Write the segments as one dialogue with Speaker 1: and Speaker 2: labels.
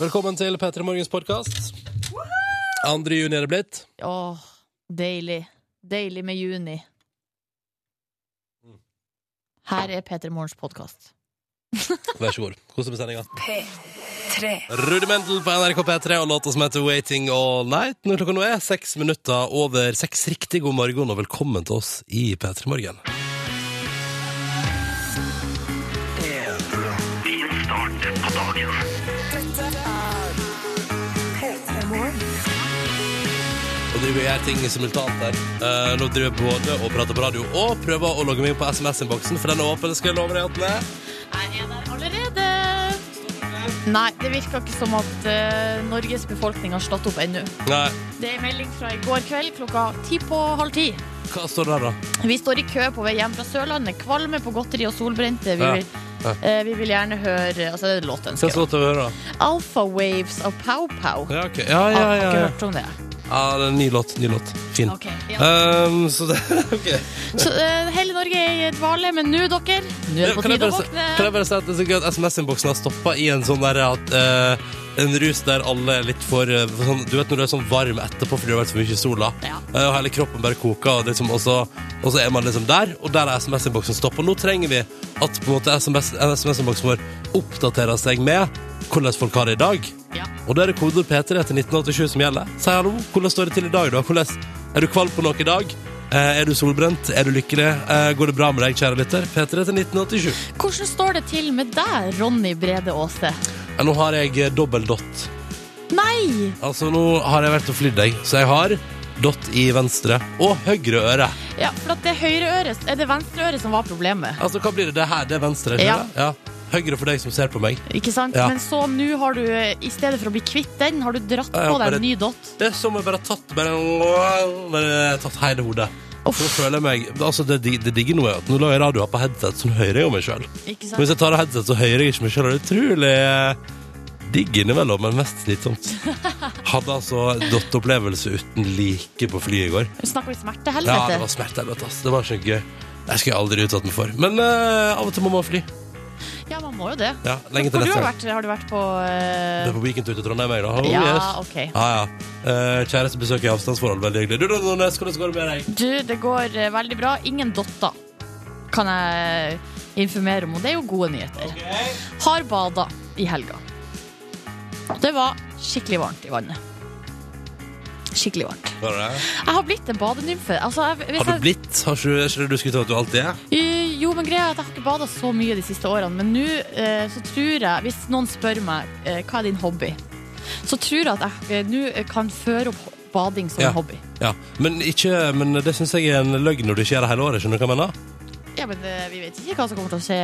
Speaker 1: Velkommen til P3 Morgens podkast. 2. juni er det blitt.
Speaker 2: Åh, deilig. Deilig med juni.
Speaker 1: Mm.
Speaker 2: Her er P3 Morgens podkast.
Speaker 1: Vær så god. Kos deg med sendinga. Rudimental på NRK P3 og låta som heter Waiting All Night. Når klokka nå er seks minutter over seks. Riktig god morgen og velkommen til oss i P3 Morgen. Og driver og gjør ting simultant der. Eh, nå driver jeg både og prater på radio og prøver å logge meg inn på SMS-innboksen, for den er åpen. det skal jeg love deg at den er.
Speaker 2: Jeg er der allerede. Nei, det virker ikke som at eh, Norges befolkning har slått opp ennå.
Speaker 1: Nei,
Speaker 2: Det er en melding fra i går kveld klokka ti på halv ti.
Speaker 1: hva står det der, da?
Speaker 2: Vi står i kø på vei hjem fra Sørlandet. Kvalme på godteri og solbrente. Vi
Speaker 1: Ja.
Speaker 2: vil,
Speaker 1: Ja.
Speaker 2: eh, vi vil gjerne høre Altså, det er
Speaker 1: Hva
Speaker 2: låtønske.
Speaker 1: står det å høre, da?
Speaker 2: Alpha Waves av Pow Pow.
Speaker 1: Ja, ok. Ja, ja,
Speaker 2: Har
Speaker 1: ja.
Speaker 2: ikke
Speaker 1: ja.
Speaker 2: hørt om det.
Speaker 1: ja det er en ny låt. Ny låt. Fin.
Speaker 2: Ok, ja.
Speaker 1: Ehm, så det OK.
Speaker 2: Så eh, hele Norge er i dvale, men nå, dere Nå er det på
Speaker 1: Kan jeg, bare,
Speaker 2: tide å
Speaker 1: si- kan jeg
Speaker 2: våkne.
Speaker 1: bare si at det er så gøy at SMS-innboksen har stoppa i en sånn der at eh, En rus der alle er litt for eh, sånn, Du vet når du er sånn varm etterpå fordi du har vært for mye i sola,
Speaker 2: Ja.
Speaker 1: eh, og hele kroppen bare koker, og, det er liksom, og, så, og så er man liksom der, og der er SMS-innboksen stoppa. Nå trenger vi at på en måte SMS SMS-innboksen vår oppdaterer seg med hvordan folk har det i dag.
Speaker 2: Ja.
Speaker 1: Og da er det kode P3 til 1987 som gjelder. Si hallo, hvordan står det til i dag, da? Hvordan, er du kvalm på noe i dag? Eh, er du solbrent? Er du lykkelig? Eh, går det bra med deg, kjære lytter? P3 til 1987.
Speaker 2: Hvordan står det til med deg, Ronny Brede Aase?
Speaker 1: Ja, nå har jeg eh, dobbel dott.
Speaker 2: Nei!
Speaker 1: Altså, nå har jeg vært og flydd deg, så jeg har dott i venstre og høyre øre.
Speaker 2: Ja, for at det høyre øret Er det venstre øret som var problemet?
Speaker 1: Altså, hva blir det? Det her, det er venstre, ikke
Speaker 2: Ja.
Speaker 1: det? Ja. Høyre for deg som ser på meg.
Speaker 2: Ikke sant?
Speaker 1: Ja.
Speaker 2: Men så nå har du, eh, i stedet for å bli kvitt den, har du dratt
Speaker 1: Jeg
Speaker 2: på
Speaker 1: håper
Speaker 2: deg
Speaker 1: det-
Speaker 2: en ny dott.
Speaker 1: Det er som om jeg bare har tatt bare, bare tatt hele hodet.
Speaker 2: Uff.
Speaker 1: Nå føler jeg meg Altså, det, dig- det digger nå er at nå lager jeg radioer på headset, så nå hører jeg jo meg sjøl.
Speaker 2: Ikke
Speaker 1: Men
Speaker 2: sant?
Speaker 1: hvis jeg tar av headset, så hører jeg ikke meg selv, og Det er utrolig eh, digg innimellom, men mest slitsomt. Hadde altså dotteopplevelse uten like på flyet i går.
Speaker 2: Snakker vi
Speaker 1: Ja, det
Speaker 2: smertehelvete?
Speaker 1: var smertehelvete, ass. Det var så gøy. Jeg skulle aldri utsatt meg for. Men eh, av og til må man fly.
Speaker 2: Ja, man må jo det.
Speaker 1: Ja, lenge
Speaker 2: Hvor
Speaker 1: til
Speaker 2: du
Speaker 1: neste
Speaker 2: har,
Speaker 1: gang.
Speaker 2: vært, har du vært på
Speaker 1: Det
Speaker 2: eh,
Speaker 1: er på weekendtur til Trondheim, jeg, da. Oh,
Speaker 2: Ja,
Speaker 1: yes.
Speaker 2: ok.
Speaker 1: Ja, ja. Eh, kjæreste besøk i avstandsforhold, veldig hyggelig. Du, da, Nordnes, hvordan går det med deg?
Speaker 2: Du, det går eh, veldig bra. Ingen dotter, kan jeg informere om. Og det er jo gode nyheter. Har bada i helga. Og det var skikkelig varmt i vannet. Skikkelig varmt.
Speaker 1: Går det?
Speaker 2: Jeg har blitt en badenymfe. Altså, jeg, hvis
Speaker 1: Har du
Speaker 2: jeg-
Speaker 1: blitt? Har ikke du, er ikke det du skulle tro at du alltid er?
Speaker 2: Eh, Jo, men greia er at jeg har ikke bada så mye de siste årene. Men nå eh, så tror jeg, hvis noen spør meg eh, hva er din hobby, så tror jeg at jeg eh, nå kan føre opp bading som
Speaker 1: Ja.
Speaker 2: hobby.
Speaker 1: Ja. Men, ikke, men det syns jeg er en løgn når du ikke gjør det hele året. Skjønner du hva jeg mener?
Speaker 2: Ja, men eh, vi vet ikke hva som kommer til å skje.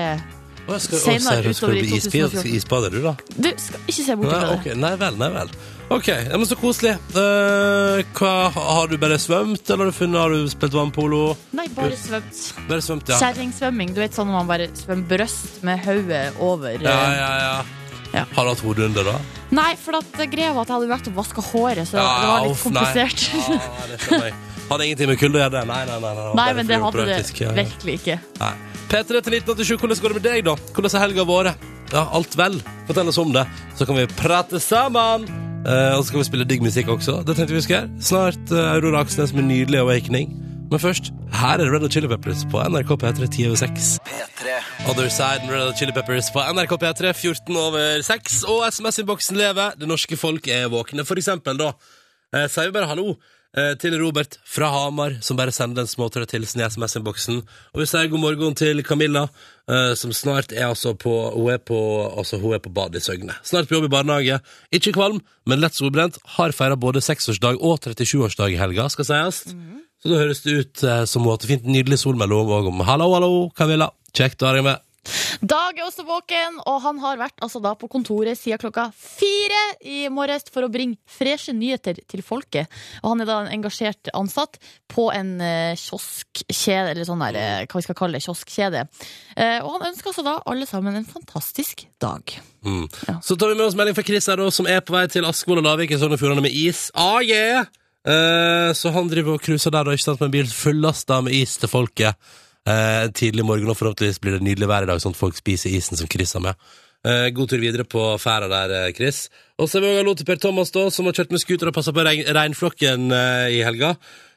Speaker 1: Å, jeg skal,
Speaker 2: Senere
Speaker 1: å, seriøst, skal
Speaker 2: utover
Speaker 1: du
Speaker 2: i
Speaker 1: bli isbader,
Speaker 2: 2014.
Speaker 1: isbader du, da?
Speaker 2: Du skal ikke se bort
Speaker 1: Nei,
Speaker 2: fra det.
Speaker 1: ok, nei vel, nei vel. OK, ja, men så koselig. Eh, hva, har du bare svømt, eller har du, funnet, har du spilt vannpolo?
Speaker 2: Nei, bare svømt.
Speaker 1: Bare svømt, ja.
Speaker 2: Kjerringsvømming. Du vet sånn når man bare svømmer brøst med hodet over. eh.
Speaker 1: Ja, ja, ja.
Speaker 2: Ja.
Speaker 1: Har du hatt hodet under, da?
Speaker 2: Nei, for at eh, greia var at jeg hadde vært og vaska håret, så
Speaker 1: Ja,
Speaker 2: det var litt
Speaker 1: uff, nei.
Speaker 2: komplisert. Nei,
Speaker 1: Ja, Ah, det skjønner jeg. Hadde ingenting med kulde å gjøre, det. Nei, nei, nei. nei, bare fordi
Speaker 2: men det
Speaker 1: var
Speaker 2: hadde det
Speaker 1: praktisk, ja.
Speaker 2: virkelig ikke.
Speaker 1: Nei. P3 til 1987, hvordan går det med deg, da? Hvordan er helga våre? Ja, alt vel? Fortell oss om det, så kan vi prate sammen. Eh, og så kan vi spille digg musikk også. Det tenkte vi skulle gjøre. Snart eh, Aurora Aksnes med nydelig awakening. Men først, her er Red Hot Chili Peppers på NRK P3 10 over 6. Other Side med Red Hot Chili Peppers på NRK P3 14 over 6. Og SMS-innboksen lever. Det norske folk er våkne. For eksempel, da, eh, sier vi bare hallo eh, til Robert fra Hamar, som bare sender en småtrøtt hilsen i SMS-innboksen. Og vi sier god morgen til Camilla, eh, som snart er altså på Hun er på, altså, hun er på badet i Søgne. Snart på jobb i barnehage. Ikke kvalm, men lett solbrent. Har feira både seksårsdag og 37-årsdag i helga, skal sies. Så da høres det ut eh, som hun har hatt fint nydelig sol mellom og om. Hallo, hallo, Camilla. Kjekt å ha deg med.
Speaker 2: Dag er også våken, og han har vært altså, da, på kontoret siden klokka fire i morges for å bringe freshe nyheter til folket. Og han er da en engasjert ansatt på en eh, kioskkjede, eller sånn der, eh, hva vi skal kalle det, kioskkjede. Eh, og han ønsker altså da alle sammen en fantastisk dag.
Speaker 1: Mm.
Speaker 2: Ja.
Speaker 1: Så tar vi med oss melding fra Chris her da, som er på vei til Askvoll og Lavik i Sogn og Fjordane med is. Ah, yeah! Eh, så han driver og cruiser der da, ikke sant, med en bil fullasta med is til folket. Eh, tidlig morgen, og forhåpentligvis blir det nydelig vær i dag, sånn at folk spiser isen som Chris har med. Eh, god tur videre på ferda der, eh, Chris. Og så er vi også hallo til Per Thomas, da, som har kjørt med scooter og passa på rein, reinflokken eh, i helga.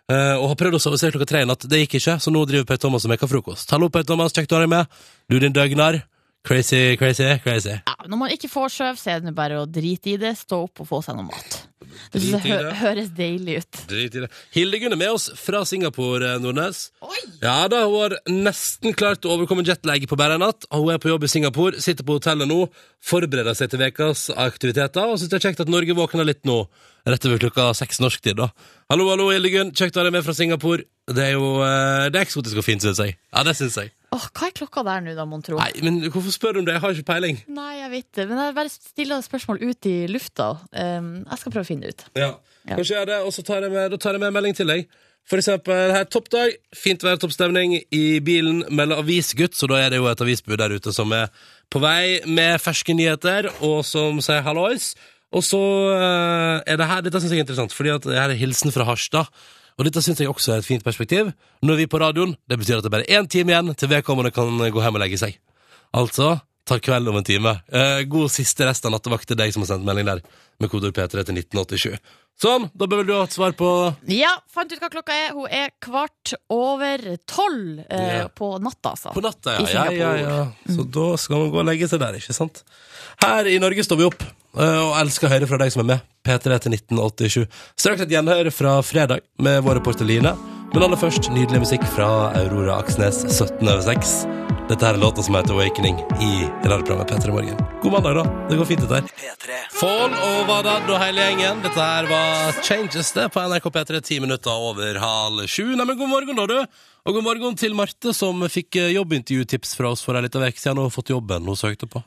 Speaker 1: Eh, og har prøvd å sove seg klokka tre i natt. Det gikk ikke, så nå driver Per Thomas og mekker frokost. Hallo, Per Thomas, kjekt å ha deg med. Du, din døgnar. Crazy, crazy, crazy.
Speaker 2: Ja, når man ikke får sjøv, så er det nå bare å drite i det, stå opp og få seg noe mat. Det synes
Speaker 1: Drit i
Speaker 2: jeg hø
Speaker 1: det.
Speaker 2: høres deilig ut.
Speaker 1: Drit i det. Hildegunn er med oss fra Singapore, eh, Nordnes. Ja da, hun har nesten klart å overkomme jetlag på bare en natt. og Hun er på jobb i Singapore, sitter på hotellet nå, forbereder seg til vekas aktiviteter, og syns det er kjekt at Norge våkner litt nå, rett over klokka seks norsk tid, da. Hallo, hallo, Hildegunn, kjekt å ha deg med fra Singapore. Det er jo eh, det er eksotisk og fint, syns jeg. Ja, det syns jeg.
Speaker 2: Åh, hva er klokka der nå, da, mon tro?
Speaker 1: Nei, men hvorfor spør du om det? Jeg har ikke peiling.
Speaker 2: Nei, jeg vet det. Men jeg bare stiller spørsmål ut i lufta. Um, jeg skal prøve å finne det ut.
Speaker 1: Ja.
Speaker 2: Ja.
Speaker 1: Kanskje gjør det, og så tar jeg med, da tar jeg med en melding til deg. For eksempel her, toppdag, fint vær, toppstemning i bilen mellom avisgutt, så da er det jo et avisbud der ute som er på vei med ferske nyheter, og som sier hallois. Og så eh, er det her, dette synes jeg er interessant, fordi at det her er hilsen fra Harstad. Og dette synes jeg også er et fint perspektiv. Nå er vi på radioen, det betyr at det er bare én time igjen til vedkommende kan gå hjem og legge seg. Altså tar kvelden om en time. Eh, god siste rest av nattevakt til deg som har sendt melding der, med kodeord P3 til 1987. Sånn, da bør vel du ha et svar på
Speaker 2: Ja, fant ut hva klokka er. Hun er kvart over tolv eh,
Speaker 1: Ja.
Speaker 2: på natta, altså.
Speaker 1: På natta, ja. ja,
Speaker 2: I Singapore.
Speaker 1: ja, ja. Så da skal man gå og legge seg der, ikke sant? Her i Norge står vi opp eh, og elsker å høre fra deg som er med. P3 til 1987. Straks et gjenhør fra fredag med vår reporter Line. Men aller først nydelig musikk fra Aurora Aksnes 17 over 6. Dette her er låta som heter Awakening i radioprogrammet P3 Morgen. God mandag, da. Det går fint, dette her. Fall og Wadad og hele gjengen. Dette her var Changes det på NRK P3, ti minutter over halv sju. Nei, men god morgen, da, du. Og god morgen til Marte, som fikk eh, jobbintervjutips fra oss for ei lita uke siden og har fått jobben hun søkte på.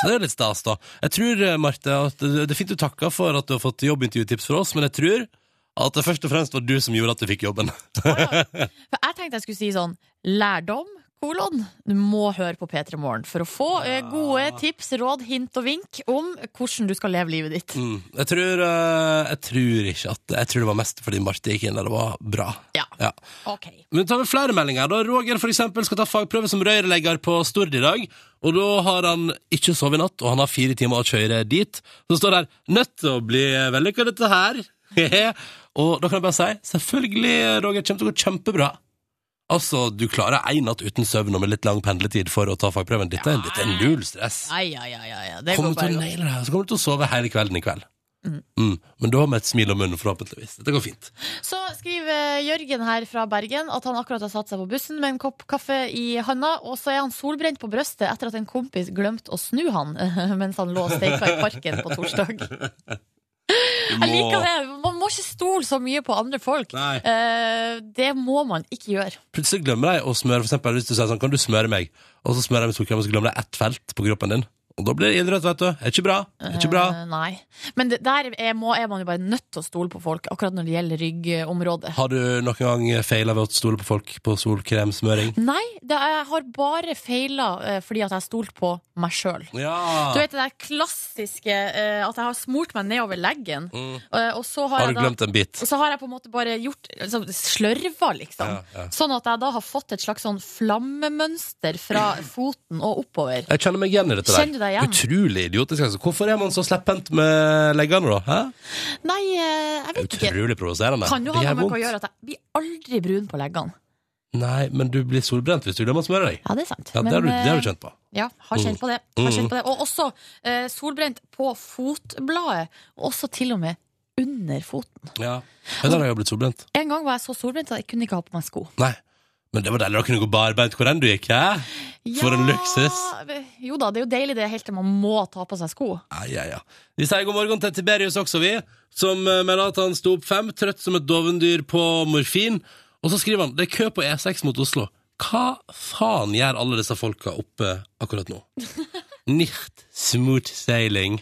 Speaker 1: Så det er litt stas, da. Jeg tror, eh, Marte, at det det er fint du takker for at du har fått jobbintervjutips fra oss, men jeg tror at det først og fremst var du som gjorde at du fikk jobben.
Speaker 2: For jeg tenkte jeg skulle si sånn lærdom, kolon. Du må høre på P3 Morgen for å få eh, gode tips, råd, hint og vink om hvordan du skal leve livet ditt.
Speaker 1: Mm. Jeg, tror, eh, jeg tror ikke at Jeg tror det var mest fordi Marte gikk inn der det var bra.
Speaker 2: Ja.
Speaker 1: ja.
Speaker 2: Ok.
Speaker 1: Men tar vi flere meldinger da Roger for eksempel skal ta fagprøve som røyrlegger på Stord i dag Og da har han ikke sovet i natt Og han har fire timer å kjøre dit Så står det her Nødt til å bli vellykket dette her Og da kan jeg bare si Selvfølgelig Roger kommer til å gå kjempebra Altså du klarer en natt uten søvn Og med litt lang pendletid for å ta fagprøven Dette, er- dette er null stress
Speaker 2: Ai, ai, ai, ai, ai. Det
Speaker 1: Kommer du til å
Speaker 2: går bare godt.
Speaker 1: naile det her Så kommer du til å sove hele kvelden i kveld Mm. Men da med et smil om munnen forhåpentligvis Dette går fint
Speaker 2: Så skriver Jørgen her fra Bergen at han akkurat har satt seg på bussen med en kopp kaffe i handa, og så er han solbrent på brøstet etter at en kompis glemte å snu han mens han lå og steika i parken på torsdag.
Speaker 1: Du
Speaker 2: Jeg
Speaker 1: må-
Speaker 2: liker det. Man må ikke stole så mye på andre folk.
Speaker 1: Nei
Speaker 2: Eh, det må man ikke gjøre.
Speaker 1: plutselig glemmer de å smøre, for eksempel hvis du sier sånn, kan du smøre meg? Og så smører jeg med solkrem, og så glemmer de ett felt på kroppen din. Og da blir det idrett, vet du. Er ikke bra. Er ikke bra.
Speaker 2: Eh, nei. Men det, der er, må, er man jo bare nødt til å stole på folk, akkurat når det gjelder ryggområdet.
Speaker 1: Har du noen gang feila ved å stole på folk på solkremsmøring?
Speaker 2: Nei, det, jeg har bare feila eh, fordi at jeg stolte på meg sjøl.
Speaker 1: Ja!
Speaker 2: Du vet det der klassiske eh, at jeg har smurt meg nedover leggen,
Speaker 1: Mm.
Speaker 2: eh, og så har,
Speaker 1: Har
Speaker 2: jeg
Speaker 1: du
Speaker 2: da
Speaker 1: glemt en bit?
Speaker 2: og så har jeg på en måte bare gjort liksom, slørva, liksom.
Speaker 1: Ja, ja.
Speaker 2: Sånn at jeg da har fått et slags sånn flammemønster fra
Speaker 1: Mm.
Speaker 2: foten og oppover.
Speaker 1: Jeg kjenner meg igjen i dette der.
Speaker 2: Kjenner du deg igjen?
Speaker 1: Utrolig idiotisk. Altså. Hvorfor er man så slepphendt med leggene, da? Hæ?
Speaker 2: Nei, eh, jeg vet ikke.
Speaker 1: Utrolig provoserende.
Speaker 2: Kan jo
Speaker 1: Det
Speaker 2: ha
Speaker 1: gjør
Speaker 2: noe med hva å
Speaker 1: vondt.
Speaker 2: gjøre at jeg blir aldri brun på leggene.
Speaker 1: Nei, men du blir solbrent hvis du glemmer å smøre deg.
Speaker 2: Ja, det er sant.
Speaker 1: Ja,
Speaker 2: Men,
Speaker 1: det har du, det har
Speaker 2: eh,
Speaker 1: du Mm. kjent på.
Speaker 2: Ja, har kjent på det. Har kjent på det. Og også eh, solbrent på fotbladet. Og Også til og med under foten.
Speaker 1: Ja. Ja, Der har jeg jo blitt solbrent.
Speaker 2: En gang var jeg så solbrent at jeg kunne ikke ha på meg sko.
Speaker 1: Nei. Men det var deilig å kunne gå barbeint hvor enn du gikk, hæ? For en luksus.
Speaker 2: Jo da, det er jo deilig det helt til man må ta på seg sko.
Speaker 1: Ja, ja, ja. Vi sier god morgen til Tiberius også, vi, som eh, melder at han sto opp fem, trøtt som et dovendyr på morfin. Og så skriver han det er kø på E6 mot Oslo. Hva faen gjør alle disse folka oppe akkurat nå? Nicht smooth sailing.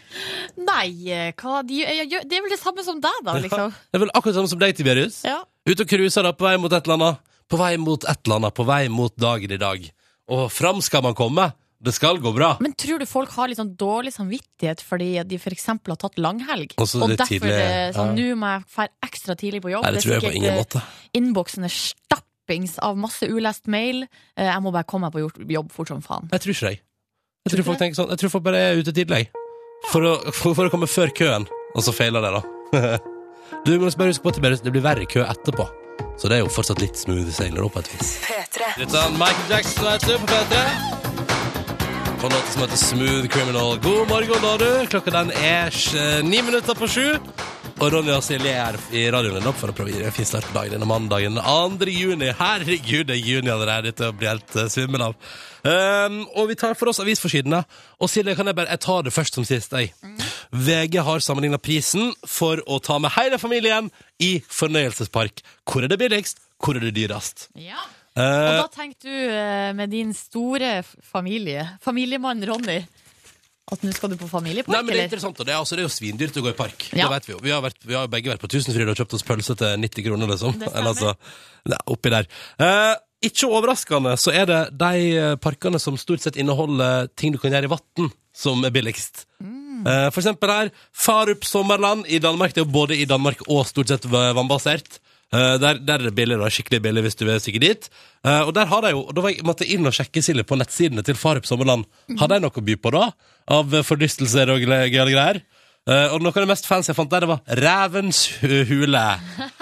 Speaker 2: Nei, eh, hva de, eh, gjør- Det er vel det samme som deg, da, liksom.
Speaker 1: Det er vel akkurat samme som deg, Tiberius.
Speaker 2: Ja.
Speaker 1: Ute og cruiser da, på vei mot et eller annet. På vei mot et eller annet, på vei mot dagen i dag. Og fram skal man komme. Det skal gå bra.
Speaker 2: Men tror du folk har litt sånn dårlig samvittighet fordi de f.eks. har tatt langhelg?
Speaker 1: Og så
Speaker 2: Og
Speaker 1: det er
Speaker 2: derfor
Speaker 1: tidlig,
Speaker 2: eh, sånn,
Speaker 1: ja.
Speaker 2: nå må jeg dra ekstra tidlig på jobb.
Speaker 1: Nei, det
Speaker 2: er
Speaker 1: tror jeg på
Speaker 2: sikkert,
Speaker 1: ingen
Speaker 2: eh,
Speaker 1: måte.
Speaker 2: innboksen er stappings av masse ulest mail. Eh, Jeg må bare komme meg på gjort- jobb fort som faen.
Speaker 1: Jeg sånn. tror ikke deg. Jeg tror folk tenker sånn, jeg tror folk bare er ute tidlig For å, for, for å komme før køen Og så feiler det da Du må bare huske på at det, bare, det blir verre kø etterpå Så det er jo fortsatt litt smooth sailer opp på et vis Dette er Michael Jackson vet du, på P3 På en låt som heter Smooth Criminal God morgen da du Klokka den er sj- ni minutter på sju Og Ronja og Silje er i radioen din opp For å prøve å gi deg en fin start på dagen denne mandagen 2. juni, herregud det er juni allerede Dette blir helt eh, svimmel av um, Og vi tar for oss avisforsidene Og Silje kan jeg bare, jeg tar det først som sist jeg. VG har sammenlignet prisen For å ta med hele familien I fornøyelsespark Hvor er det billigst, hvor er det dyrest
Speaker 2: Ja. Og
Speaker 1: Eh,
Speaker 2: da tenkte du eh, med din store f- familie, familiemann Ronny, at nå skal du på familiepark,
Speaker 1: Nei, men det er
Speaker 2: eller?
Speaker 1: interessant, og det er, altså, det er jo svindyrt å gå i park.
Speaker 2: Ja.
Speaker 1: Det vet vi jo. Vi har, vært, vi har jo begge vært på Tusenfryd og kjøpt oss pølse til 90 kroner, liksom.
Speaker 2: Det stemmer.
Speaker 1: Eller altså, det er oppi der. Eh, ikke overraskende så er det de eh, parkene som stort sett inneholder ting du kan gjøre i vann, som er billigst.
Speaker 2: Mm.
Speaker 1: Eh, for eksempel her, Farup sommerland i Danmark. Det er jo både i Danmark og stort sett v- vannbasert. Eh, der, der er det billig, da. Skikkelig billig hvis du vil stikke dit. Eh, og der har de jo, og da var jeg, måtte jeg inn og sjekke Silje på nettsidene til Farup Sommerland.
Speaker 2: Mm.
Speaker 1: Har de noe å by på, da? Av eh, fordystelser og gle- gøyale greier? Eh, og noe av det mest fancy jeg fant der, det var Revens hu- hule.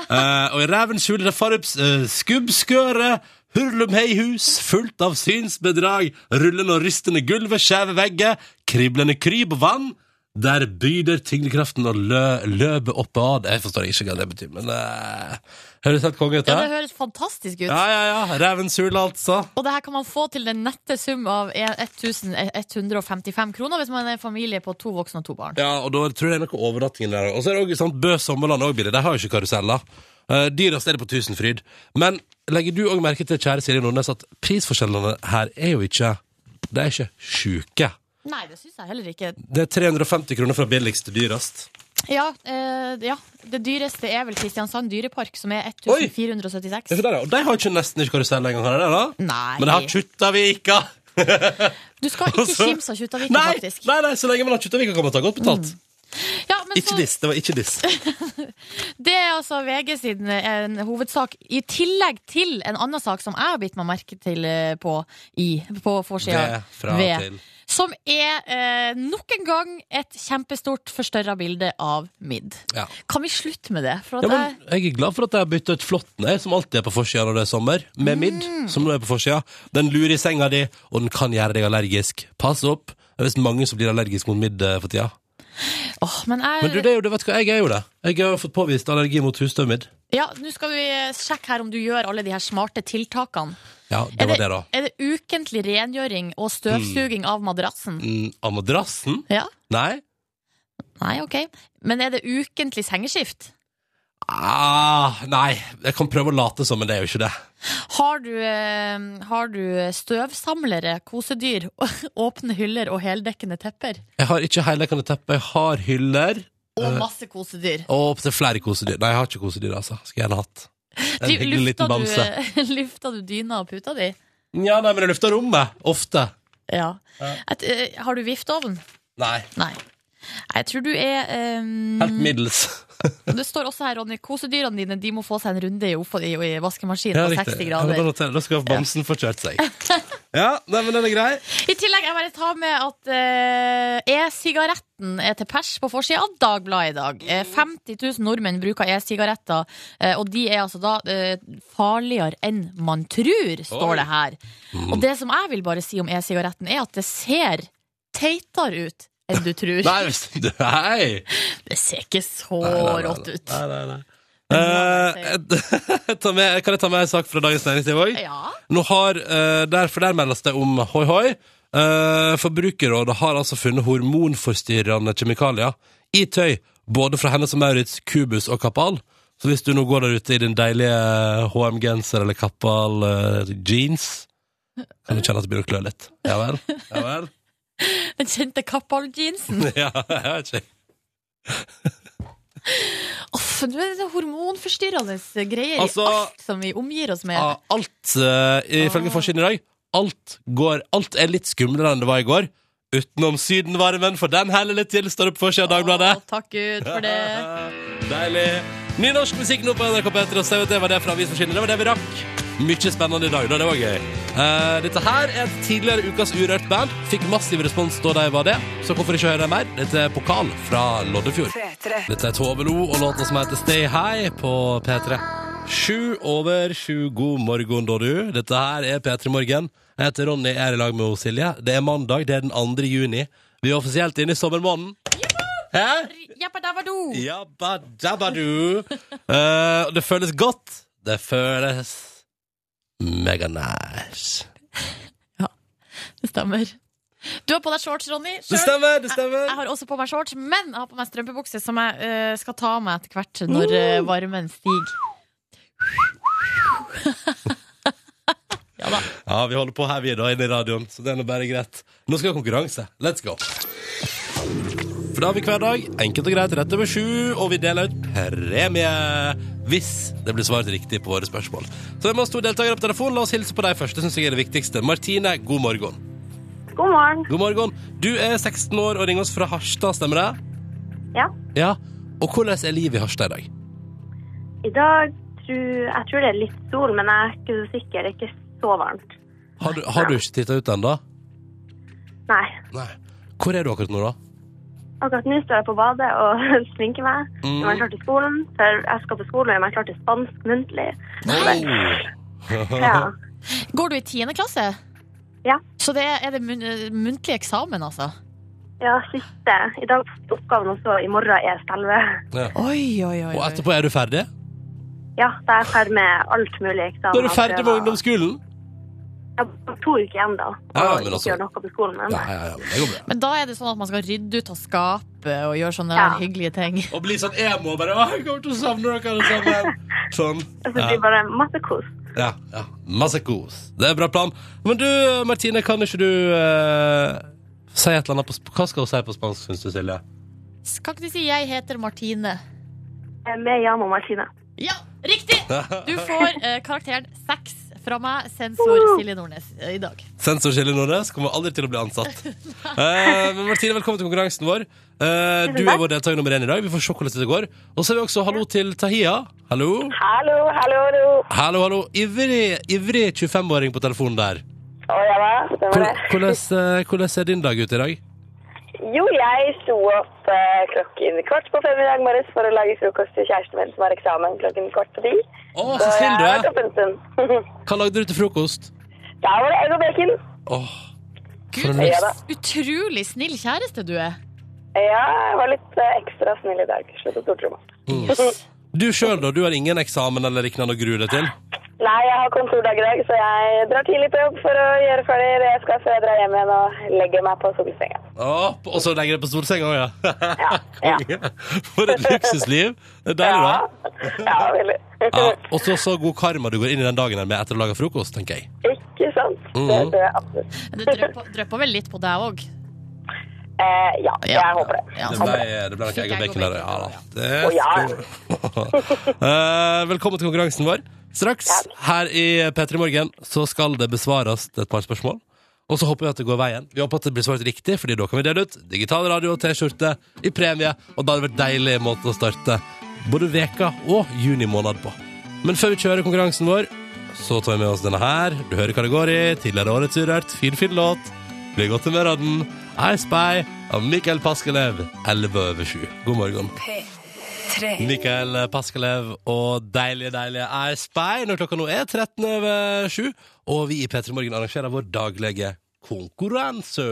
Speaker 1: Eh, og i Revens hule det er Farups eh, skubbskøre, hurlumheihus, fullt av synsbedrag, rullende og rystende gulvet, skjeve vegger, kriblende kryp og vann. Der byder tyngdekraften og lø, løpet oppe av. Jeg forstår ikke hva det betyr, men eh, høres helt konge ut,
Speaker 2: Ja,
Speaker 1: hæ?
Speaker 2: det høres fantastisk ut.
Speaker 1: Ja, ja, ja. Revens hule, altså.
Speaker 2: Og det her kan man få til den nette sum av 1155 kroner hvis man er en familie på to voksne og to barn.
Speaker 1: Ja, og da tror jeg det er noe overnatting der. Og så er det også, sant, Bø Sommerland er også billig. De har jo ikke karuseller. Uh, dyrest er det på Tusenfryd. Men legger du òg merke til, kjære Silje Nordnes, at prisforskjellene her er jo ikke De er ikke sjuke.
Speaker 2: Nei, det syns jeg heller ikke.
Speaker 1: Det er 350 kroner fra billigst til dyrest.
Speaker 2: Ja, eh, ja, det dyreste er vel Kristiansand dyrepark, som er
Speaker 1: Oi!
Speaker 2: 1476.
Speaker 1: Ja, for der, ja. Og de har ikke nesten ikke karusell engang, har de det? da?
Speaker 2: Nei.
Speaker 1: Men de har Kjuttaviga!
Speaker 2: Du skal ikke
Speaker 1: Altså-
Speaker 2: kimse av Kjuttaviken,
Speaker 1: Nei,
Speaker 2: faktisk. Mm.
Speaker 1: nei, nei, så lenge man har Kjuttaviga, kan man ta godt betalt.
Speaker 2: Ja, men
Speaker 1: Ikke
Speaker 2: så,
Speaker 1: diss. Det var ikke diss.
Speaker 2: det er altså VG sin eh, en hovedsak, i tillegg til en annen sak som jeg har bitt meg merke til eh, på, i, på forsida.
Speaker 1: Ved, fra,
Speaker 2: Ved.
Speaker 1: til.
Speaker 2: Som er eh, nok en gang et kjempestort forstørra bilde av midd.
Speaker 1: Ja.
Speaker 2: Kan vi slutte med det? For at
Speaker 1: Ja, men jeg er glad for at jeg har bytta ut flåtten, jeg, som alltid er på forsida når det er sommer, med midd, som nå er på forsida. Den lurer i senga di, og den kan gjøre deg allergisk. Pass opp. Det er visst mange som blir allergiske mot midd eh, for tida.
Speaker 2: jeg, åh, men jeg
Speaker 1: Men du, det er jo, det, vet du hva, jeg er jo det. Jeg har fått påvist allergi mot husstøvmidd.
Speaker 2: Ja, nå skal vi eh, sjekke her om du gjør alle de her smarte tiltakene.
Speaker 1: Ja, det var det, da.
Speaker 2: Er det ukentlig rengjøring og støvsuging av madrassen?
Speaker 1: Mm, av madrassen?
Speaker 2: Ja?
Speaker 1: Nei.
Speaker 2: Nei, ok. Men er det ukentlig sengeskift?
Speaker 1: Ah, nei, jeg kan prøve å late som, men det er jo ikke det.
Speaker 2: Har du, eh, har du støvsamlere, kosedyr, åpne hyller og heldekkende tepper?
Speaker 1: Jeg har ikke heldekkende teppe, jeg har hyller
Speaker 2: Og masse kosedyr.
Speaker 1: og opptil flere kosedyr. Nei, jeg har ikke kosedyr, altså. Skulle gjerne hatt. En
Speaker 2: Driv-
Speaker 1: hyggelig liten bamse.
Speaker 2: Du, lufta du dyna og puta di?
Speaker 1: Nja, nei, men jeg lufter rommet. Ofte.
Speaker 2: Ja. Et, eh, har du viftovn?
Speaker 1: Nei.
Speaker 2: Nei. Jeg tror du er eh,
Speaker 1: Helt middels.
Speaker 2: Det står også her, Ronny, kosedyrene dine de må få seg en runde i, oppå- i, i vaskemaskinen
Speaker 1: Ja,
Speaker 2: på
Speaker 1: riktig.
Speaker 2: 60
Speaker 1: Ja, men da,
Speaker 2: grader.
Speaker 1: noterer jeg. da skal bamsen få kjørt seg. Ja, nei, men den er grei.
Speaker 2: I tillegg, jeg bare tar med at eh, e-sigaretten er til pers på forsida av Dagbladet i dag. Eh, 50 000 nordmenn bruker e-sigaretter, eh, og de er altså da eh, farligere enn man tror, står
Speaker 1: Oi.
Speaker 2: det her. Og det som jeg vil bare si om e-sigaretten, er at det ser teitere ut enn du tror.
Speaker 1: Nei, hvis- nei.
Speaker 2: Det ser ikke så
Speaker 1: Nei, nei, nei,
Speaker 2: rått ut.
Speaker 1: Nei, nei, nei.
Speaker 2: må
Speaker 1: Eh, jeg tar med, kan jeg ta med en sak fra Dagens Næringsliv òg?
Speaker 2: Ja.
Speaker 1: Nå har, eh, der, for der meldes det om hoi hoi. Eh, Forbrukerrådet har altså funnet hormonforstyrrende kjemikalier i tøy, både fra Hennes og Maurits, Cubus og Kapal. Så hvis du nå går der ute i din deilige HM-genser eller Kapal eh, jeans, kan du kjenne at det begynner å klø litt. Ja vel? Ja vel?
Speaker 2: Den kjente Kappahl-jeansen.
Speaker 1: Ja, jeg vet ikke.
Speaker 2: Uff, det er så hormonforstyrrende greier
Speaker 1: Altså- ah,
Speaker 2: i alt som vi omgir oss med.
Speaker 1: Ja, alt, eh, ifølge
Speaker 2: Ah.
Speaker 1: forsiden i dag, alt, går, alt er litt skumlere enn det var i går. Utenom sydenvarmen, for den heller litt til, står det på forsida av Dagbladet.
Speaker 2: Å, takk Gud for det.
Speaker 1: Deilig. Nynorsk musikk nå på NRK P3. Og så er det- det var det fra Avisforsiden. Det var det vi rakk. Mye spennende i dag, da. Det var gøy. Eh, dette her er et tidligere ukas Urørt band. Fikk massiv respons da de var det, så hvorfor ikke høre dem mer? Dette er Pokal fra Loddefjord. Dette er Tove Lo og låta som heter Stay High på P3. Sju over sju, god morgen da du. Dette her er P3 Morgen. Jeg heter Ronny, jeg er i lag med hos Silje. Det er mandag, det er den 2. juni. Vi er offisielt inne i sommermåneden. Hæ?
Speaker 2: Jabba-dabba-do.
Speaker 1: Jabba dabba do. Eh, og det føles godt. Det føles mega nice.
Speaker 2: Det stemmer. Du har på deg shorts, Ronny.
Speaker 1: Det
Speaker 2: Selv.
Speaker 1: stemmer, det stemmer.
Speaker 2: Jeg har også på meg shorts, men jeg har på meg strømpebukse, som jeg eh, skal ta av meg etter hvert når eh, varmen stiger. ja da.
Speaker 1: Ja, vi holder på her vi er da, inne i radioen, så det er nå bare greit. Nå skal vi ha konkurranse. Let's go. For da har vi hver dag, enkelt og greit, rett over sju, og vi deler ut premie hvis det blir svart riktig på våre spørsmål. Så vi må ha to deltakere på telefonen. La oss hilse på deg først. Det syns jeg er det viktigste. Martine, god morgen.
Speaker 3: God morgen.
Speaker 1: God morgen. Du er 16 år og ringer oss fra Harstad, stemmer det?
Speaker 3: Ja.
Speaker 1: Ja, og hvordan er livet i Harstad i dag?
Speaker 3: I dag tror jeg tror det er litt sol, men jeg er ikke så sikker. Det er ikke så varmt.
Speaker 1: Har du, har du ikke titta ut ennå?
Speaker 3: Nei.
Speaker 1: Nei. Hvor er du akkurat nå, da?
Speaker 3: Akkurat nå står jeg på badet og sminker meg.
Speaker 1: Mm.
Speaker 3: Nå er jeg klar til skolen, for jeg skal på skolen og gjør meg klar til spansk muntlig. Ja.
Speaker 1: Oh.
Speaker 2: Går du i tiende klasse?
Speaker 3: Ja.
Speaker 2: Så det er det mun eh, muntlig eksamen, altså?
Speaker 3: ja, siste. I dag er oppgaven også. I morgen er selve.
Speaker 2: Oi, oi, oi.
Speaker 1: Og etterpå er du ferdig?
Speaker 3: Ja, da er jeg ferdig med alt mulig eksamen.
Speaker 1: Da er du ferdig med
Speaker 3: prøver.
Speaker 1: ungdomsskolen?
Speaker 3: Jeg har to uker igjen, da. Og
Speaker 1: Ja, men altså-
Speaker 3: ikke gjør noe på skolen. Men.
Speaker 1: Ja, ja, ja, men det går bra.
Speaker 2: Men da er det sånn at man skal rydde ut av skapet og gjøre sånne
Speaker 3: Ja.
Speaker 2: der hyggelige ting.
Speaker 1: Og bli sånn emo bare Å, jeg kommer til å savne dere alle sammen. Sånn.
Speaker 3: Så det
Speaker 1: Ja,
Speaker 3: blir bare masse kos.
Speaker 1: ja, ja. Masse kos. Det er en bra plan. Men du, Martine, kan ikke du eh, si et eller annet på sp- Hva skal hun si på spansk, syns du, Silje?
Speaker 2: Kan ikke du si 'jeg heter Martine'?
Speaker 3: Med Jan og Martine.
Speaker 2: Ja, riktig! Du får eh, karakteren seks fra meg, sensor Silje Nordnes, eh, i dag.
Speaker 1: Sensor Silje Nordnes kommer aldri til å bli ansatt. Eh, men Martine, velkommen til konkurransen vår. Eh, du er vår deltaker nummer én i dag. Vi får se hvordan det går. Og så har vi også hallo til Tahia. Hallo.
Speaker 4: Hallo, hallo, hallo.
Speaker 1: Hallo, hallo. Ivrig, ivrig 25-åring på telefonen der.
Speaker 4: Å ja da, stemmer
Speaker 1: Hvor-
Speaker 4: det.
Speaker 1: Hvordan eh, hvordan ser din dag ut i dag?
Speaker 4: Jo, jeg sto opp eh, klokken kvart på fem i dag morges for å lage frokost til kjæresten min som har eksamen klokken kvart på ti.
Speaker 1: Å, så snill
Speaker 4: jeg
Speaker 1: du
Speaker 4: har
Speaker 1: er!
Speaker 4: vært oppe en stund.
Speaker 1: Hva lagde du til frokost?
Speaker 4: da var det egg og bacon.
Speaker 1: Åh, for
Speaker 2: Gud,
Speaker 1: en
Speaker 4: Ja
Speaker 1: lyst.
Speaker 4: da.
Speaker 2: utrolig snill kjæreste du er.
Speaker 4: Ja, jeg var litt eh, ekstra snill i dag. Slutt å stortromme.
Speaker 1: Du sjøl, da? Du har ingen eksamen eller lignende å grue deg til?
Speaker 4: Nei, jeg har kontordag i dag, så jeg drar tidlig på jobb for å gjøre ferdig det jeg skal før jeg drar hjem igjen og legger meg på solsenga.
Speaker 1: Åh, og så legger jeg på solsenga òg, ja.
Speaker 4: Ja.
Speaker 1: Konge. For et luksusliv. Det er deilig, da.
Speaker 4: ja, veldig.
Speaker 1: Ja, og så så god karma du går inn i den dagen her med etter å lage frokost, tenker jeg.
Speaker 4: Ikke sant? Det
Speaker 1: Mhm.
Speaker 4: tror jeg absolutt.
Speaker 2: Men det drypper drypper vel litt på deg òg.
Speaker 4: Eh, ja,
Speaker 2: Ja.
Speaker 4: jeg håper det.
Speaker 2: Ja.
Speaker 1: Det ble, det ble nok egg og bacon der, ja da. Det
Speaker 4: Å, ja.
Speaker 1: skal- Eh, Velkommen til konkurransen vår. Straks her i P3 Morgen så skal det besvares et par spørsmål. Og så håper vi at det går veien. Vi håper at det blir svart riktig, Fordi da kan vi dele ut digital radio og T-skjorte i premie. Og da hadde det vært deilig måte å starte både veka og juni måned på. Men før vi kjører konkurransen vår, så tar vi med oss denne her. Du hører hva det går i. Tidligere årets Urørt. Fin, fin låt. Blir i godt humør av den. I Spy av Mikael Paskelev. 11 over 7. God morgen. Mikael Paskelev og deilige, deilige I Spy når klokka nå er 13 over 7. Og vi i P3 Morgen arrangerer vår daglige konkurranse.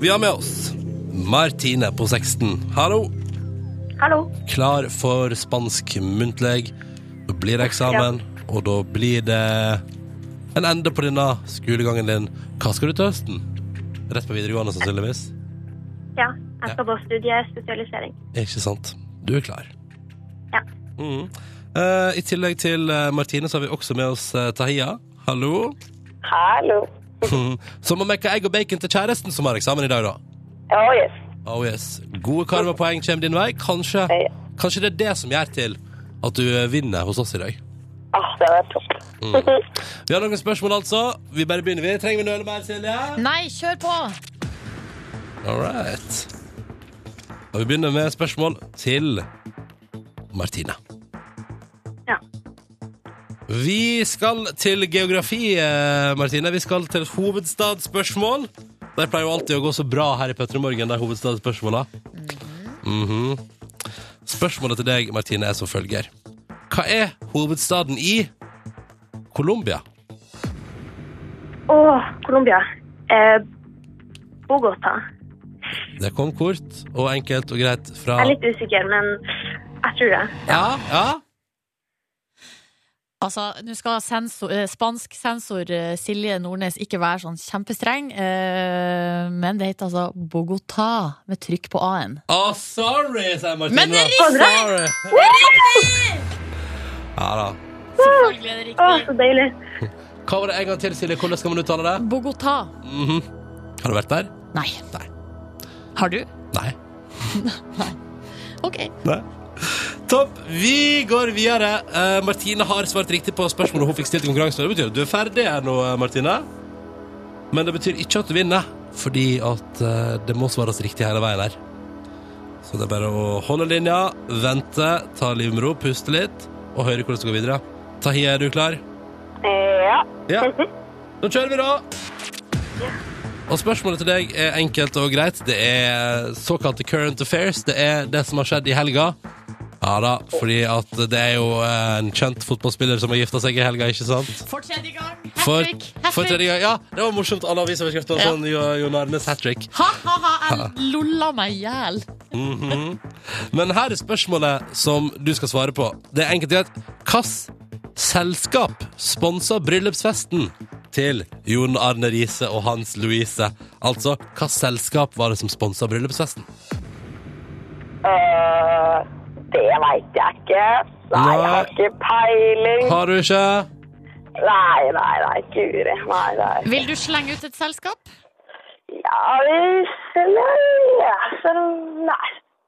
Speaker 1: Vi har med oss Martine på 16. Hallo.
Speaker 3: Hallo.
Speaker 1: Klar for spansk muntlig. Da blir det eksamen, og da blir det en ende på denne skolegangen din. Hva skal du til høsten? Rett på videregående, sannsynligvis.
Speaker 3: Ja, jeg skal på studiespesialisering.
Speaker 1: Ikke sant? Du er klar.
Speaker 3: Ja.
Speaker 1: Mhm. Eh, I tillegg til eh, Martine så har vi også med oss eh, Tahia. Hallo.
Speaker 4: Hallo.
Speaker 1: Som å mekke egg og bacon til kjæresten som har eksamen i dag, da.
Speaker 4: Oh yes.
Speaker 1: Oh yes. Gode karmapoeng kommer din vei. Kanskje,
Speaker 4: Ja.
Speaker 1: kanskje det er det som gjør til at du eh, vinner hos oss i dag.
Speaker 4: Ah, det hadde vært topp.
Speaker 1: Mm. Vi har noen spørsmål, altså. Vi bare begynner, vi. Trenger vi noe eller mer, Silje?
Speaker 2: Nei, kjør på!
Speaker 1: All right. Og vi begynner med spørsmål til Martine.
Speaker 3: Ja.
Speaker 1: Vi skal til geografi, eh, Martine. Vi skal til et hovedstadsspørsmål. Det pleier jo alltid å gå så bra her i Petter i Morgen, de hovedstadsspørsmåla. Mhm. Spørsmålet til deg, Martine, er som følger. Hva er hovedstaden i Colombia?
Speaker 3: Åh, Colombia. Eh, Bogotá.
Speaker 1: Det kom kort og enkelt og greit fra
Speaker 3: Jeg er litt usikker, men jeg tror det.
Speaker 1: Ja, ja.
Speaker 2: Altså, nå skal sensor, eh, spansk sensor eh, Silje Nordnes ikke være sånn kjempestreng, eh, men det heter altså Bogotá, med trykk på A-en.
Speaker 1: Å, sorry, sier Martine.
Speaker 2: Men det er
Speaker 1: da.
Speaker 2: riktig!
Speaker 1: Sorry. Ja da.
Speaker 2: Selvfølgelig er det
Speaker 3: Å,
Speaker 2: riktig.
Speaker 3: så deilig.
Speaker 1: Hva var det en gang til, Silje? Hvordan skal man uttale det?
Speaker 2: Bogotá.
Speaker 1: Mhm. Har du vært der?
Speaker 2: Nei.
Speaker 1: Nei.
Speaker 2: Har du?
Speaker 1: Nei.
Speaker 2: Ok.
Speaker 1: Topp. Vi går videre. Eh, Martine har svart riktig på spørsmålet hun fikk stilt i konkurransen. Det betyr at du er ferdig her nå, eh, Martine. Men det betyr ikke at du vinner, fordi at eh, det må svares riktig hele veien her. Så det er bare å holde linja, vente, ta livet med ro, puste litt og høre hvordan det går videre. Tahir, er du klar?
Speaker 4: Ja.
Speaker 1: Ja. Da kjører vi, da. Og spørsmålet til deg er enkelt og greit. Det er såkalte current affairs. Det er det som har skjedd i helga. Ja da, fordi at det er jo eh, en kjent fotballspiller som har gifta seg i helga, ikke sant?
Speaker 2: For tredje gang.
Speaker 1: For,
Speaker 2: Hat trick. Hat
Speaker 1: for
Speaker 2: trick.
Speaker 1: tredje gang. Ja, det var morsomt. Alle avisoverskriftene
Speaker 2: Ja.
Speaker 1: var sånn Jo- Jon Arnes hat trick.
Speaker 2: Ha, ha, ha. Jeg lolla meg i hjel.
Speaker 1: Men her er spørsmålet som du skal svare på. Det er enkelt og greit. Hvilket selskap sponsa bryllupsfesten til Jon Arne Riise og Hans Louise? Altså, hvilket selskap var det som sponsa bryllupsfesten?
Speaker 4: Eh, det veit jeg ikke. Nei, jeg har ikke peiling.
Speaker 1: Har du ikke?
Speaker 4: Nei, nei, nei, guri. Nei, nei.
Speaker 2: Vil du slenge ut et selskap?
Speaker 4: Ja, vi Nei, altså, nei.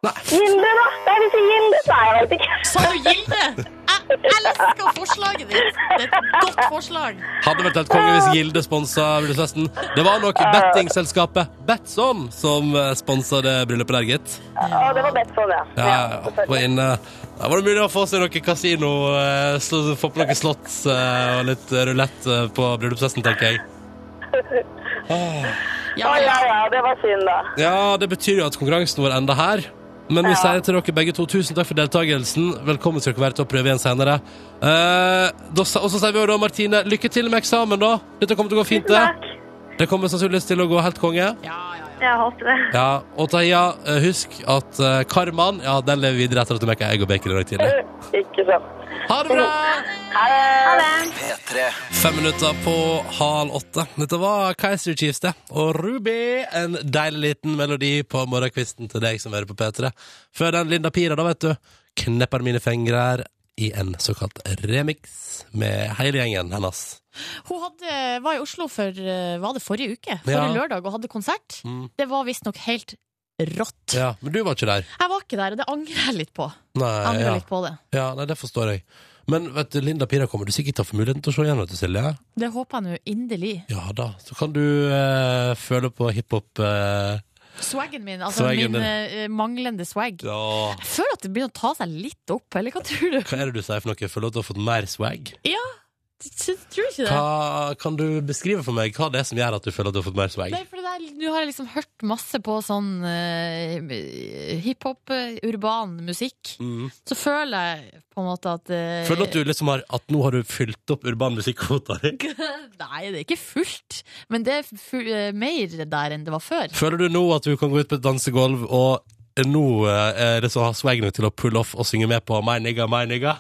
Speaker 1: Nei.
Speaker 4: Gilde, da? Nei, vi sier Gilde. Nei, jeg vet ikke.
Speaker 2: Sa du Gilde? Jeg elsker forslaget ditt. Det er et godt forslag.
Speaker 1: Hadde vært helt konge hvis Gilde sponsa bryllupsfesten. Det var nok bettingselskapet Betson som sponsa det bryllupet der, gitt.
Speaker 4: Å, det var bedt sånn, ja.
Speaker 1: Ja, ja, ja. Var
Speaker 4: selvfølgelig.
Speaker 1: inne. Da var det mulig å få seg noe kasino, eh, slå- få på noe slotts eh, og litt rulett eh, på bryllupsfesten, tenker jeg. Ah,
Speaker 2: Ja,
Speaker 4: Å, ja,
Speaker 2: ja.
Speaker 4: ja, det var synd, da.
Speaker 1: Ja, det betyr jo at konkurransen vår enda her. Men vi sier til dere begge to tusen takk for deltakelsen. Velkommen skal dere være til å prøve igjen senere. Eh, da sa- og så sier vi jo da, Martine, lykke til med eksamen, da. Dette kommer til å gå fint, det.
Speaker 3: Takk.
Speaker 1: Det kommer sannsynligvis til å gå helt konge.
Speaker 2: ja, ja, ja.
Speaker 3: Jeg håper det.
Speaker 1: Ja, og Tahiya, eh, husk at eh, karmaen, ja, den lever videre etter at du mekka egg og bacon i dag tidlig.
Speaker 4: Ikke sant.
Speaker 1: Ha det bra!
Speaker 4: Ha det.
Speaker 3: Ha det.
Speaker 1: Fem minutter på halv åtte. Dette var Kaiser Chiefs, det. Og Ruby, en deilig liten melodi på morgenkvisten til deg som hører på P3. Før den Linda Pira, da, vet du. Knepper mine fingre her i en såkalt remix med hele gjengen hennes.
Speaker 2: Hun hadde, var i Oslo for eh, var det forrige uke, forrige
Speaker 1: Ja.
Speaker 2: lørdag, og hadde konsert.
Speaker 1: Mm.
Speaker 2: Det var visstnok helt rått.
Speaker 1: Ja, Men du var ikke der?
Speaker 2: Jeg var ikke der, og det angrer jeg litt på.
Speaker 1: Nei,
Speaker 2: Jeg angrer
Speaker 1: ja.
Speaker 2: litt på det.
Speaker 1: ja nei, det forstår jeg. Men vet du, Linda Pira kommer du sikkert til å få muligheten til å se igjen, vet du, Silje.
Speaker 2: Det håper jeg nå inderlig.
Speaker 1: Ja da. Så kan du eh, føle på hiphop. Eh,
Speaker 2: Swaggen min, altså
Speaker 1: Swaggen
Speaker 2: min
Speaker 1: din.
Speaker 2: eh, manglende swag.
Speaker 1: ja.
Speaker 2: Jeg føler at det begynner å ta seg litt opp, eller hva tror du?
Speaker 1: Hva er det du sier for noe? Føler du at du har fått mer swag?
Speaker 2: Syns- Tror du ikke det?
Speaker 1: Hva, kan du beskrive for meg hva det er som gjør at du føler at du har fått mer swag?
Speaker 2: Nei, for det der, Nå har jeg liksom hørt masse på sånn eh, hiphop, eh, urban musikk.
Speaker 1: Mm.
Speaker 2: Så føler jeg på en måte at eh,
Speaker 1: Føler du at du liksom har At nå har du fylt opp urban musikkvota di?
Speaker 2: Nei, det er ikke fullt. Men det er fu- eh, mer der enn det var før.
Speaker 1: Føler du nå at du kan gå ut på et dansegulv, og nå eh, er det som har swag nok til å pulle off og synge med på My nigga, my nigga?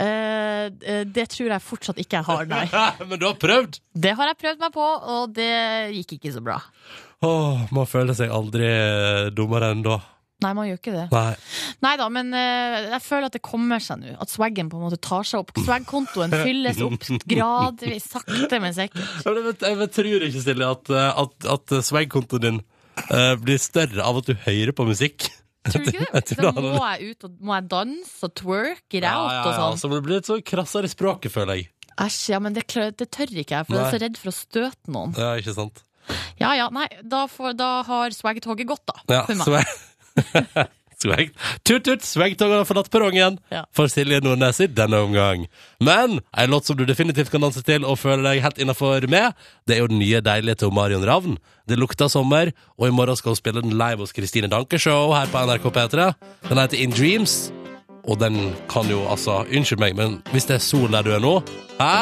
Speaker 2: Eh, eh, det tror jeg fortsatt ikke jeg har, nei.
Speaker 1: Men du har prøvd!
Speaker 2: Det har jeg prøvd meg på, og det gikk ikke så bra.
Speaker 1: Åh, man føler seg aldri eh, dummere enn da.
Speaker 2: Nei, man gjør ikke det.
Speaker 1: Nei.
Speaker 2: Nei da, men eh, jeg føler at det kommer seg nå. At swaggen på en måte tar seg opp. Swag-kontoen fylles opp gradvis, sakte, men sikkert.
Speaker 1: Jeg, vet, jeg vet, tror ikke, Silje, at, eh, at, at swag-kontoen din eh, blir større av at du hører på musikk.
Speaker 2: Tror du ikke
Speaker 1: Jeg
Speaker 2: det?
Speaker 1: tror
Speaker 2: Da
Speaker 1: det
Speaker 2: må jeg ut og må jeg danse og twerke it out og sånn.
Speaker 1: Så må du bli litt sånn krassere i språket, føler jeg.
Speaker 2: Æsj, ja, men det, klør- det tør ikke jeg, for jeg er så redd for å støte noen.
Speaker 1: Ja, ikke sant?
Speaker 2: Ja ja, nei, da, får, da har swag-toget gått, da.
Speaker 1: Ja,
Speaker 2: for meg.
Speaker 1: swag Swag. Tut, tut, swagtoget har forlatt perrongen
Speaker 2: Ja.
Speaker 1: for Silje Nordnes i denne omgang. Men ei låt som du definitivt kan danse til og føle deg helt innafor med, det er jo den nye deilige til Marion Ravn. Det lukter sommer, og i morgen skal hun spille den live hos Kristine Danke-show her på NRK P3. Den heter In Dreams, og den kan jo altså Unnskyld meg, men hvis det er sol der du er nå, hæ?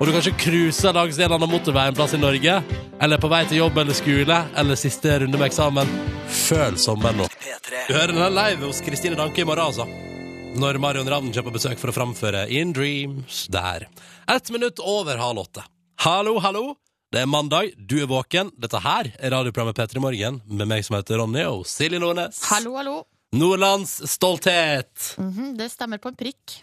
Speaker 1: Og du kanskje cruiser langs en eller annen motorvei en plass i Norge, eller er på vei til jobb eller skole, eller siste runde med eksamen, føl sommeren nå. Du hører den her live hos Kristine Danke i morgen, altså. Når Marion Ravn kommer på besøk for å framføre In Dreams der. Ett minutt over halv åtte. Hallo, hallo. Det er mandag, du er våken. Dette her er radioprogrammet P3 Morgen med meg som heter Ronny og Silje Nordnes.
Speaker 2: Hallo, hallo.
Speaker 1: Nordlands stolthet.
Speaker 2: Mhm, det stemmer på en prikk.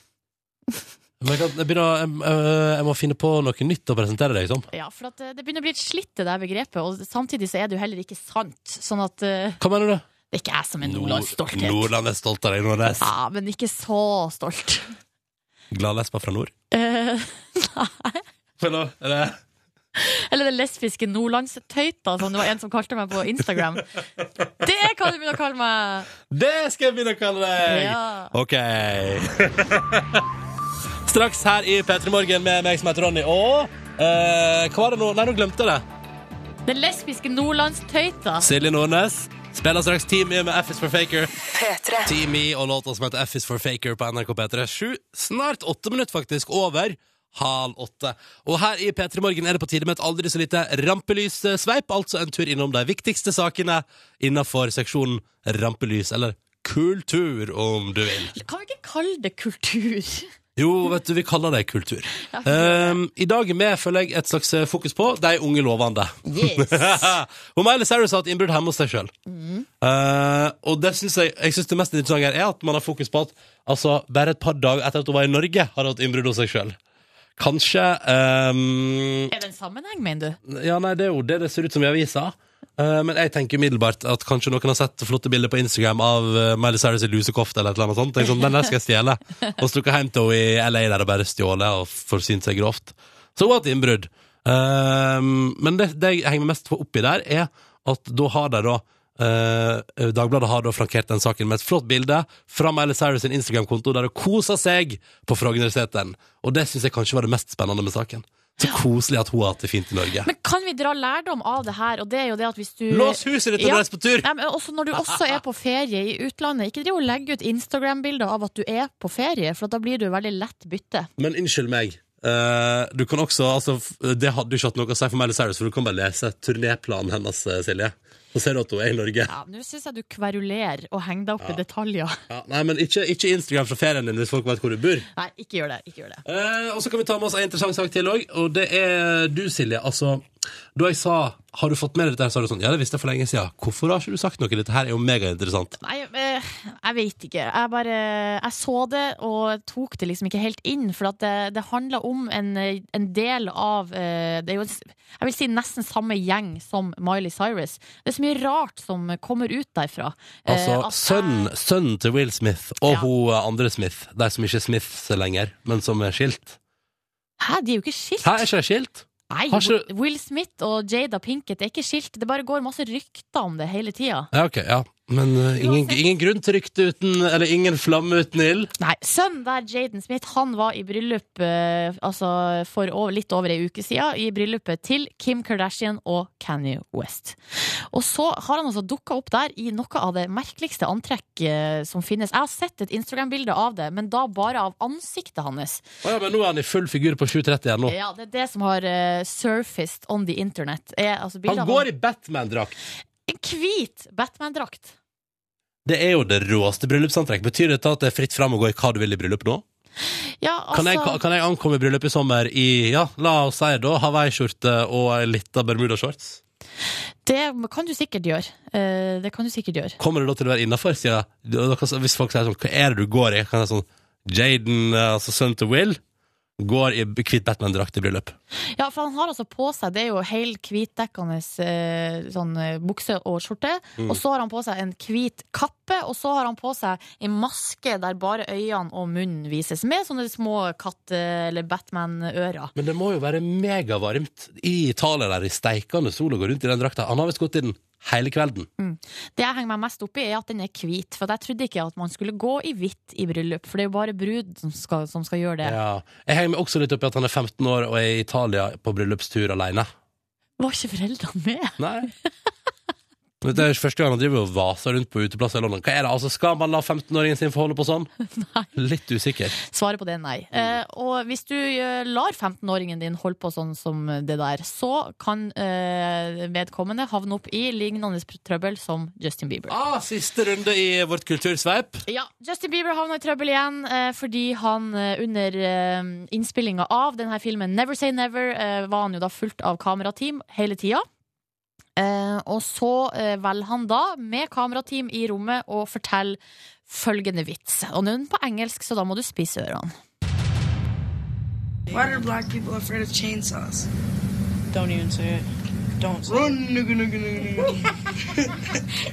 Speaker 1: Men jeg, kan, jeg, begynner, å- jeg, øh, jeg må finne på noe nytt å presentere deg som.
Speaker 2: Ja, for at eh, det begynner å bli litt slitt, det der begrepet. Og samtidig så er det jo heller ikke sant. Sånn at eh,
Speaker 1: Hva mener du?
Speaker 2: det er ikke jeg som er Nordlandsstolthet.
Speaker 1: Nordland er stolt av deg, Nordnes.
Speaker 2: Ja, men ikke så stolt.
Speaker 1: Glad lesba fra nord.
Speaker 2: Eh,
Speaker 1: Følg med.
Speaker 2: eller den lesbiske nordlandstøyta, som det var en som kalte meg på Instagram. Det er hva du begynner å kalle meg!
Speaker 1: Det skal jeg begynne å kalle deg!
Speaker 2: Ja.
Speaker 1: Ok. Straks her i P3 Morgen med meg som heter Ronny og eh, Hva var det nå? Nei, nå glemte jeg det.
Speaker 2: Den lesbiske nordlandstøyta.
Speaker 1: Silje Nordnes spiller straks Team E med F is for Faker. Team E og låta som heter F is for Faker på NRK P3. Sju, snart åtte minutter faktisk, over halv åtte. Og her i P3 Morgen er det på tide med et aldri så lite rampelyssveip, altså en tur innom de viktigste sakene innafor seksjonen rampelys, eller kultur, om du vil.
Speaker 2: Kan vi ikke kalle det kultur?
Speaker 1: Jo, vet du, vi kaller det kultur. Ehm, I dag er med føler jeg et slags eh, fokus på de unge lovende.
Speaker 2: Yes.
Speaker 1: Hun Miley Cyrus har hatt innbrudd hjemme hos seg sjøl. og det synes jeg, jeg synes det mest interessante her er at man har fokus på at altså, bare et par dager etter at hun var i Norge, har hun hatt innbrudd hos seg sjøl. Kanskje ehm,
Speaker 2: Er det en sammenheng, mener du?
Speaker 1: Ja, nei, det er jo det det ser ut som i avisa. Eh, men jeg tenker umiddelbart at kanskje noen har sett flotte bilder på Instagram av eh, Miley Cyrus i lusekofte eller et eller annet sånt. Tenk sånn, den der skal jeg stjele. Og stukket hjem til henne i LA der og bare stjålet og forsynt seg grovt. Så hun har hatt innbrudd. Eh, men det, det jeg henger meg mest opp i der, er at da har de da eh, Dagbladet har da flankert den saken med et flott bilde fra Miley Cyrus sin Instagram-konto der hun koser seg på Frognerseteren. Og det syns jeg kanskje var det mest spennende med saken. Så koselig at hun har hatt det fint i Norge.
Speaker 2: Men kan vi dra lærdom av det her? Og det er jo det at hvis du
Speaker 1: Lås huset ditt og
Speaker 2: Eh, Ja.
Speaker 1: reis på tur!
Speaker 2: Nei, men også når du også er på ferie i utlandet, ikke driv og legge ut Instagram-bilder av at du er på ferie, for at da blir du veldig lett bytte.
Speaker 1: Men unnskyld meg. eh, du kan også, altså, f- Det hadde jo ikke hatt noe å si for Miley Cyrus, for du kan bare lese turnéplanen hennes, eh, Silje. Så ser du at hun er i Norge.
Speaker 2: Ja, Nå syns jeg du kverulerer og henger deg opp i detaljer.
Speaker 1: Ja, nei, men ikke, ikke Instagram fra ferien din hvis folk vet hvor du bor.
Speaker 2: Nei, ikke gjør det. ikke gjør det
Speaker 1: Eh, og så kan vi ta med oss en interessant sak til òg, og det er du, Silje. Altså, da jeg sa 'Har du fått med deg dette?', her?" sa du sånn 'Ja, det visste jeg for lenge siden'. Hvorfor har ikke du sagt noe? Dette her er jo megainteressant.
Speaker 2: Nei, eh, jeg vet ikke. Jeg bare Jeg så det og tok det liksom ikke helt inn, for at det, det handla om en, en del av eh, Det er jo en, s- jeg vil si nesten samme gjeng som Miley Cyrus. Det er så mye rart som kommer ut derfra. Eh,
Speaker 1: Altså,
Speaker 2: at jeg-
Speaker 1: sønnen, sønnen til Will Smith og
Speaker 2: Ja.
Speaker 1: hun eh, andre Smith, de som ikke er Smiths lenger, men som er skilt.
Speaker 2: Hæ, de er jo ikke skilt!
Speaker 1: Hæ, er ikke de skilt?
Speaker 2: Nei,
Speaker 1: Har ikke-
Speaker 2: Will Smith og Jada Pinkett er ikke skilt. Det bare går masse rykter om det hele tida.
Speaker 1: Ja, ok, ja. Men eh, ingen,
Speaker 2: Uansett.
Speaker 1: ingen grunn til rykte uten Eller ingen flamme uten ild.
Speaker 2: Nei, Sønnen der, Jaden Smith, han var i bryllup eh, altså for over, litt over ei uke sida. I bryllupet til Kim Kardashian og Kanye West. Og så har han altså dukka opp der i noe av det merkeligste antrekk eh, som finnes. Jeg har sett et Instagram-bilde av det, men da bare av ansiktet hans.
Speaker 1: Å ja, men nå er han i full figur på 7.30 igjen nå.
Speaker 2: Ja, Det er det som har eh, surfaced on the internet. Er, altså, bildet
Speaker 1: Han
Speaker 2: av
Speaker 1: går i Batman-drakt.
Speaker 2: En hvit Batman-drakt.
Speaker 1: Det er jo det råeste bryllupsantrekk. Betyr dette at det er fritt fram å gå i hva du vil i bryllup nå?
Speaker 2: Ja,
Speaker 1: Kan, jeg,
Speaker 2: altså-
Speaker 1: kan jeg ankomme i bryllup i sommer i ja, la oss si da hawaiiskjorte og ei lita bermudashorts?
Speaker 2: Det kan du sikkert gjøre. Eh, det kan du sikkert gjøre.
Speaker 1: Kommer det da til å være innafor? Hvis folk sier sånn Hva er det du går i? Kan jeg sånn Jaden, eh, altså sønnen til Will, går i hvitt Batman-drakt i bryllup.
Speaker 2: Ja, for han har altså på seg Det er jo hel hvitdekkende eh, sånn, eh, bukse og skjorte. Og så har han på seg en hvit kappe, og så har han på seg en maske der bare øynene og munnen vises, med sånne små katt- eller Batman-ører.
Speaker 1: Men det må jo være megavarmt i Italia der i steikende sol og gå rundt i den drakta. Han har visst gått i den hele kvelden.
Speaker 2: Det jeg henger meg mest opp i, er at den er hvit. For jeg trodde ikke at man skulle gå i hvitt i bryllup, for det er jo bare brud som skal, som skal gjøre det.
Speaker 1: Ja. Jeg henger meg også litt opp i at han er 15 år og er i Italia på bryllupstur alene.
Speaker 2: Var ikke foreldrene med?
Speaker 1: Nei. Men Det er jo første gang han driver og vaser rundt på uteplasser i London. Hva er det, altså Skal man la 15-åringen sin få holde på sånn?
Speaker 2: Nei.
Speaker 1: Litt usikker.
Speaker 2: Svaret på det er nei. Eh, og hvis du eh, lar 15-åringen din holde på sånn som det der, så kan eh, vedkommende havne opp i lignende trøbbel som Justin Bieber.
Speaker 1: Ah, siste runde i vårt kultursveip.
Speaker 2: Ja, Justin Bieber havna i trøbbel igjen eh, fordi han eh, under eh, innspillinga av denne filmen Never Say Never eh, var han jo da fullt av kamerateam hele tida. Eh, og så eh, velger han da, med kamerateam i rommet, å fortelle følgende vits. Og nå er den på engelsk, så da må du spise ørene.
Speaker 5: Why are black people afraid of chainsaws?
Speaker 6: Don't even say it. Don't say
Speaker 5: Run, nigga, nigga, nigga, nigga.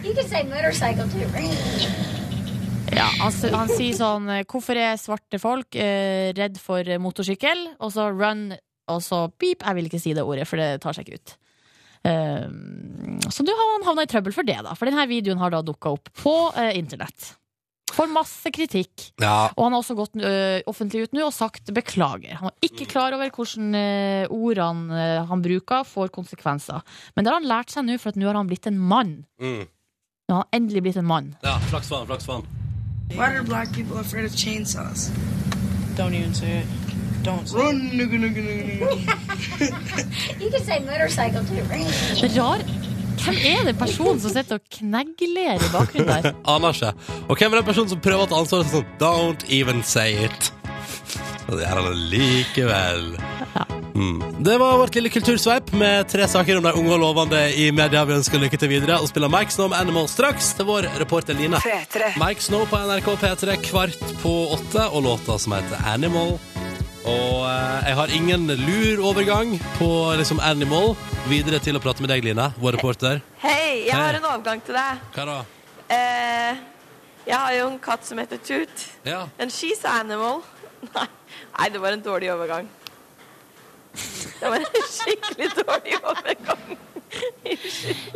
Speaker 7: You can say motorcycle too, right?
Speaker 2: Ja, han, s- han sier sånn eh, Hvorfor er svarte folk eh, redd for eh, motorsykkel? Og så run, og så beep. Jeg vil ikke si det ordet, for det tar seg ikke ut. Eh, så nå har han havna i trøbbel for det, da. For denne videoen har da dukka opp på eh, internett. Får masse kritikk.
Speaker 1: Ja.
Speaker 2: Og han har også gått eh, offentlig ut nå og sagt beklager. Han var ikke klar over hvordan eh, ordene eh, han bruker, får konsekvenser. Men det har han lært seg nå, for at nå har han blitt en mann.
Speaker 1: Mm.
Speaker 2: Nå har han endelig blitt en mann.
Speaker 1: ja flaks for han, flaks for han.
Speaker 5: Why are black people afraid of chainsaws?
Speaker 6: it. Don't even say it. Don't say it.
Speaker 5: Run, nigga, nigga, nigga, nigga.
Speaker 7: You can say motorcycle too, right?
Speaker 2: Det er Rar. Hvem er den personen som sitter og knegler i bakgrunnen der?
Speaker 1: Aner ikke. Og hvem er den personen som prøver å ta ansvaret sånn Don't even say it. Og det gjør han likevel. Mm. Det var vårt lille kultursveip med tre saker om de unge og lovende i media. Vi ønsker lykke til videre og spiller Mike Snow med Animal straks til vår reporter Line. Mike Snow på NRK P3 kvart på åtte og låta som heter Animal. Og eh, jeg har ingen lur overgang på liksom Animal videre til å prate med deg, Line, vår reporter.
Speaker 8: Hei, jeg
Speaker 1: Hei.
Speaker 8: har en overgang til deg.
Speaker 1: Hva da?
Speaker 8: Eh, jeg har jo en katt som heter Tut.
Speaker 1: Ja.
Speaker 8: And she's an animal. Nei, nei, det var en dårlig overgang. Det var en skikkelig dårlig overgang.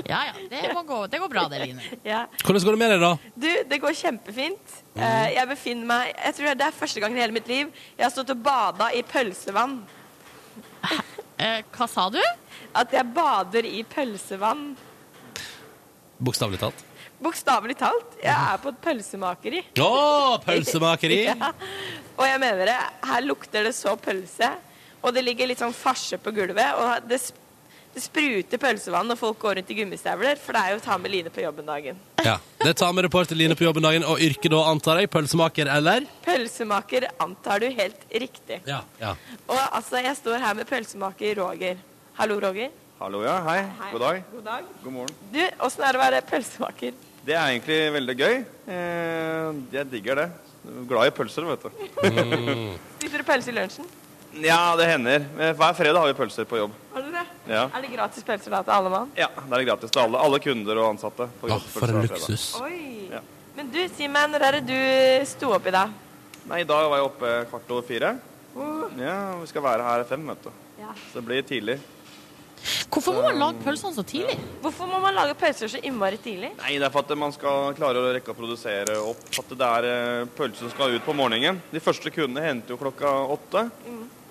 Speaker 2: Ja, ja, det, må gå, det går bra, det, Line.
Speaker 8: Ja.
Speaker 1: Hvordan går det med deg, da?
Speaker 8: Du, det går kjempefint. Eh, jeg befinner meg Jeg tror det er første gangen i hele mitt liv jeg har stått og bada i pølsevann.
Speaker 2: Eh, hva sa du?
Speaker 8: At jeg bader i pølsevann.
Speaker 1: Bokstavelig talt.
Speaker 8: Bokstavelig talt. Jeg er på et pølsemakeri.
Speaker 1: Å, pølsemakeri!
Speaker 8: Ja. Og jeg mener det, her lukter det så pølse, og det ligger litt sånn farse på gulvet, og det, sp- det spruter pølsevann når folk går rundt i gummistøvler, for det er jo å ta med Line på jobben dagen.
Speaker 1: Ja. Det tar med reporter Line på jobben dagen, og yrket da, antar jeg, pølsemaker, eller?
Speaker 8: Pølsemaker antar du helt riktig.
Speaker 1: Ja. ja.
Speaker 8: Og altså, jeg står her med pølsemaker Roger. Hallo, Roger.
Speaker 9: Hallo, ja. Hei.
Speaker 8: Hei.
Speaker 9: God dag.
Speaker 8: God dag.
Speaker 9: God morgen.
Speaker 8: Du, åssen er det å være pølsemaker?
Speaker 9: Det er egentlig veldig gøy. Eh, jeg digger det. Glad i pølser, vet du.
Speaker 8: Spiser du pølse i lunsjen?
Speaker 9: Ja, det hender. Eh, Hver fredag har vi pølser på jobb.
Speaker 8: Har du det?
Speaker 9: Ja.
Speaker 8: Er det gratis pølser da til alle mann?
Speaker 9: Ja, Det er det gratis til alle, alle kunder og ansatte. får
Speaker 1: Å,
Speaker 9: gratis
Speaker 1: Ah, for
Speaker 9: pølser
Speaker 1: en
Speaker 9: hver fredag.
Speaker 1: luksus.
Speaker 8: Oi.
Speaker 9: Ja.
Speaker 8: Men du, si meg, når er det du sto opp i dag?
Speaker 9: Nei, I dag var jeg oppe kvart over fire. Ja, Vi skal være her fem, vet du.
Speaker 8: Ja.
Speaker 9: Så det blir tidlig.
Speaker 2: Hvorfor må man lage pølsene så tidlig?
Speaker 8: Hvorfor må man lage pølser så innmari tidlig?
Speaker 9: Nei, det er for at man skal klare å rekke å produsere opp. For at det er eh, pølser som skal ut på morgenen. De første kundene henter jo klokka åtte.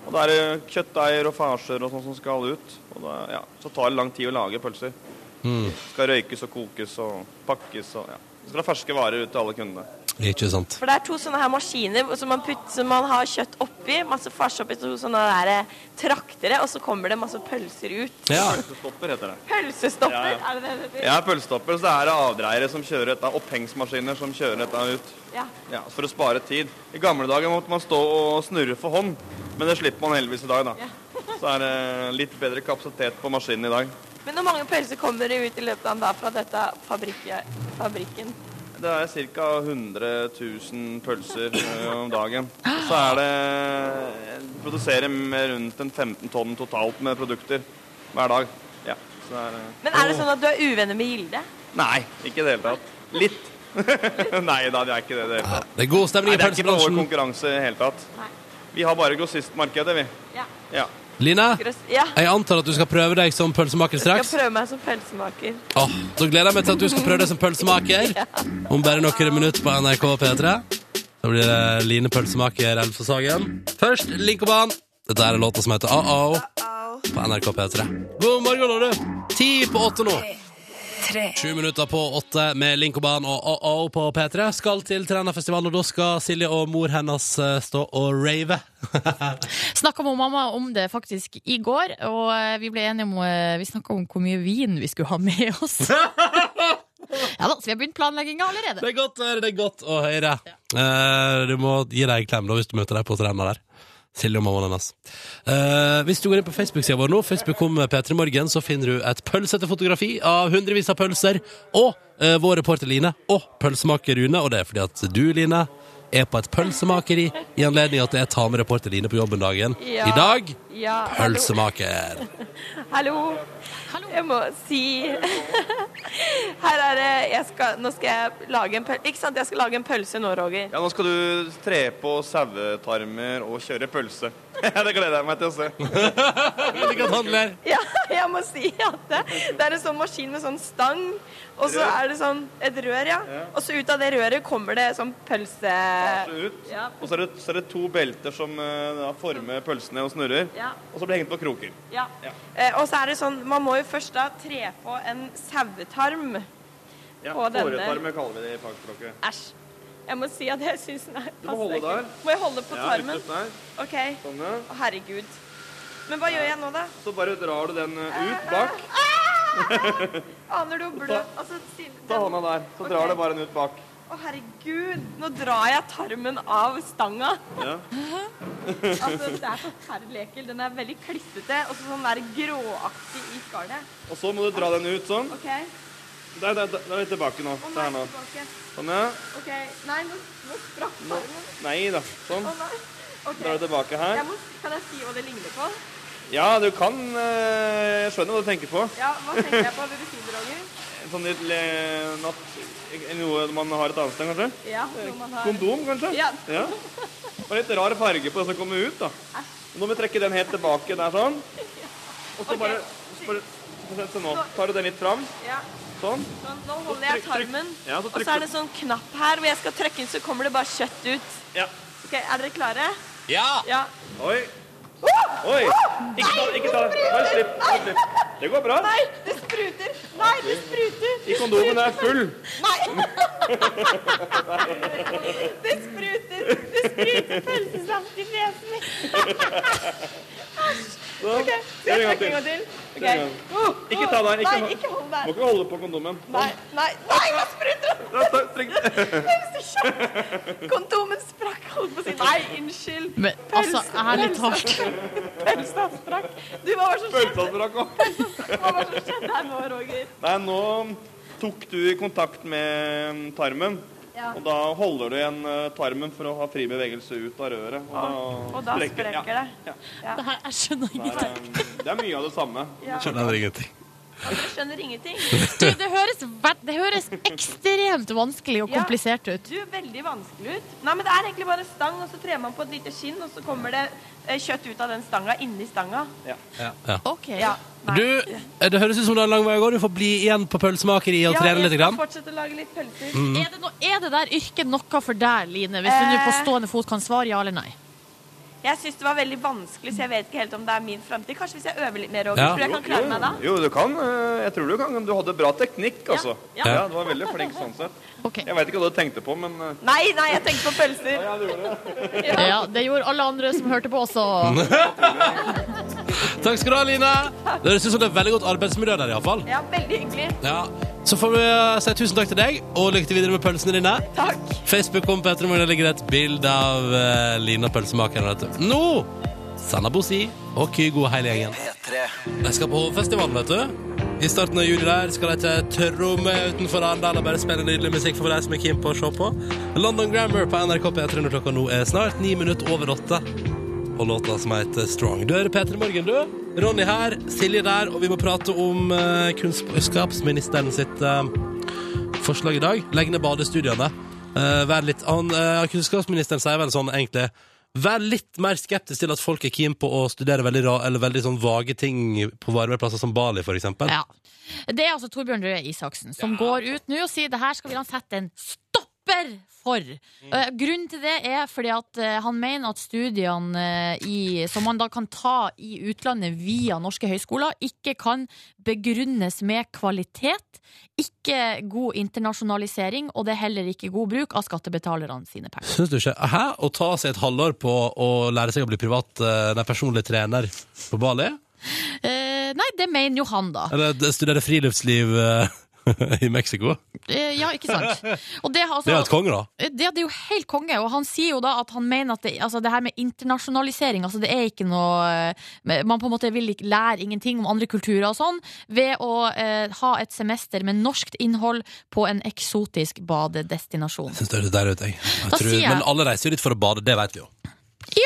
Speaker 9: Og da er det kjøttdeiger og farser og sånt som skal ut. Og da, ja, så tar det lang tid å lage pølser. Skal røykes og kokes og pakkes og ja. Så skal det ferske varer ut til alle kundene.
Speaker 1: Ikke sant.
Speaker 8: For det er to sånne her maskiner hvor- som man, putt, som man har kjøtt oppi, masse fars oppi, to sånne der eh, traktere, og så kommer det masse pølser ut.
Speaker 1: Ja.
Speaker 9: Pølsestopper heter det.
Speaker 8: Pølsestopper,
Speaker 9: Ja, ja.
Speaker 8: er det det det heter?
Speaker 9: Ja, pølsestopper. Så det er avdreiere som kjører dette, opphengsmaskiner som kjører dette ut.
Speaker 8: Ja.
Speaker 9: Ja, For å spare tid. I gamle dager måtte man stå og snurre for hånd, men det slipper man heldigvis i dag, da. Så er det litt bedre kapasitet på maskinen i dag.
Speaker 8: Men hvor mange pølser kommer det ut i løpet av en dag fra dette fabrikket, fabrikken?
Speaker 9: Det er ca. 100 000 pølser ø, om dagen. Og Så er det produserer med rundt en 15 tonn totalt med produkter hver dag. Ja, så det er, ø,
Speaker 8: Men er det sånn at du er uvenner med Gilde?
Speaker 9: Nei, ikke i det hele tatt. Litt. Nei da, det er ikke det i det hele tatt.
Speaker 1: Det er god
Speaker 9: Nei,
Speaker 1: stemning i
Speaker 9: det er ikke noe vår
Speaker 1: pølsebransjen.
Speaker 9: konkurranse i det hele tatt.
Speaker 8: Nei.
Speaker 9: Vi har bare grossistmarkedet, vi.
Speaker 8: Ja.
Speaker 9: Ja.
Speaker 1: Line,
Speaker 8: Ja.
Speaker 1: jeg antar at du skal prøve deg som pølsemaker
Speaker 8: Jeg
Speaker 1: straks.
Speaker 8: skal prøve meg som pølsemaker.
Speaker 1: Åh, så gleder jeg meg til at du skal prøve deg som pølsemaker om bare noen minutter på NRK P3. Da blir det Line Pølsemaker Elfesagen. Først Linkoban. Dette er låta som heter Uh-oh på NRK P3. God morgen, Åre. Ti på åtte nå. Sju minutter på åtte med Linkoban og Uh-oh på P3. Skal til Trænafestivalen, og da skal Silje og mor hennes eh, stå og rave.
Speaker 2: Snakka med mamma om det faktisk i går, og eh, vi ble enige om eh, Vi snakka om hvor mye vin vi skulle ha med oss. Ja da, så vi har begynt planlegginga allerede.
Speaker 1: Det er godt å høre, det er godt å høre. Eh, du må gi deg en klem da hvis du møter deg på trena der. Silje og mammaen hennes. Eh, hvis du går inn på Facebook-sida vår nå, Facebook kom P3 Morgen, så finner du et pølsete fotografi av hundrevis av pølser, og eh, vår reporter Line, og pølsemaker Rune, og det er fordi at du, Line, er på et pølsemakeri i anledning at jeg tar med reporter Line på jobben dagen.
Speaker 8: Ja.
Speaker 1: I dag,
Speaker 8: Ja, hallo.
Speaker 1: pølsemaker.
Speaker 8: Hallo. Jeg må si Her er det jeg skal, Nå skal jeg lage en pølse Ikke sant, jeg skal lage en pølse nå, Roger.
Speaker 9: Ja, nå skal du tre på sauetarmer og kjøre pølse. det gleder jeg meg til å
Speaker 8: Eh,
Speaker 9: se.
Speaker 1: Slik at han ler.
Speaker 8: Ja, jeg må si at det, det er en sånn maskin med sånn stang, og så
Speaker 9: Rør.
Speaker 8: er det sånn et rør, ja. Og så ut av det røret kommer det sånn pølse...
Speaker 9: Ut. Og så er, det, så er det to belter som eh, da former pølsene og snurrer.
Speaker 8: Ja.
Speaker 9: Og så blir det hengt på kroker.
Speaker 8: Ja. Eh, og så er det sånn Man må jo først da tre på en sauetarm.
Speaker 9: Ja,
Speaker 8: På denne.
Speaker 9: Fåretarmer kaller vi det i fagspråket.
Speaker 8: Æsj. Jeg må si at jeg syns den er
Speaker 9: Du må holde
Speaker 8: ikke.
Speaker 9: der.
Speaker 8: Må jeg holde på
Speaker 9: Ja,
Speaker 8: tarmen?
Speaker 9: ut der.
Speaker 8: OK. Å,
Speaker 9: Sånn, ja.
Speaker 8: herregud. Men hva gjør jeg nå, da?
Speaker 9: Så bare drar du den eh, ut bak.
Speaker 8: Aner du hvor blø altså, siden-
Speaker 9: Ta hånda der. Så drar
Speaker 8: Ok.
Speaker 9: du bare den ut bak.
Speaker 8: Å, herregud. Nå drar jeg tarmen av stanga.
Speaker 9: Ja.
Speaker 8: Altså, det er forferdelig ekkelt. Den er veldig klissete og så sånn der gråaktig i skallet.
Speaker 9: Og så må du dra den ut sånn.
Speaker 8: OK?
Speaker 9: Der, der, der, der er vi tilbake nå.
Speaker 8: Å,
Speaker 9: Se
Speaker 8: nei,
Speaker 9: her nå.
Speaker 8: tilbake.
Speaker 9: Sånn, ja.
Speaker 8: OK. Nei, nå, nå sprakk tarmen.
Speaker 9: Nei da. Sånn.
Speaker 8: Å, nei. OK.
Speaker 9: Drar du tilbake her.
Speaker 8: Jeg må, kan jeg si hva det ligner på?
Speaker 9: Ja, du kan eh, Jeg skjønner hva du tenker på.
Speaker 8: Ja, hva tenker jeg på? Vil du si det, Roger?
Speaker 9: En sånn litt eh, natt... Noe man har et annet sted, kanskje?
Speaker 8: Ja, noe man har
Speaker 9: Kondom, kanskje?
Speaker 8: Ja.
Speaker 9: ja. Og litt rar farge på det som kommer ut, da. Nå må vi trekke den helt tilbake der, sånn. Og så bare, så bare så se nå. Tar du den litt fram,
Speaker 8: Ja.
Speaker 9: sånn.
Speaker 8: Sånn, nå holder jeg
Speaker 9: Trykk, trykk.
Speaker 8: tarmen,
Speaker 9: Ja, så
Speaker 8: og
Speaker 9: trykker
Speaker 8: så er
Speaker 9: du.
Speaker 8: det en sånn knapp her hvor jeg skal trykke inn, så kommer det bare kjøtt ut.
Speaker 9: Ja.
Speaker 8: Ok, Er dere klare?
Speaker 1: Ja!
Speaker 8: Ja.
Speaker 9: Oi. Oi. Ikke ta, ikke ta. Bare slipp. Bare slipp. Det går bra.
Speaker 8: Nei, det spruter! Nei, det spruter!
Speaker 9: I kondomen er full.
Speaker 8: Nei! Det spruter! Det spruter pølsesaft i nesen min.
Speaker 9: Så.
Speaker 8: Ok,
Speaker 9: Gjør
Speaker 8: Skal
Speaker 9: en
Speaker 8: jeg
Speaker 9: gang
Speaker 8: trykke en gang
Speaker 9: til.
Speaker 8: til?
Speaker 9: Gjør en gang. Ikke ta der. Ikke,
Speaker 8: Nei, ikke hold
Speaker 9: Må
Speaker 8: der.
Speaker 9: ikke holde på kondomen.
Speaker 8: Nei, nei, nei, hva spruter det?
Speaker 9: Ja, ta- trykk.
Speaker 8: Pølsekjøtt! Kondomen sprakk, holdt på å si. Nei, unnskyld.
Speaker 2: Men altså, ærlig talt.
Speaker 8: Pølsa sprakk. Du, hva var det som skjedde?
Speaker 9: Følte at du rakk opp.
Speaker 8: Hva var det som skjedde her nå, Roger?
Speaker 9: Nei, nå tok du i kontakt med tarmen.
Speaker 8: Ja.
Speaker 9: Og da holder du igjen eh, tarmen for å ha fri bevegelse ut av røret. Og da,
Speaker 8: Og da sprekker det.
Speaker 9: Ja.
Speaker 2: Det her, jeg skjønner
Speaker 9: Ja. Det,
Speaker 2: ingenting.
Speaker 9: er, eh, det er mye av det samme.
Speaker 1: Skjønner jeg ingenting.
Speaker 8: Jeg skjønner ingenting.
Speaker 2: Du, det høres, ve- det høres ekstremt vanskelig og
Speaker 8: Ja.
Speaker 2: komplisert ut.
Speaker 8: Du er veldig vanskelig ut. Nei, men det er egentlig bare stang, og så trer man på et lite skinn, og så kommer det eh, kjøtt ut av den stanga inni stanga.
Speaker 2: Ok.
Speaker 8: Ja. Nei.
Speaker 1: Du, eh, det høres ut som det er en lang vei å gå. Du får bli igjen på pølsemakeriet og
Speaker 8: Ja,
Speaker 1: trene
Speaker 8: jeg
Speaker 1: litt.
Speaker 8: skal
Speaker 1: Grann. Mm.
Speaker 8: fortsette å lage litt pølser.
Speaker 2: Er det, no, er det der yrket noe for deg, Line? Hvis du nå på
Speaker 8: Eh.
Speaker 2: stående fot kan svare ja eller nei.
Speaker 8: Jeg syns det var veldig vanskelig, så jeg vet ikke helt om det er min framtid. Kanskje hvis jeg øver litt mer, Roger,
Speaker 1: Ja.
Speaker 8: tror jeg kan klare meg da.
Speaker 9: Jo, du kan. eh, Jeg tror du kan. Du hadde bra teknikk, altså.
Speaker 8: Ja.
Speaker 9: Ja, du var veldig flink sånn sett.
Speaker 2: Ok.
Speaker 9: Jeg veit ikke hva du tenkte på, men eh,
Speaker 8: Nei, nei, jeg tenker på pølser.
Speaker 2: Ja, det gjorde alle andre som hørte på også.
Speaker 1: Takk skal du ha, Line. Det høres ut som det er veldig godt arbeidsmiljø der, iallfall.
Speaker 8: Ja, veldig hyggelig.
Speaker 1: Ja. Så får vi eh, si tusen takk til deg, og lykke til videre med pølsene dine.
Speaker 8: Takk.
Speaker 1: Facebook kom Petter Morgen ligger et bilde av eh, Lina pølsemakeren. vet du. Nå! Sanna Bosi og Kygo og hele gjengen. De skal på festivalen, vet du. I starten av juli der skal de til Tromme utenfor Arendal og bare spille nydelig musikk for deg som er keen på å se på. London Grammar på NRK P3 når klokka nå er snart ni minutter over åtte. Og låta som heter Strong. Du hører P3 Morgen, du. Ronny her, Silje der, og vi må prate om eh, kunnskapsministeren sitt eh, forslag i dag. Legg ned badestudiene. Eh, vær litt an, eh, kunnskapsministeren sier vel sånn egentlig Vær litt mer skeptisk til at folk er keen på å studere veldig, ra eller veldig sånn vage ting på varme plasser som Bali, for eksempel.
Speaker 2: Ja. Det er altså Torbjørn Røe Isaksen som går ut nå og sier det her skal vi da sette en stopper for. Eh, grunnen til det er fordi at eh, han mener at studiene eh, i, som man da kan ta i utlandet via norske høyskoler, ikke kan begrunnes med kvalitet, ikke god internasjonalisering, og det er heller ikke god bruk av skattebetalerne sine penger.
Speaker 1: Syns du ikke? Hæ? Å ta seg et halvår på å lære seg å bli privat, eh, nei, personlig trener på Bali?
Speaker 2: Eh, nei, det mener jo han, da.
Speaker 1: Eller d- studere friluftsliv eh, i Mexico?
Speaker 2: Eh, ja, ikke sant? Og det, har altså,
Speaker 1: Det er jo et konge, da.
Speaker 2: Det, det er jo helt konge, og han sier jo da at han mener at det, altså det her med internasjonalisering altså det er ikke noe eh, Man på en måte vil ikke lære ingenting om andre kulturer og sånn ved å eh, ha et semester med norskt innhold på en eksotisk badedestinasjon.
Speaker 1: Syns det høres deilig ut, jeg. jeg
Speaker 2: Da
Speaker 1: tror,
Speaker 2: sier jeg-
Speaker 1: Men alle reiser jo dit for å bade, det vet vi jo.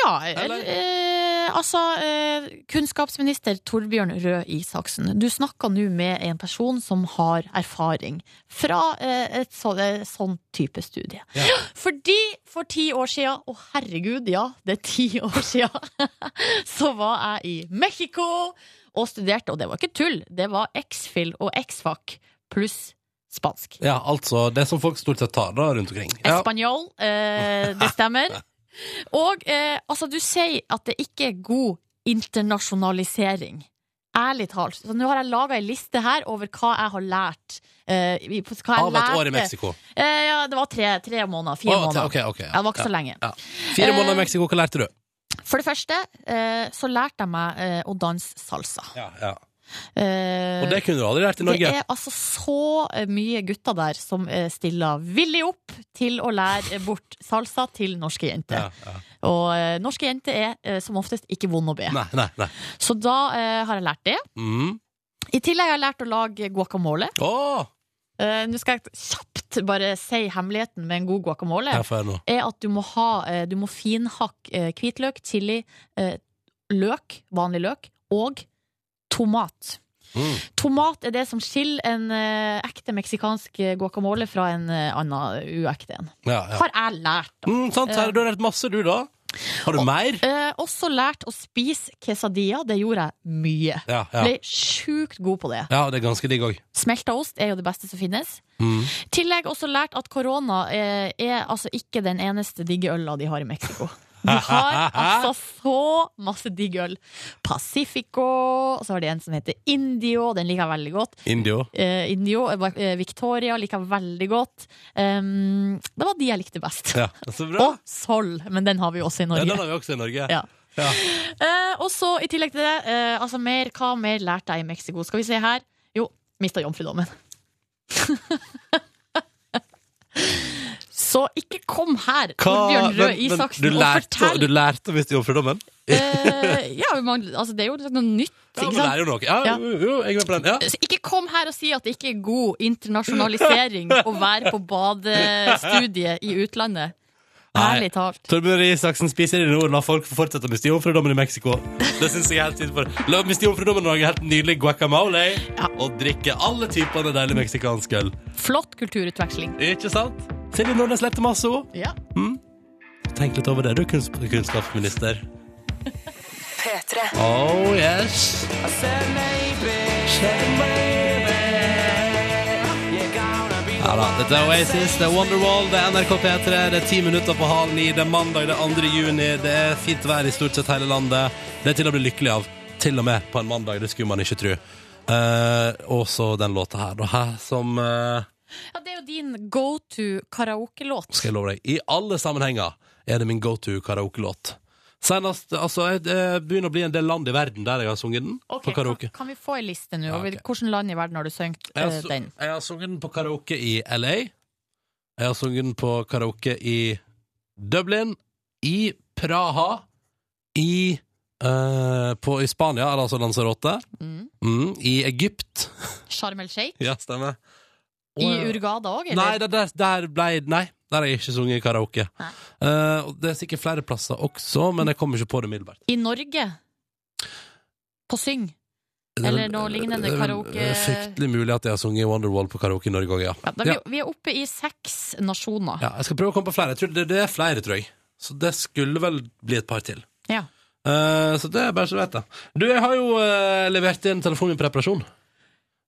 Speaker 2: Ja,
Speaker 1: Eller-
Speaker 2: eller eh, Altså, eh, kunnskapsminister Torbjørn Røe Isaksen, du snakker nå med en person som har erfaring fra eh, et så, eh, sånn type studie. Fordi for ti år siden, å herregud, ja, det er ti år siden, så var jeg i Mexico og studerte, og det var ikke tull, det var X-Fill og X-Fac pluss spansk.
Speaker 1: Ja, altså det som folk stort sett tar da rundt omkring. Ja.
Speaker 2: Espanjol, eh, det stemmer. Og eh, altså, du sier at det ikke er god internasjonalisering. Ærlig talt. Så nå har jeg laga ei liste her over hva jeg har lært. Eh, i- hva jeg
Speaker 1: Av et
Speaker 2: lærte.
Speaker 1: år i Mexico.
Speaker 2: Eh, ja, det var tre, tre måneder.
Speaker 1: Å,
Speaker 2: Fire måneder.
Speaker 1: ok, ok, ja.
Speaker 2: Ja, det var ikke
Speaker 1: Ja.
Speaker 2: så lenge.
Speaker 1: Ja. Fire
Speaker 2: Eh,
Speaker 1: måneder i Mexico, hva lærte du?
Speaker 2: For det første eh, så lærte jeg meg eh, å danse salsa.
Speaker 1: Ja, ja.
Speaker 2: Eh,
Speaker 1: Og det kunne du aldri lært i Norge.
Speaker 2: Det er altså så eh, mye gutter der som eh, stiller villig opp til å lære eh, bort salsa til norske jenter.
Speaker 1: Ja, ja.
Speaker 2: Og eh, norske jenter er eh, som oftest ikke vond å be.
Speaker 1: Nei, nei, nei.
Speaker 2: Så da eh, har jeg lært det.
Speaker 1: Mm.
Speaker 2: I tillegg har jeg lært å lage guacamole.
Speaker 1: Åh!
Speaker 2: Eh, Nå skal jeg kjapt bare si hemmeligheten med en god guacamole.
Speaker 1: Her får jeg nå.
Speaker 2: Er at du må, ha, eh, du må finhakke eh, hvitløk, chili, eh, løk, vanlig løk, og tomat.
Speaker 1: Mm.
Speaker 2: Tomat er det som skiller en eh, ekte meksikansk eh, guacamole fra en eh, annen uekte en.
Speaker 1: Ja, ja.
Speaker 2: Har jeg lært, da.
Speaker 1: Mm, sant, her, du har lært masse, du da. Har du mer?
Speaker 2: Eh, også lært å spise quesadilla. Det gjorde jeg mye.
Speaker 1: Ja, ja.
Speaker 2: Ble sjukt god på det.
Speaker 1: ja det er ganske digg òg.
Speaker 2: Smelta ost er jo det beste som finnes.
Speaker 1: Mm.
Speaker 2: Tillegg også lært at korona eh, er altså ikke den eneste digge øla de har i Mexico. De har altså så masse digg øl. Pacifico, og så har de en som heter Indio, den liker jeg veldig godt.
Speaker 1: Indio.
Speaker 2: Eh, Indio, eh, Victoria liker jeg veldig godt. Um, det var de jeg likte best.
Speaker 1: Ja, så bra.
Speaker 2: Og Sol, men den har vi jo også i
Speaker 1: Ja,
Speaker 2: Norge.
Speaker 1: den har vi også i Norge.
Speaker 2: Ja.
Speaker 1: Ja.
Speaker 2: Eh, og så i tillegg til det, eh, altså mer, hva mer lærte jeg i Mexico? Skal vi se her. Jo, mista jomfrudommen. så ikke kom her,
Speaker 1: Hva-
Speaker 2: Torbjørn Røe
Speaker 1: men- men
Speaker 2: Isaksen,
Speaker 1: du
Speaker 2: og
Speaker 1: lærte,
Speaker 2: fortell
Speaker 1: Du lærte visst jomfrudommen?
Speaker 2: Eh, ja, man, altså, Det er jo noe nytt.
Speaker 1: Ja,
Speaker 2: ikke
Speaker 1: men det
Speaker 2: sant?
Speaker 1: er jo noe. Ja,
Speaker 2: Ja.
Speaker 1: Jo, jo, jeg er med på den. Ja.
Speaker 2: Så ikke kom her og si at det ikke er god internasjonalisering å være på badestudiet i utlandet.
Speaker 1: Nei.
Speaker 2: Ærlig talt.
Speaker 1: Torbjørn Røe Isaksen spiser i nord, la folk få fortsette å miste jomfrudommen i Mexico. Det synes jeg er helt innenfor. La miste jomfrudommen i Norge helt nydelig guacamole og drikke alle typene deilig meksikansk øl.
Speaker 2: Flott kulturutveksling.
Speaker 1: Ikke sant? Silje Nordnes lette masse ord.
Speaker 2: Ja.
Speaker 1: Tenk litt over det, du kunst kunnskapsminister. Oh yes. Ja da, dette er Oasis, det er Wonderwall, det er NRK P3, det er ti minutter på halv ni, det er mandag, det er 2. juni, det er fint vær i stort sett hele landet. Det er til å bli lykkelig av, til og med på en mandag, det skulle man ikke tro. Eh, og så den låta her, da, her som eh,
Speaker 2: ja, det er jo din go to karaokelåt.
Speaker 1: skal jeg love deg. I alle sammenhenger er det min go to karaoke-låt. Senest, altså, jeg eh, begynner å bli en del land i verden der jeg har sunget den
Speaker 2: Ok,
Speaker 1: på karaoke.
Speaker 2: Kan, kan vi få ei liste nå?
Speaker 1: Ja,
Speaker 2: over
Speaker 1: ok.
Speaker 2: Hvilket land i verden har du sunget
Speaker 1: Jeg har,
Speaker 2: eh,
Speaker 1: su-
Speaker 2: den?
Speaker 1: jeg har sunget den på karaoke i LA. Jeg har sunget den på karaoke i Dublin, i Praha, i eh, på, I Spania, eller altså Lanzarote.
Speaker 2: Mm.
Speaker 1: Mm, I Egypt.
Speaker 2: Sharm el Sheikh?
Speaker 1: Ja, stemmer.
Speaker 2: I
Speaker 1: Og-
Speaker 2: Urgada òg,
Speaker 1: Nei,
Speaker 2: eller?
Speaker 1: der, der, der ble Nei, der har jeg ikke sunget karaoke.
Speaker 2: Nei.
Speaker 1: Eh, og det er sikkert flere plasser også, men jeg kommer ikke på det umiddelbart.
Speaker 2: I Norge? På Syng? Eller noe lignende
Speaker 1: Det er vel,
Speaker 2: karaoke-
Speaker 1: eh, Fryktelig mulig at jeg har sunget Wonderwall på karaoke i Norge òg, ja.
Speaker 2: Ja, da, vi, vi er oppe i seks nasjoner.
Speaker 1: ja. Jeg skal prøve å komme på flere. Jeg tror det, det er flere, tror jeg. så det skulle vel bli et par til.
Speaker 2: Ja.
Speaker 1: Eh, så det er bare så du vet det. Du, jeg har jo eh, levert inn telefonen min på reparasjon.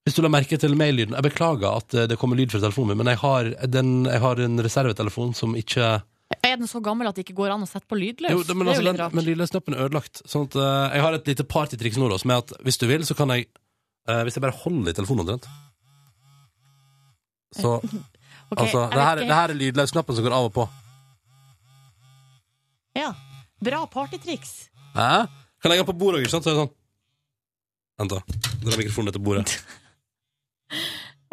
Speaker 1: Hvis du la merke til maillyden. Jeg beklager at eh, det kommer lyd fra telefonen min, men jeg har, den, jeg har en reservetelefon som ikke
Speaker 2: Er den så gammel at det ikke går an å sette på lydløs?
Speaker 1: jo, det, men,
Speaker 2: det er
Speaker 1: altså,
Speaker 2: jo litt
Speaker 1: den, men
Speaker 2: rart.
Speaker 1: lydløsknappen er ødelagt. Sånn at, eh, jeg har et lite partytriks nå, da, som er at hvis du vil, så kan jeg eh, Hvis jeg bare holder i telefonen omtrent Så
Speaker 2: Ok,
Speaker 1: altså
Speaker 2: jeg
Speaker 1: det her,
Speaker 2: vet ikke
Speaker 1: det her er lydløsknappen som går av og på.
Speaker 2: helt. Ja. Bra partytriks.
Speaker 1: Hæ? Kan legge den på bordet òg, ikke sant? Så er det sånn. Vent, da. Dra mikrofonen etter bordet.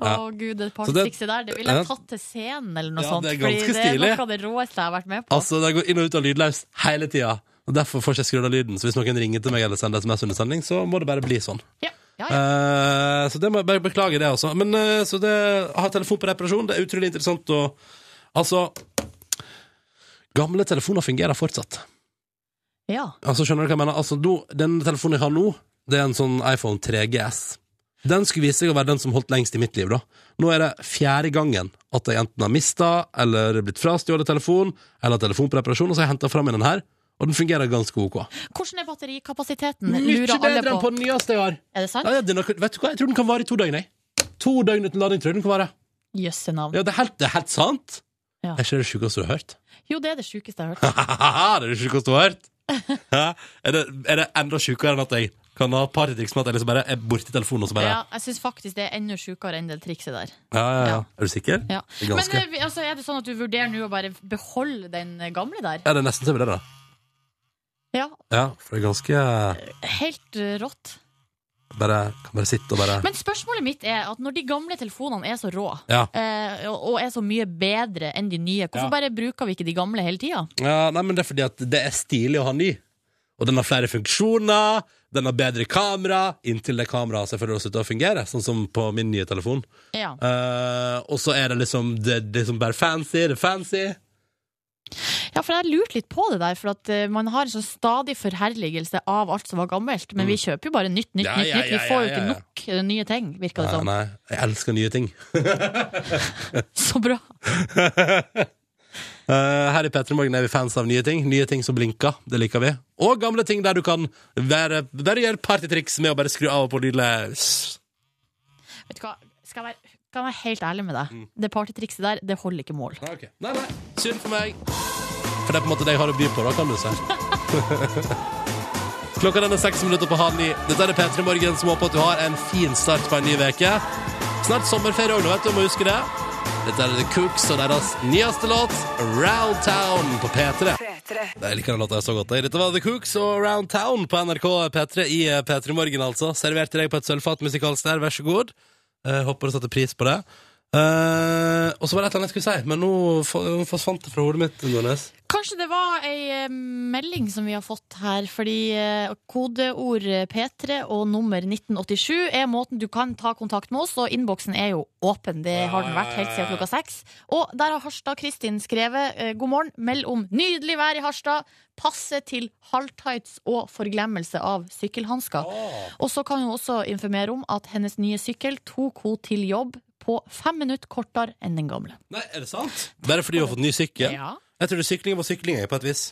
Speaker 2: Å
Speaker 1: Ja.
Speaker 2: gud, det
Speaker 1: Så det-
Speaker 2: partytrikset der, det ville
Speaker 1: Ja.
Speaker 2: jeg tatt til scenen eller noe
Speaker 1: Ja,
Speaker 2: sånt.
Speaker 1: det er ganske
Speaker 2: fordi det er
Speaker 1: stilig.
Speaker 2: noe av det råeste jeg har vært med på.
Speaker 1: Altså, det går inn og ut av lydløs hele tida. Og Derfor får ikke jeg skrudd av lyden. Så hvis noen ringer til meg eller sender SMS under sending, så må det bare bli sånn.
Speaker 2: Ja, ja, Ah, ja.
Speaker 1: Eh, så det må jeg bare beklage, det også. Men eh, så det jeg har telefon på reparasjon. Det er utrolig interessant å Altså Gamle telefoner fungerer fortsatt.
Speaker 2: ja.
Speaker 1: Altså, skjønner du hva jeg mener? Altså, nå, den telefonen jeg har nå, det er en sånn iPhone 3GS. Den skulle vise seg å være den som holdt lengst i mitt liv, da. Nå er det fjerde gangen at jeg enten har mista, eller blitt frastjålet telefon, eller har telefon på reparasjon, og så har jeg henta fram en her, og den fungerer ganske ok.
Speaker 2: Hvordan er batterikapasiteten?
Speaker 1: Mye
Speaker 2: Lurer alle
Speaker 1: bedre enn
Speaker 2: på.
Speaker 1: på den nyeste jeg har.
Speaker 2: Er det sant?
Speaker 1: Ja, ja, den har. Vet du hva, jeg tror den kan vare i to døgn, jeg. To døgn uten lading tror jeg den kan vare.
Speaker 2: Jøsse navn.
Speaker 1: Ja, det er helt, det er helt sant.
Speaker 2: Ja.
Speaker 1: Det er ikke det sjukeste du har hørt.
Speaker 2: Jo, det er det sjukeste jeg har hørt.
Speaker 1: det er det sjukeste du har hørt. Hæ? Er det, er det enda sjukere enn at jeg kan ha partytriks med at jeg liksom bare er borti telefonen og så bare
Speaker 2: Ja, jeg syns faktisk det er enda sjukere enn det trikset der.
Speaker 1: Ja, ja, ja.
Speaker 2: Ja.
Speaker 1: Er du sikker?
Speaker 2: Ja.
Speaker 1: Det er
Speaker 2: Men
Speaker 1: Ganske.
Speaker 2: eh, vi- altså, er det sånn at du vurderer nå å bare beholde den eh, gamle der?
Speaker 1: Ja, det er nesten som det, da.
Speaker 2: Ja,
Speaker 1: Ja, for det er ganske
Speaker 2: helt eh, rått.
Speaker 1: Bare kan bare sitte og bare
Speaker 2: Men spørsmålet mitt er at når de gamle telefonene er så rå,
Speaker 1: Ja.
Speaker 2: eh, og og er så mye bedre enn de nye, hvorfor
Speaker 1: Ja.
Speaker 2: bare bruker vi ikke de gamle hele tida?
Speaker 1: Ja, nei, men det er fordi at det er stilig å ha ny. Og den har flere funksjoner, den har bedre kamera, inntil det kameraet selvfølgelig har sluttet å fungere, sånn som på min nye telefon.
Speaker 2: Ja.
Speaker 1: Eh, og så er det liksom det, det er liksom bare fancy, det er fancy.
Speaker 2: ja, for jeg lurte litt på det der, for at eh, man har en sånn stadig forherligelse av alt som var gammelt, men vi kjøper jo bare nytt,
Speaker 1: Mm.
Speaker 2: nytt,
Speaker 1: Ja,
Speaker 2: nytt.
Speaker 1: ja,
Speaker 2: nytt. Vi
Speaker 1: ja,
Speaker 2: får jo
Speaker 1: ja, ja,
Speaker 2: ikke
Speaker 1: ja.
Speaker 2: nok eh, nye ting, virker det
Speaker 1: Nei,
Speaker 2: som.
Speaker 1: nei, jeg elsker nye ting.
Speaker 2: Så bra.
Speaker 1: Eh, her i P3 Morgen er vi fans av nye ting. Nye ting som blinker, det liker vi. Og gamle ting der du kan være, bare gjøre partytriks med å bare skru av og på lydløs.
Speaker 2: Vet du hva, skal jeg være, kan jeg være helt ærlig med deg. Det partytrikset der, det holder ikke mål.
Speaker 1: Nei, Ah, ok. nei, nei, synd for meg. For det er på en måte det jeg har å by på, da, kan du si. Klokka den er seks minutter på halv ni. Dette er P3 Morgen, som håper at du har en fin start på en ny uke. Snart sommerferie òg, vet du, må huske det. Dette er The Cooks og deres nyeste låt, Round Town, på P3. Jeg liker den låta så godt. jeg. Dette var The Cooks og Round Town på NRK P3 i eh, P3 Morgen, altså. Serverte deg på et sølvfat musikalsk der, vær så god. Eh, håper du satte pris på det. Eh, og så var det et eller annet jeg skulle si, men nå fo- forsvant det fra hodet mitt. Nordnes.
Speaker 2: Kanskje det var ei eh, melding som vi har fått her, fordi eh, kodeord eh, P3 og nummer 1987 er måten du kan ta kontakt med oss, og innboksen er jo åpen. Det har den vært helt siden klokka seks. Og der har Harstad Kristin skrevet eh, god morgen, meld om nydelig vær i Harstad, passe til halvtights og forglemmelse av sykkelhansker. Og så kan hun også informere om at hennes nye sykkel tok hun til jobb på fem minutter kortere enn den gamle.
Speaker 1: Nei, er det sant? Bare fordi du har fått ny sykkel? Jeg trodde sykling var sykling, jeg, på et vis.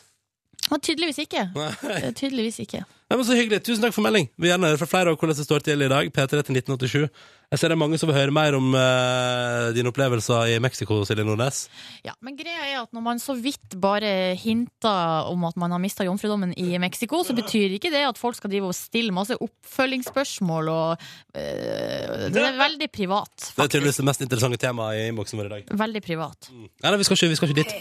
Speaker 2: Og tydeligvis ikke.
Speaker 1: Nei.
Speaker 2: Eh, Tydeligvis ikke.
Speaker 1: Nei, men Så hyggelig. Tusen takk for melding. Vi vil gjerne høre fra flere om hvordan det står til i dag. P3 til 1987. Jeg ser det er mange som vil høre mer om eh, dine opplevelser i Mexico, Silje Nordnes.
Speaker 2: Ja, men greia er at når man så vidt bare hinter om at man har mista jomfrudommen i Mexico, så betyr ikke det at folk skal drive og stille masse oppfølgingsspørsmål og eh, Det er veldig privat.
Speaker 1: Det er tydeligvis det mest interessante temaet i innboksen vår i dag.
Speaker 2: Veldig privat.
Speaker 1: Nei, nei vi, skal ikke, vi skal ikke dit.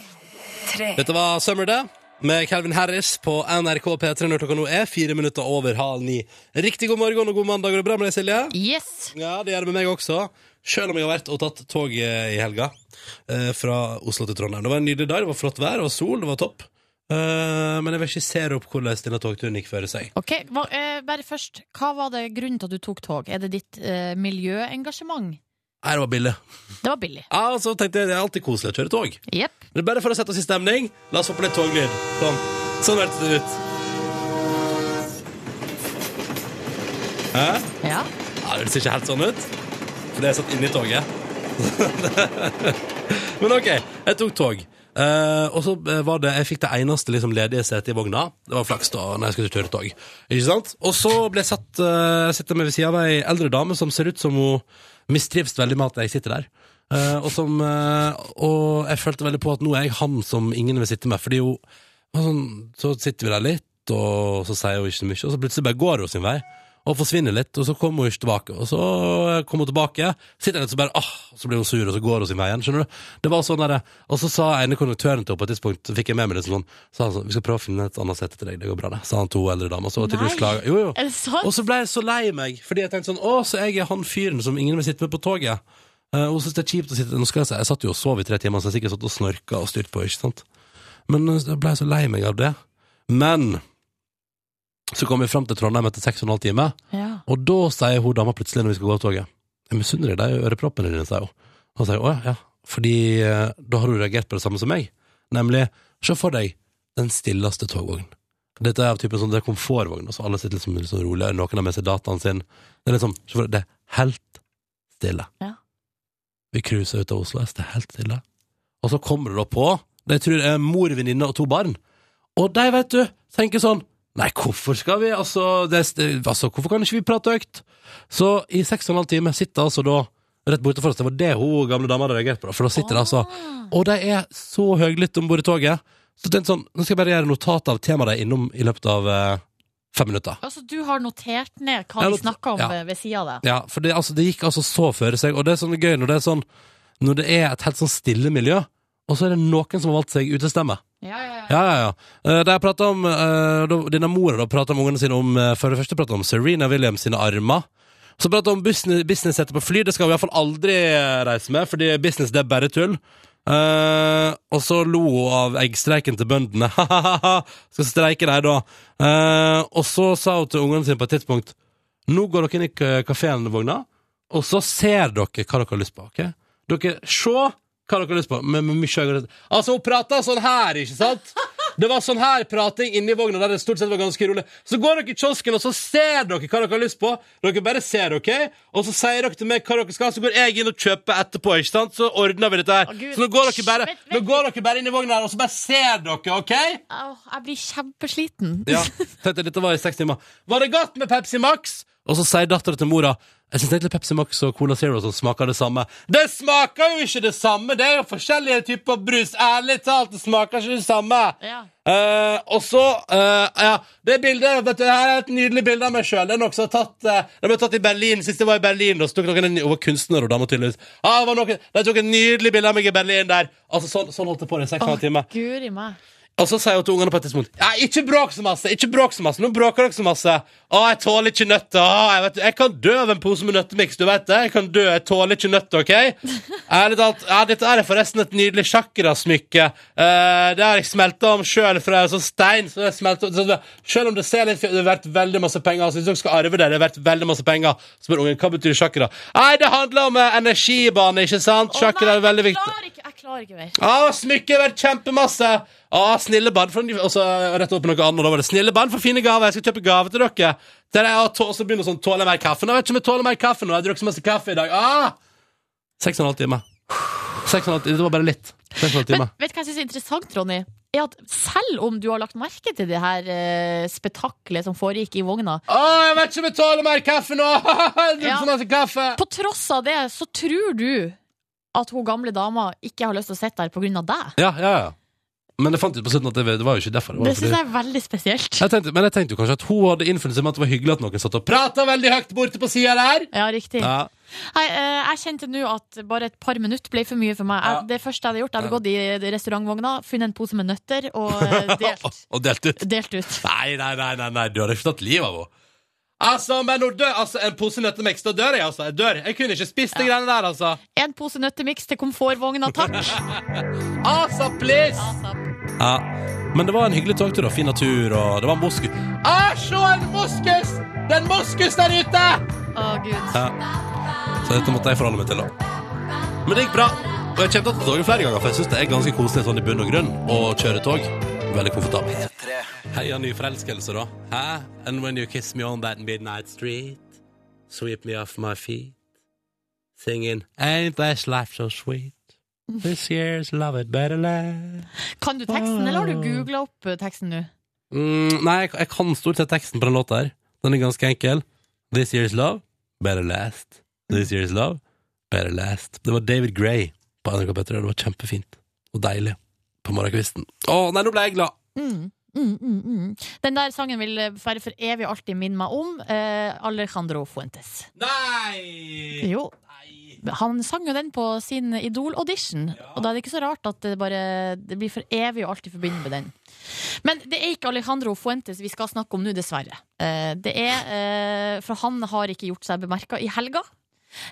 Speaker 1: Dette var Summer Day med Calvin Harris på NRK P3 når klokka nå er fire minutter over halv ni. Riktig god morgen og god mandag. Går det bra med deg, Silje?
Speaker 2: Yes!
Speaker 1: Ja, det gjør det med meg også. Selv om jeg har vært og tatt tog eh, i helga eh, fra Oslo til Trondheim. Det var en nydelig dag, det var flott vær og sol, det var topp. Eh, men jeg vil ikke se opp hvordan denne togturen gikk før seg.
Speaker 2: Ok, hva, eh, Bare først, hva var det grunnen til at du tok tog? Er det ditt eh, miljøengasjement?
Speaker 1: Nei, det var billig.
Speaker 2: Det var billig.
Speaker 1: Ja, og så tenkte jeg, det er alltid koselig å kjøre tog.
Speaker 2: Jepp.
Speaker 1: Men bare for å sette oss i stemning, la oss få på litt toglyd. Sånn. Sånn hørtes det ut. Hæ?
Speaker 2: Ja.
Speaker 1: Ja, det ser ikke helt sånn ut. For det er satt inne i toget. Men ok, jeg tok tog. Eh, og så eh, var det Jeg fikk det eneste liksom, ledige setet i vogna. Det var flaks da når jeg skulle kjøre tog. Ikke sant? Og så ble jeg satt, eh, sitter jeg meg ved siden av ei eldre dame som ser ut som hun mistrives veldig med at jeg sitter der. Eh, og, som, eh, og jeg følte veldig på at nå er jeg han som ingen vil sitte med. Fordi hun var sånn, Så sitter vi der litt, og så sier hun ikke så mye, og så plutselig bare går hun sin vei. Og forsvinner litt, og så kommer hun ikke tilbake. Og så eh, kommer hun tilbake, sitter litt, så bare ah, Så blir hun sur, og så går hun sin vei igjen. Skjønner du? Det var sånn der, Og så sa ene konduktøren til henne på et tidspunkt, så fikk jeg med meg det sånn Sa han sånn Vi skal prøve å finne et annet sete til deg, det går bra, det. Sa han til hun eldre dama. Så var tydeligvis
Speaker 2: Nei.
Speaker 1: klaga. Jo, jo.
Speaker 2: Er det sant?
Speaker 1: Og så ble jeg så lei meg, fordi jeg tenkte sånn Å, så jeg er han fyren som ingen vil sitte med på toget. Eh, og så synes det er kjipt å sitte Nå skal jeg si, jeg satt jo og sov i tre timer, så jeg sikkert satt og snorka og styrt på, ikke sant. Men eh, da ble jeg så lei meg av det. Men så kom vi fram til Trondheim etter seks og en halv time,
Speaker 2: Ja.
Speaker 1: og da sier hun dama plutselig når vi skal gå av toget Jeg misunner deg de øreproppene dine, sier hun. Og sier å ja, ja. Fordi eh, da har hun reagert på det samme som meg, nemlig se for deg den stilleste togvognen. Dette er av typen sånn, det er komfortvogn, og så alle sitter liksom, litt sånn roligere, noen har med seg dataen sin. Det er liksom, se for deg, det er helt stille.
Speaker 2: Ja.
Speaker 1: Vi cruiser ut av Oslo S, det er helt stille. Og så kommer du da på, det tror jeg er mor, venninne og to barn. Og de, vet du, tenker sånn, nei, hvorfor skal vi, altså, det, er st- altså hvorfor kan ikke vi prate høyt? Så i seks og en halv time sitter altså da, rett borte for oss, det var det hun gamle dama hadde reagert på, da, for da sitter det altså, og de er så høylytte om bord i toget. Så jeg tenkte sånn, nå skal jeg bare gjøre notat av temaet de er innom i løpet av eh, fem minutter.
Speaker 2: Altså, du har notert ned hva
Speaker 1: Jeg
Speaker 2: vi
Speaker 1: not-
Speaker 2: snakka om
Speaker 1: ja.
Speaker 2: eh, ved sida av deg.
Speaker 1: Ja, for det, altså, det gikk altså så føre seg, og det er sånn gøy når det er sånn, når det er et helt sånn stille miljø, og så er det noen som har valgt seg utestemme.
Speaker 2: Ja, ja, ja.
Speaker 1: Ja, ja, ja. Eh, Da jeg pratet om, eh, da- denne mora da pratet om ungene sine om, eh, for det første pratet om Serena Williams sine armer, så pratet om business, business på fly, det skal vi i hvert fall aldri eh, reise med, fordi business det er bare tull. Eh, og så lo hun av eggstreiken til bøndene. skal streike deg da. Eh, og så sa hun til ungene sine på et tidspunkt, nå går dere inn i k- kaféen vogna, og så ser dere hva dere har lyst på, ok? Dere, se hva dere har lyst på, men med mye øyne. Altså, hun pratet sånn her, ikke sant? Det var sånn her prating inni vogna der det stort sett var ganske rolig. Så går dere i kiosken, og så ser dere hva dere har lyst på. Dere bare ser, ok? Og så sier dere til meg hva dere skal, ha, så går jeg inn og kjøper etterpå, ikke sant? Så ordner vi dette her.
Speaker 2: Å, Gud.
Speaker 1: Så nå går dere bare,
Speaker 2: Vent, vent,
Speaker 1: nå går dere bare inn i vogna her, og så bare ser dere, ok?
Speaker 2: Au, jeg blir kjempesliten.
Speaker 1: Ja, tenkte jeg, dette var i seks timer. Var det godt med Pepsi Max? Og så sier dattera til mora Jeg syns egentlig Pepsi Max og Cola Zero som smaker det samme. Det smaker jo ikke det samme! Det er jo forskjellige typer brus. Ærlig talt, det smaker ikke det samme.
Speaker 2: Ja.
Speaker 1: Eh, og så eh, Ja, det bildet vet du, Her er et nydelig bilde av meg sjøl. Den, også tatt, eh, den ble tatt i Berlin. Sist jeg var i Berlin, da så tok noen en, hun var kunstner og dame, tydeligvis. Ah, det var noen, de tok et nydelig bilde av meg i Berlin der. Altså, sånn, sånn holdt det på i seks og en halv time.
Speaker 2: Guri meg.
Speaker 1: Og så sier hun til ungene på et tidspunkt Nei, ikke bråk så masse, ikke bråk så masse, nå bråker dere så masse Å, jeg tåler ikke nøtter, å, jeg vet Jeg kan dø av en pose med nøttemiks, du vet det Jeg kan dø, jeg tåler ikke nøtter, ok? Ærlig talt, ja, dette er forresten et nydelig chakrasmykke uh, Det har jeg smeltet om selv fra en sånn stein så jeg smeltet, så, det- Selv om det ser litt fint, det er verdt veldig masse penger Altså, hvis dere skal arve det, det er verdt veldig masse penger Spør ungen, hva betyr chakra? Nei, det handler om eh, energibane, ikke sant?
Speaker 2: Å,
Speaker 1: Chakra er
Speaker 2: nei,
Speaker 1: veldig
Speaker 2: jeg
Speaker 1: viktig
Speaker 2: klarer ikke- Jeg klarer ikke mer.
Speaker 1: Ah, smykket har vært kjempemasse! Ah, snille barn for, Og så rett opp noe annet, og da var det snille barn for fine gaver. Jeg skal kjøpe gave til dere. Der er, og så begynner sånn Tåler jeg mer kaffe? Nå, Jeg vet ikke om jeg tåler mer kaffe nå. Jeg har drukket så masse kaffe i dag. Ah! Seks og en halv time. Seks og en halv time. Det var bare litt. Seks og en halv
Speaker 2: Men
Speaker 1: time.
Speaker 2: vet du hva jeg syns er interessant, Ronny? Er at selv om du har lagt merke til det her eh, spetakkelet som foregikk i vogna,
Speaker 1: ah, jeg vet ikke om jeg tåler mer kaffe nå! Jeg har drukket
Speaker 2: Ja.
Speaker 1: så masse kaffe!
Speaker 2: på tross av det, så tror du at hun gamle dama ikke har lyst til å sitte der pga. deg.
Speaker 1: Ja, ja, ja. Men jeg fant ut på slutten at det, det var jo ikke derfor. var
Speaker 2: Det
Speaker 1: fordi-
Speaker 2: syns jeg er veldig spesielt.
Speaker 1: jeg tenkte, men jeg tenkte jo kanskje at hun hadde innflytelse med at det var hyggelig at noen satt og prata veldig høyt borte på sida der.
Speaker 2: Ja, riktig.
Speaker 1: Ja.
Speaker 2: Nei, eh, jeg kjente nå at bare et par minutter ble for mye for meg. Jeg,
Speaker 1: Ja.
Speaker 2: det første jeg hadde gjort, jeg hadde gått i restaurantvogna, funnet en pose med nøtter og eh, delt,
Speaker 1: Og delt ut.
Speaker 2: delt ut.
Speaker 1: Nei, nei, nei, nei, nei. du hadde ikke tatt livet av henne. Altså, men nå dør altså, En pose nøttemix, da dør jeg, altså. Jeg dør. Jeg kunne ikke spist de greiene der, altså.
Speaker 2: En pose nøttemiks til komfortvogna, takk.
Speaker 1: Altså, please! Ja. Men det var en hyggelig togtur, og fin natur, og det var en moskus. Ah, se en moskus! Det er en moskus der ute!
Speaker 2: Å, gud.
Speaker 1: Så dette måtte jeg forholde meg til, da. Men det gikk bra. Og jeg kommer til å ta toget flere ganger, for jeg syns det er ganske koselig sånn i bunn og grunn å kjøre tog. Veldig komfortabelt. Heia ny forelskelse, da. Hæ? And when you kiss me on that midnight street, sweep me off my feet, singing Ain't this life so sweet? This year's love it better last.
Speaker 2: Kan du teksten, eller har du googla opp eh, teksten nå?
Speaker 1: Mm, nei, jeg, jeg kan stort sett teksten på den låta her. Den er ganske enkel. This year's love, better last. This year's love, better last. Det var David Gray på NRK P3. Det var kjempefint og deilig på morgenkvisten. Å, nei, nå ble jeg glad!
Speaker 2: Mm. Mm, mm, mm. Den der sangen vil eh, være for evig og alltid minne meg om eh, Alejandro Fuentes.
Speaker 1: Nei!
Speaker 2: Jo. Han sang jo den på sin Idol-audition, og da er det ikke så rart at det bare det blir for evig og alltid forbundet med den. Men det er ikke Alejandro Fuentes vi skal snakke om nå, dessverre. Eh, Det er, eh, For han har ikke gjort seg bemerka i helga.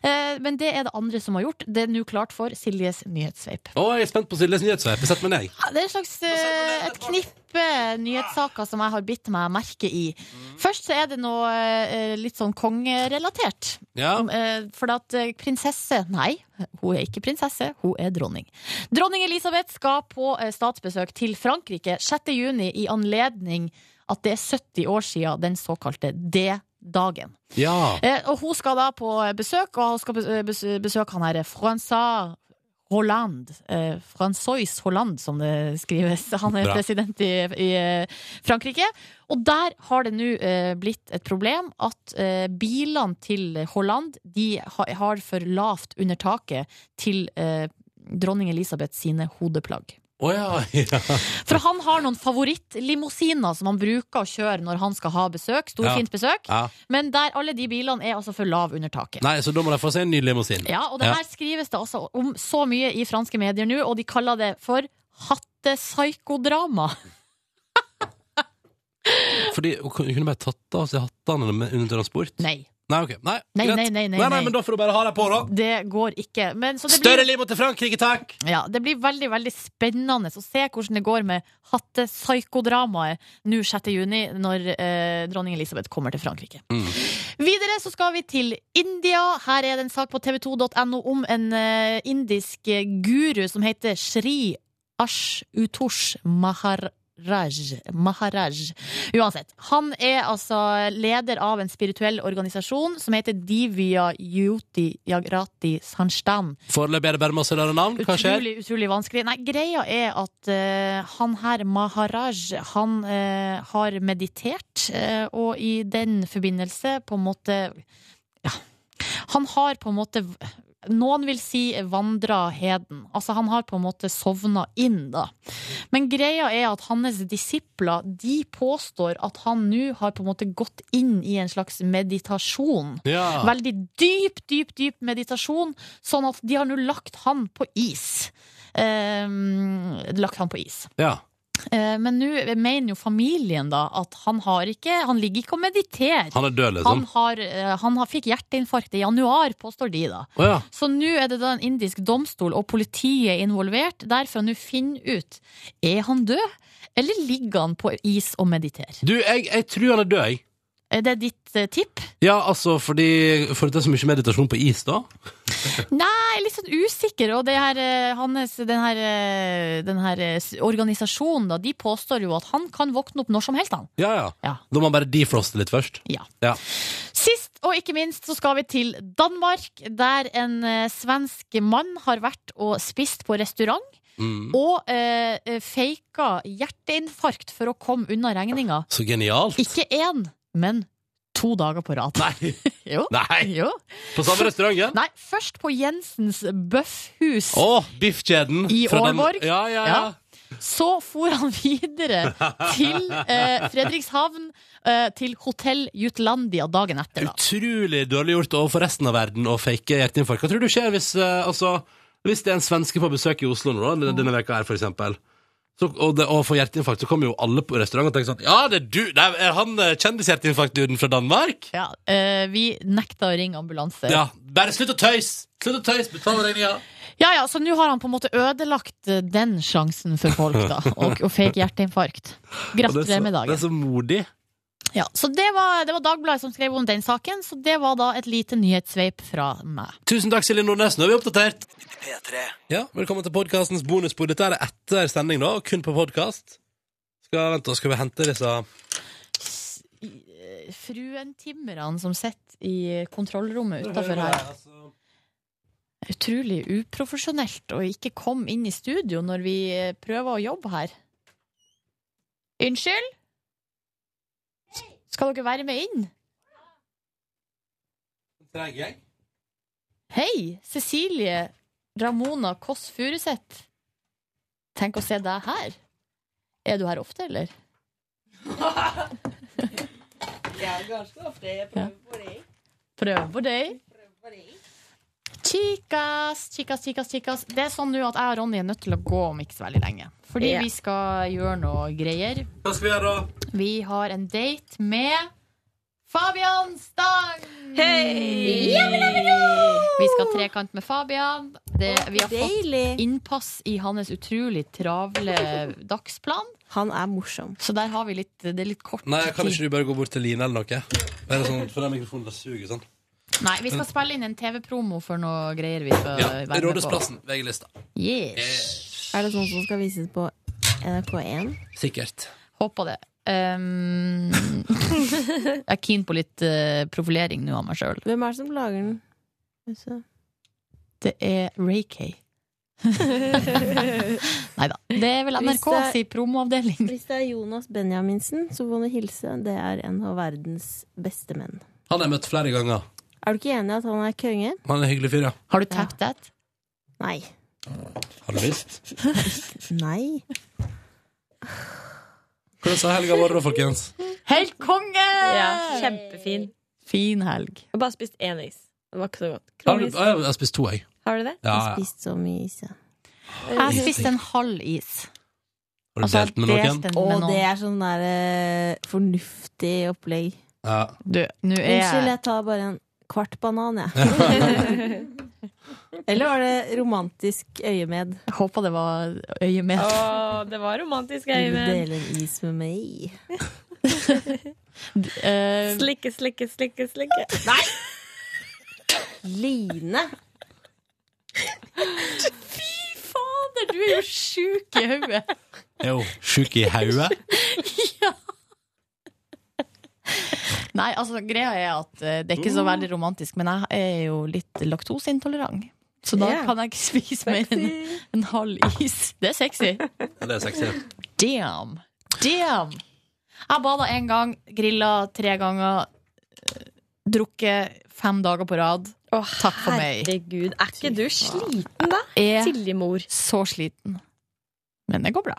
Speaker 2: Eh, Men det er det andre som har gjort. Det er nå klart for Siljes nyhetssveip.
Speaker 1: Å, jeg er spent på Siljes nyhetssveip. Sett meg ned. jeg.
Speaker 2: Ja, Det er en slags, eh, et knippe nyhetssaker som jeg har bitt meg merke i. Først så er det noe eh, litt sånn kongerelatert.
Speaker 1: Ja.
Speaker 2: Om, eh, For at eh, prinsesse Nei, hun er ikke prinsesse, hun er dronning. Dronning Elisabeth skal på eh, statsbesøk til Frankrike 6. juni i anledning at det er 70 år siden den såkalte D-dagen.
Speaker 1: ja.
Speaker 2: Eh, Og hun skal da på eh, besøk, og hun skal bes- eh, bes- besøke han her Francois Hollande. Eh, Francois Hollande, som det skrives. Han er
Speaker 1: Bra.
Speaker 2: president i, i eh, Frankrike. Og der har det nå eh, blitt et problem at eh, bilene til Hollande de ha, har for lavt under taket til eh, dronning Elisabeth sine hodeplagg.
Speaker 1: Å, ja. ja.
Speaker 2: For han har noen favorittlimousiner som han bruker å kjøre når han skal ha besøk. Storfint besøk.
Speaker 1: ja.
Speaker 2: Men der alle de bilene er altså for lav under taket.
Speaker 1: Nei, så da må de få seg en ny limousin.
Speaker 2: Ja, og det
Speaker 1: Ja.
Speaker 2: her skrives det altså om så mye i franske medier nå, og de kaller det for hattepsykodrama.
Speaker 1: Fordi hun kunne hun bare tatt av seg hattene under under transport.
Speaker 2: Nei.
Speaker 1: Nei, ok. Nei,
Speaker 2: Nei,
Speaker 1: greit.
Speaker 2: nei, nei, nei,
Speaker 1: nei,
Speaker 2: nei.
Speaker 1: men da får du bare ha dem på, da.
Speaker 2: Det går ikke. Men, så det
Speaker 1: Større
Speaker 2: blir,
Speaker 1: limo til Frankrike, takk!
Speaker 2: ja, det blir veldig veldig spennende å se hvordan det går med hattepsykodramaet nå 6. juni, når eh, dronning Elisabeth kommer til Frankrike.
Speaker 1: Mm.
Speaker 2: Videre så skal vi til India. Her er det en sak på tv2.no om en eh, indisk eh, guru som heter Shri Ash Utosh Maharaj. Maharaj. Uansett. Han er altså leder av en spirituell organisasjon som heter Divya Yuti Jagrati Sanstan.
Speaker 1: Foreløpig er det bare masse rare navn. Hva skjer?
Speaker 2: Utrolig, utrolig vanskelig. Nei, greia er at eh, han her, Maharaj, han eh, har meditert, eh, og i den forbindelse på en måte Ja. Han har på en måte noen vil si vandra heden. Altså, han har på en måte sovna inn, da. Men greia er at hans disipler de påstår at han nå har på en måte gått inn i en slags meditasjon.
Speaker 1: Ja.
Speaker 2: Veldig dyp, dyp, dyp meditasjon, sånn at de har nå lagt han på is. Ehm, lagt han på is.
Speaker 1: ja.
Speaker 2: Eh, men nå mener jo familien da at han har ikke Han ligger ikke og mediterer.
Speaker 1: Han er død, liksom.
Speaker 2: Han, har, eh, han har, fikk hjerteinfarkt i januar, påstår de da.
Speaker 1: Å ja.
Speaker 2: Så nå er det da en indisk domstol og politiet involvert, derfor nå finner ut Er han død, eller ligger han på is og mediterer?
Speaker 1: Du, jeg, jeg tror han er død, jeg.
Speaker 2: Er det ditt eh, tipp?
Speaker 1: Ja, altså, fordi For det er så mye meditasjon på is, da.
Speaker 2: Nei, litt sånn usikker. Og det her, eh, hans, den, her, eh, den her eh, s- organisasjonen, da, de påstår jo at han kan våkne opp når som helst, han.
Speaker 1: Ja, ja.
Speaker 2: Ja.
Speaker 1: Da må man bare defroste litt først.
Speaker 2: Ja.
Speaker 1: Ja.
Speaker 2: Sist og ikke minst så skal vi til Danmark, der en eh, svensk mann har vært og spist på restaurant.
Speaker 1: Mm.
Speaker 2: Og eh, eh, faka hjerteinfarkt for å komme unna regninga.
Speaker 1: Så genialt.
Speaker 2: Ikke én, men to dager på rad.
Speaker 1: Nei.
Speaker 2: Jo.
Speaker 1: Nei!
Speaker 2: jo.
Speaker 1: På samme restaurant, ja.
Speaker 2: Nei, først på Jensens Bøffhus.
Speaker 1: Å, biffkjeden.
Speaker 2: I
Speaker 1: fra den-
Speaker 2: Aalborg?
Speaker 1: Ja, ja, ja.
Speaker 2: Ja. Så for han videre til eh, Fredrikshavn, eh, til Hotell Jutlandia dagen etter. Da.
Speaker 1: Utrolig dårlig gjort overfor resten av verden å fake hjerteinfarkt. Hva tror du skjer hvis, eh, altså, hvis det er en svenske på besøk i Oslo nå, da, denne- denne veka her, for eksempel? Så, og, det, og får hjerteinfarkt, så kommer jo alle på restaurant og tenker sånn Ja, det er du! Det er, er han eh, kjendishjerteinfarktduden fra Danmark?
Speaker 2: Ja, eh, vi nekta å ringe ambulanse.
Speaker 1: Ja. Bare slutt å tøys! Slutt å tøys! Betal regninga!
Speaker 2: Ja, ja, så nå har han på en måte ødelagt eh, den sjansen for folk, da. Og, og fake hjerteinfarkt. Gratulerer med
Speaker 1: Det er
Speaker 2: dagen.
Speaker 1: så modig.
Speaker 2: Ja, så det var, det var Dagbladet som skrev om den saken, så det var da et lite nyhetssveip fra meg.
Speaker 1: Tusen takk, Silje Nordnes. Nå er vi oppdatert. Ja, Velkommen til podkastens bonusbord. Dette er etter sending, da, og kun på podkast. Skal, vent, da skal vi hente disse
Speaker 2: S- i- eh,
Speaker 1: altså-
Speaker 2: Fruentimrene som sitter i kontrollrommet utafor her. utrolig uprofesjonelt å ikke komme inn i studio når vi eh, prøver å jobbe her. Unnskyld? S- Skal dere være med inn? Hei, Cecilie Ramona Kåss Furuseth. Tenk å se deg her. Er du her ofte, eller? ja, ganske ofte. Jeg prøver på deg. Prøver på deg. Chicas, chicas, chicas, chicas. Det er sånn nå at jeg og Ronny er nødt til å gå om ikke så veldig lenge. Fordi vi skal gjøre noe greier.
Speaker 1: Hva skal vi gjøre da?
Speaker 2: Vi har en date med Fabian Stang!
Speaker 10: Hei!
Speaker 2: Vi skal ha trekant med Fabian. Det, vi har fått innpass i hans utrolig travle dagsplan.
Speaker 11: Han er morsom.
Speaker 2: Så der har vi litt, det er litt kort
Speaker 1: Nei, kan
Speaker 2: tid.
Speaker 1: ikke du bare gå bort til Line eller noe? Bare sånn, for den mikrofonen der suger sånn.
Speaker 2: Nei, vi skal spille inn en TV-promo for noe greier vi skal
Speaker 1: Ja,
Speaker 2: være med på.
Speaker 1: Rådhusplassen, VG-lista.
Speaker 2: Yes.
Speaker 1: Eh.
Speaker 11: Er det sånn som skal vises på NRK1?
Speaker 1: Sikkert.
Speaker 2: Håper det. Um, jeg er keen på litt eh, profilering nå av meg sjøl.
Speaker 11: Hvem er det som lager den? Altså,
Speaker 2: Det er Ray Kay. Nei da. Det er vel
Speaker 11: Hvis
Speaker 2: NRK
Speaker 11: det-
Speaker 2: si promoavdeling.
Speaker 11: Hvis det er Jonas Benjaminsen, så får du hilse. Det er en av verdens beste menn.
Speaker 1: Han har jeg møtt flere ganger.
Speaker 11: Er du ikke enig i at han er konge?
Speaker 1: Han er en hyggelig fyr, ja.
Speaker 2: Har du tapped that?
Speaker 11: Nei.
Speaker 1: Har du lyst?
Speaker 11: Nei.
Speaker 1: Hvordan har helga vært da, folkens?
Speaker 2: Helt konge!
Speaker 11: kjempefin.
Speaker 2: Fin helg.
Speaker 11: Jeg har bare spist én is. Det var ikke så godt.
Speaker 1: Har du, jeg har spist to, jeg.
Speaker 11: Har du det?
Speaker 1: Ja,
Speaker 11: Jeg
Speaker 1: ja.
Speaker 11: har spist så mye is, ja.
Speaker 2: Jeg spiste en halv is.
Speaker 1: Har du delt
Speaker 11: altså,
Speaker 1: med noen?
Speaker 2: delt den med
Speaker 11: Og det
Speaker 2: noen.
Speaker 11: er sånn der eh, fornuftig opplegg.
Speaker 1: Ja.
Speaker 2: Du, nå er
Speaker 11: Unnskyld,
Speaker 2: jeg
Speaker 11: jeg tar bare en kvart banan, jeg. Eller var det romantisk øyemed?
Speaker 2: jeg håper det var øyet med.
Speaker 10: det var romantisk,
Speaker 11: Vil du dele en is med meg?
Speaker 2: Eh,
Speaker 10: Slikke, slikke, slikke, slikke.
Speaker 11: Line!
Speaker 2: fader, du er jo sjuk i hodet!
Speaker 1: Er hun sjuk i hodet?
Speaker 2: Nei, altså, greia er at eh, det er ikke så veldig romantisk, men jeg er jo litt laktoseintolerant. Så da
Speaker 11: Ja.
Speaker 2: kan jeg ikke spise mer enn en halv is. Det er sexy.
Speaker 1: Ja, Det er sexy.
Speaker 2: Damn. Damn. Jeg bada én gang, grilla tre ganger, eh, drukket fem dager på rad. Takk for meg.
Speaker 11: Herregud, er ikke du sliten,
Speaker 2: Er
Speaker 11: Silje-mor?
Speaker 2: så sliten. Men det går bra.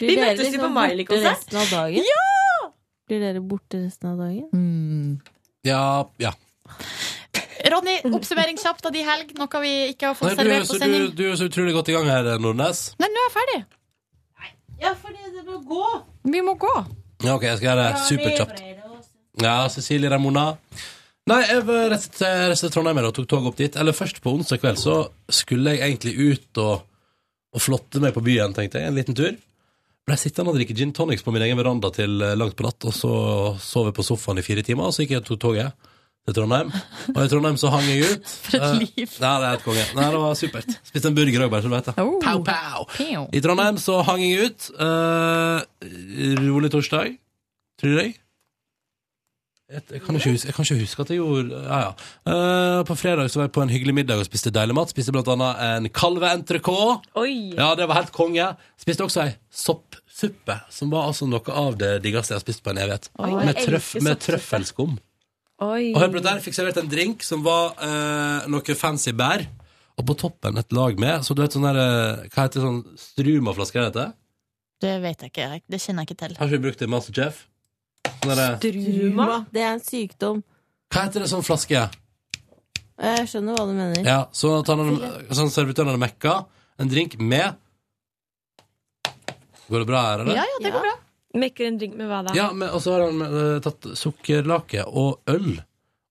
Speaker 11: Vi
Speaker 10: møttes jo på Miley-konsert.
Speaker 11: Resten av dagen? Ja! Blir dere borte resten av dagen?
Speaker 2: Mm.
Speaker 1: Ja, ja.
Speaker 2: Ronny, oppsummering kjapt av de helg. Noe vi ikke har
Speaker 1: Nei,
Speaker 2: fått
Speaker 1: du, er
Speaker 2: servert
Speaker 1: så,
Speaker 2: på
Speaker 1: du,
Speaker 2: sending.
Speaker 1: du er så utrolig godt i gang her, Nordnes.
Speaker 2: Nei, nå er jeg ferdig.
Speaker 11: Ja, fordi det må gå!
Speaker 2: Vi må gå.
Speaker 1: Ja, ok, jeg skal gjøre det superkjapt. Ja, Cecilie Ramona. Nei, jeg var rett til, rett til Trondheim her og tok tog opp dit. Eller først på onsdag kveld så skulle jeg egentlig ut og, og flotte meg på byen, tenkte jeg. En liten tur. Ble sittende og drikke gin tonics på min egen veranda til eh, langt på natt, og så sov jeg på sofaen i fire timer, og så gikk jeg og tok toget til Trondheim. Og i Trondheim så hang jeg ut.
Speaker 2: For et
Speaker 1: Eh,
Speaker 2: liv.
Speaker 1: Nei, det er helt konge. Nei, det var supert. Spiste en burger òg, bare så du vet det.
Speaker 2: Oh.
Speaker 1: Pow, pow.
Speaker 2: Pew.
Speaker 1: I Trondheim så hang jeg ut. eh, rolig torsdag, tror jeg. Jeg, jeg, kan ikke huske, jeg kan ikke huske at jeg gjorde Ja, ja. Eh, på fredag så var jeg på en hyggelig middag og spiste deilig mat. Spiste blant annet en kalveentrikot. Ja, det var helt konge. Spiste også ei soppsuppe, som var altså noe av det diggeste jeg har spist på en evighet. med, trøff, med trøffelskum. Og hør på dette, her, fikk servert en drink som var eh, noe fancy bær, og på toppen et lag med, så du vet sånn der, eh, hva heter det, sånn struma-flaske er dette?
Speaker 2: Det vet jeg ikke. Det kjenner jeg ikke til.
Speaker 1: Har ikke vi brukt det i Masterchef? Sånn der,
Speaker 11: Druma? Det er en sykdom.
Speaker 1: hva heter det sånn flaske?
Speaker 11: Jeg skjønner hva du mener.
Speaker 1: Ja, så at han hadde, sånn servitøren hadde mekka en drink med Går det bra her, eller?
Speaker 2: Ja, ja, det går bra.
Speaker 10: Mekker en drink med hva da?
Speaker 1: Ja, men, og så har han eh, tatt sukkerlake og øl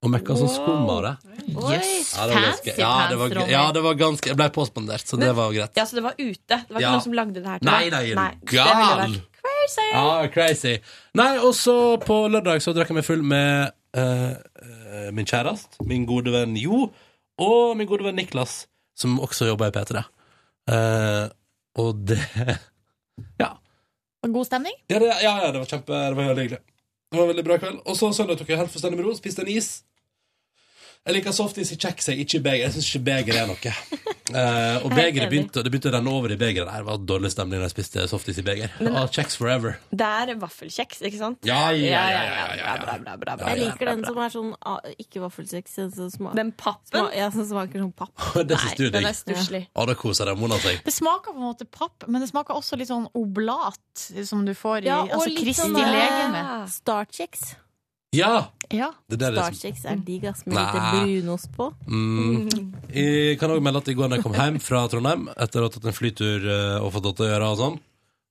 Speaker 1: og mekka sånn skum av det.
Speaker 2: Yes.
Speaker 1: Ja, det var
Speaker 2: Fancy
Speaker 1: ganske, ja, det var,
Speaker 2: pants, Ronny.
Speaker 1: ja, det var ganske Jeg ble påspandert, så det var greit.
Speaker 10: Ja, så det var ute? Det var ikke
Speaker 1: Ja.
Speaker 10: noen som lagde det her til
Speaker 1: Nei,
Speaker 10: deg?
Speaker 1: nei, er
Speaker 10: Nei,
Speaker 1: du
Speaker 10: det ville
Speaker 1: gal?
Speaker 10: vært Crazy!
Speaker 1: Ja, crazy. Nei, og så på lørdag så drakk jeg meg full med eh, eh, min kjærest, min gode venn Jo, og min gode venn Niklas, som også jobber i P3. Eh, og det Ja.
Speaker 2: God stemning?
Speaker 1: Ja, det, ja, ja, det var kjempe Det var veldig hyggelig. Det var en veldig bra kveld. Og så søndag tok jeg helt fullstendig med ro, spiste en is. Jeg liker softis i kjeks, jeg, ikke i beger. Jeg syns ikke beger er noe. Eh, og begeret begynte, det begynte å renne over i begeret. Det var dårlig stemning da jeg spiste softis i beger.
Speaker 8: Men-
Speaker 1: ah, kjeks forever.
Speaker 8: Det er vaffelkjeks, ikke sant?
Speaker 1: Ja, ja, ja, ja, ja, ja, ja.
Speaker 8: Bra, bra, bra, bra,
Speaker 11: Jeg liker
Speaker 8: bra,
Speaker 11: den
Speaker 8: bra.
Speaker 11: som er sånn ah, ikke vaffelkjeks. Den, som smaker-
Speaker 8: Den pappen?
Speaker 11: Sma, ja, som smaker sånn papp.
Speaker 1: det syns du er digg.
Speaker 2: stusslig.
Speaker 1: Å, da koser jeg Mona seg.
Speaker 2: Det smaker på en måte papp, men det smaker også litt sånn oblat, som du får i
Speaker 11: Ja, og
Speaker 2: altså,
Speaker 11: litt
Speaker 2: Kristi
Speaker 11: sånn, eh,
Speaker 2: legeme.
Speaker 11: Startkjeks.
Speaker 1: Ja!
Speaker 2: Ja.
Speaker 1: Det der er liksom
Speaker 11: Startkjeks er digg, ass, med litt
Speaker 1: Nei.
Speaker 11: brunost på.
Speaker 1: Mm. Jeg kan også melde at i går da jeg kom hjem fra Trondheim, etter å ha tatt en flytur eh, og fått dette å gjøre og sånn,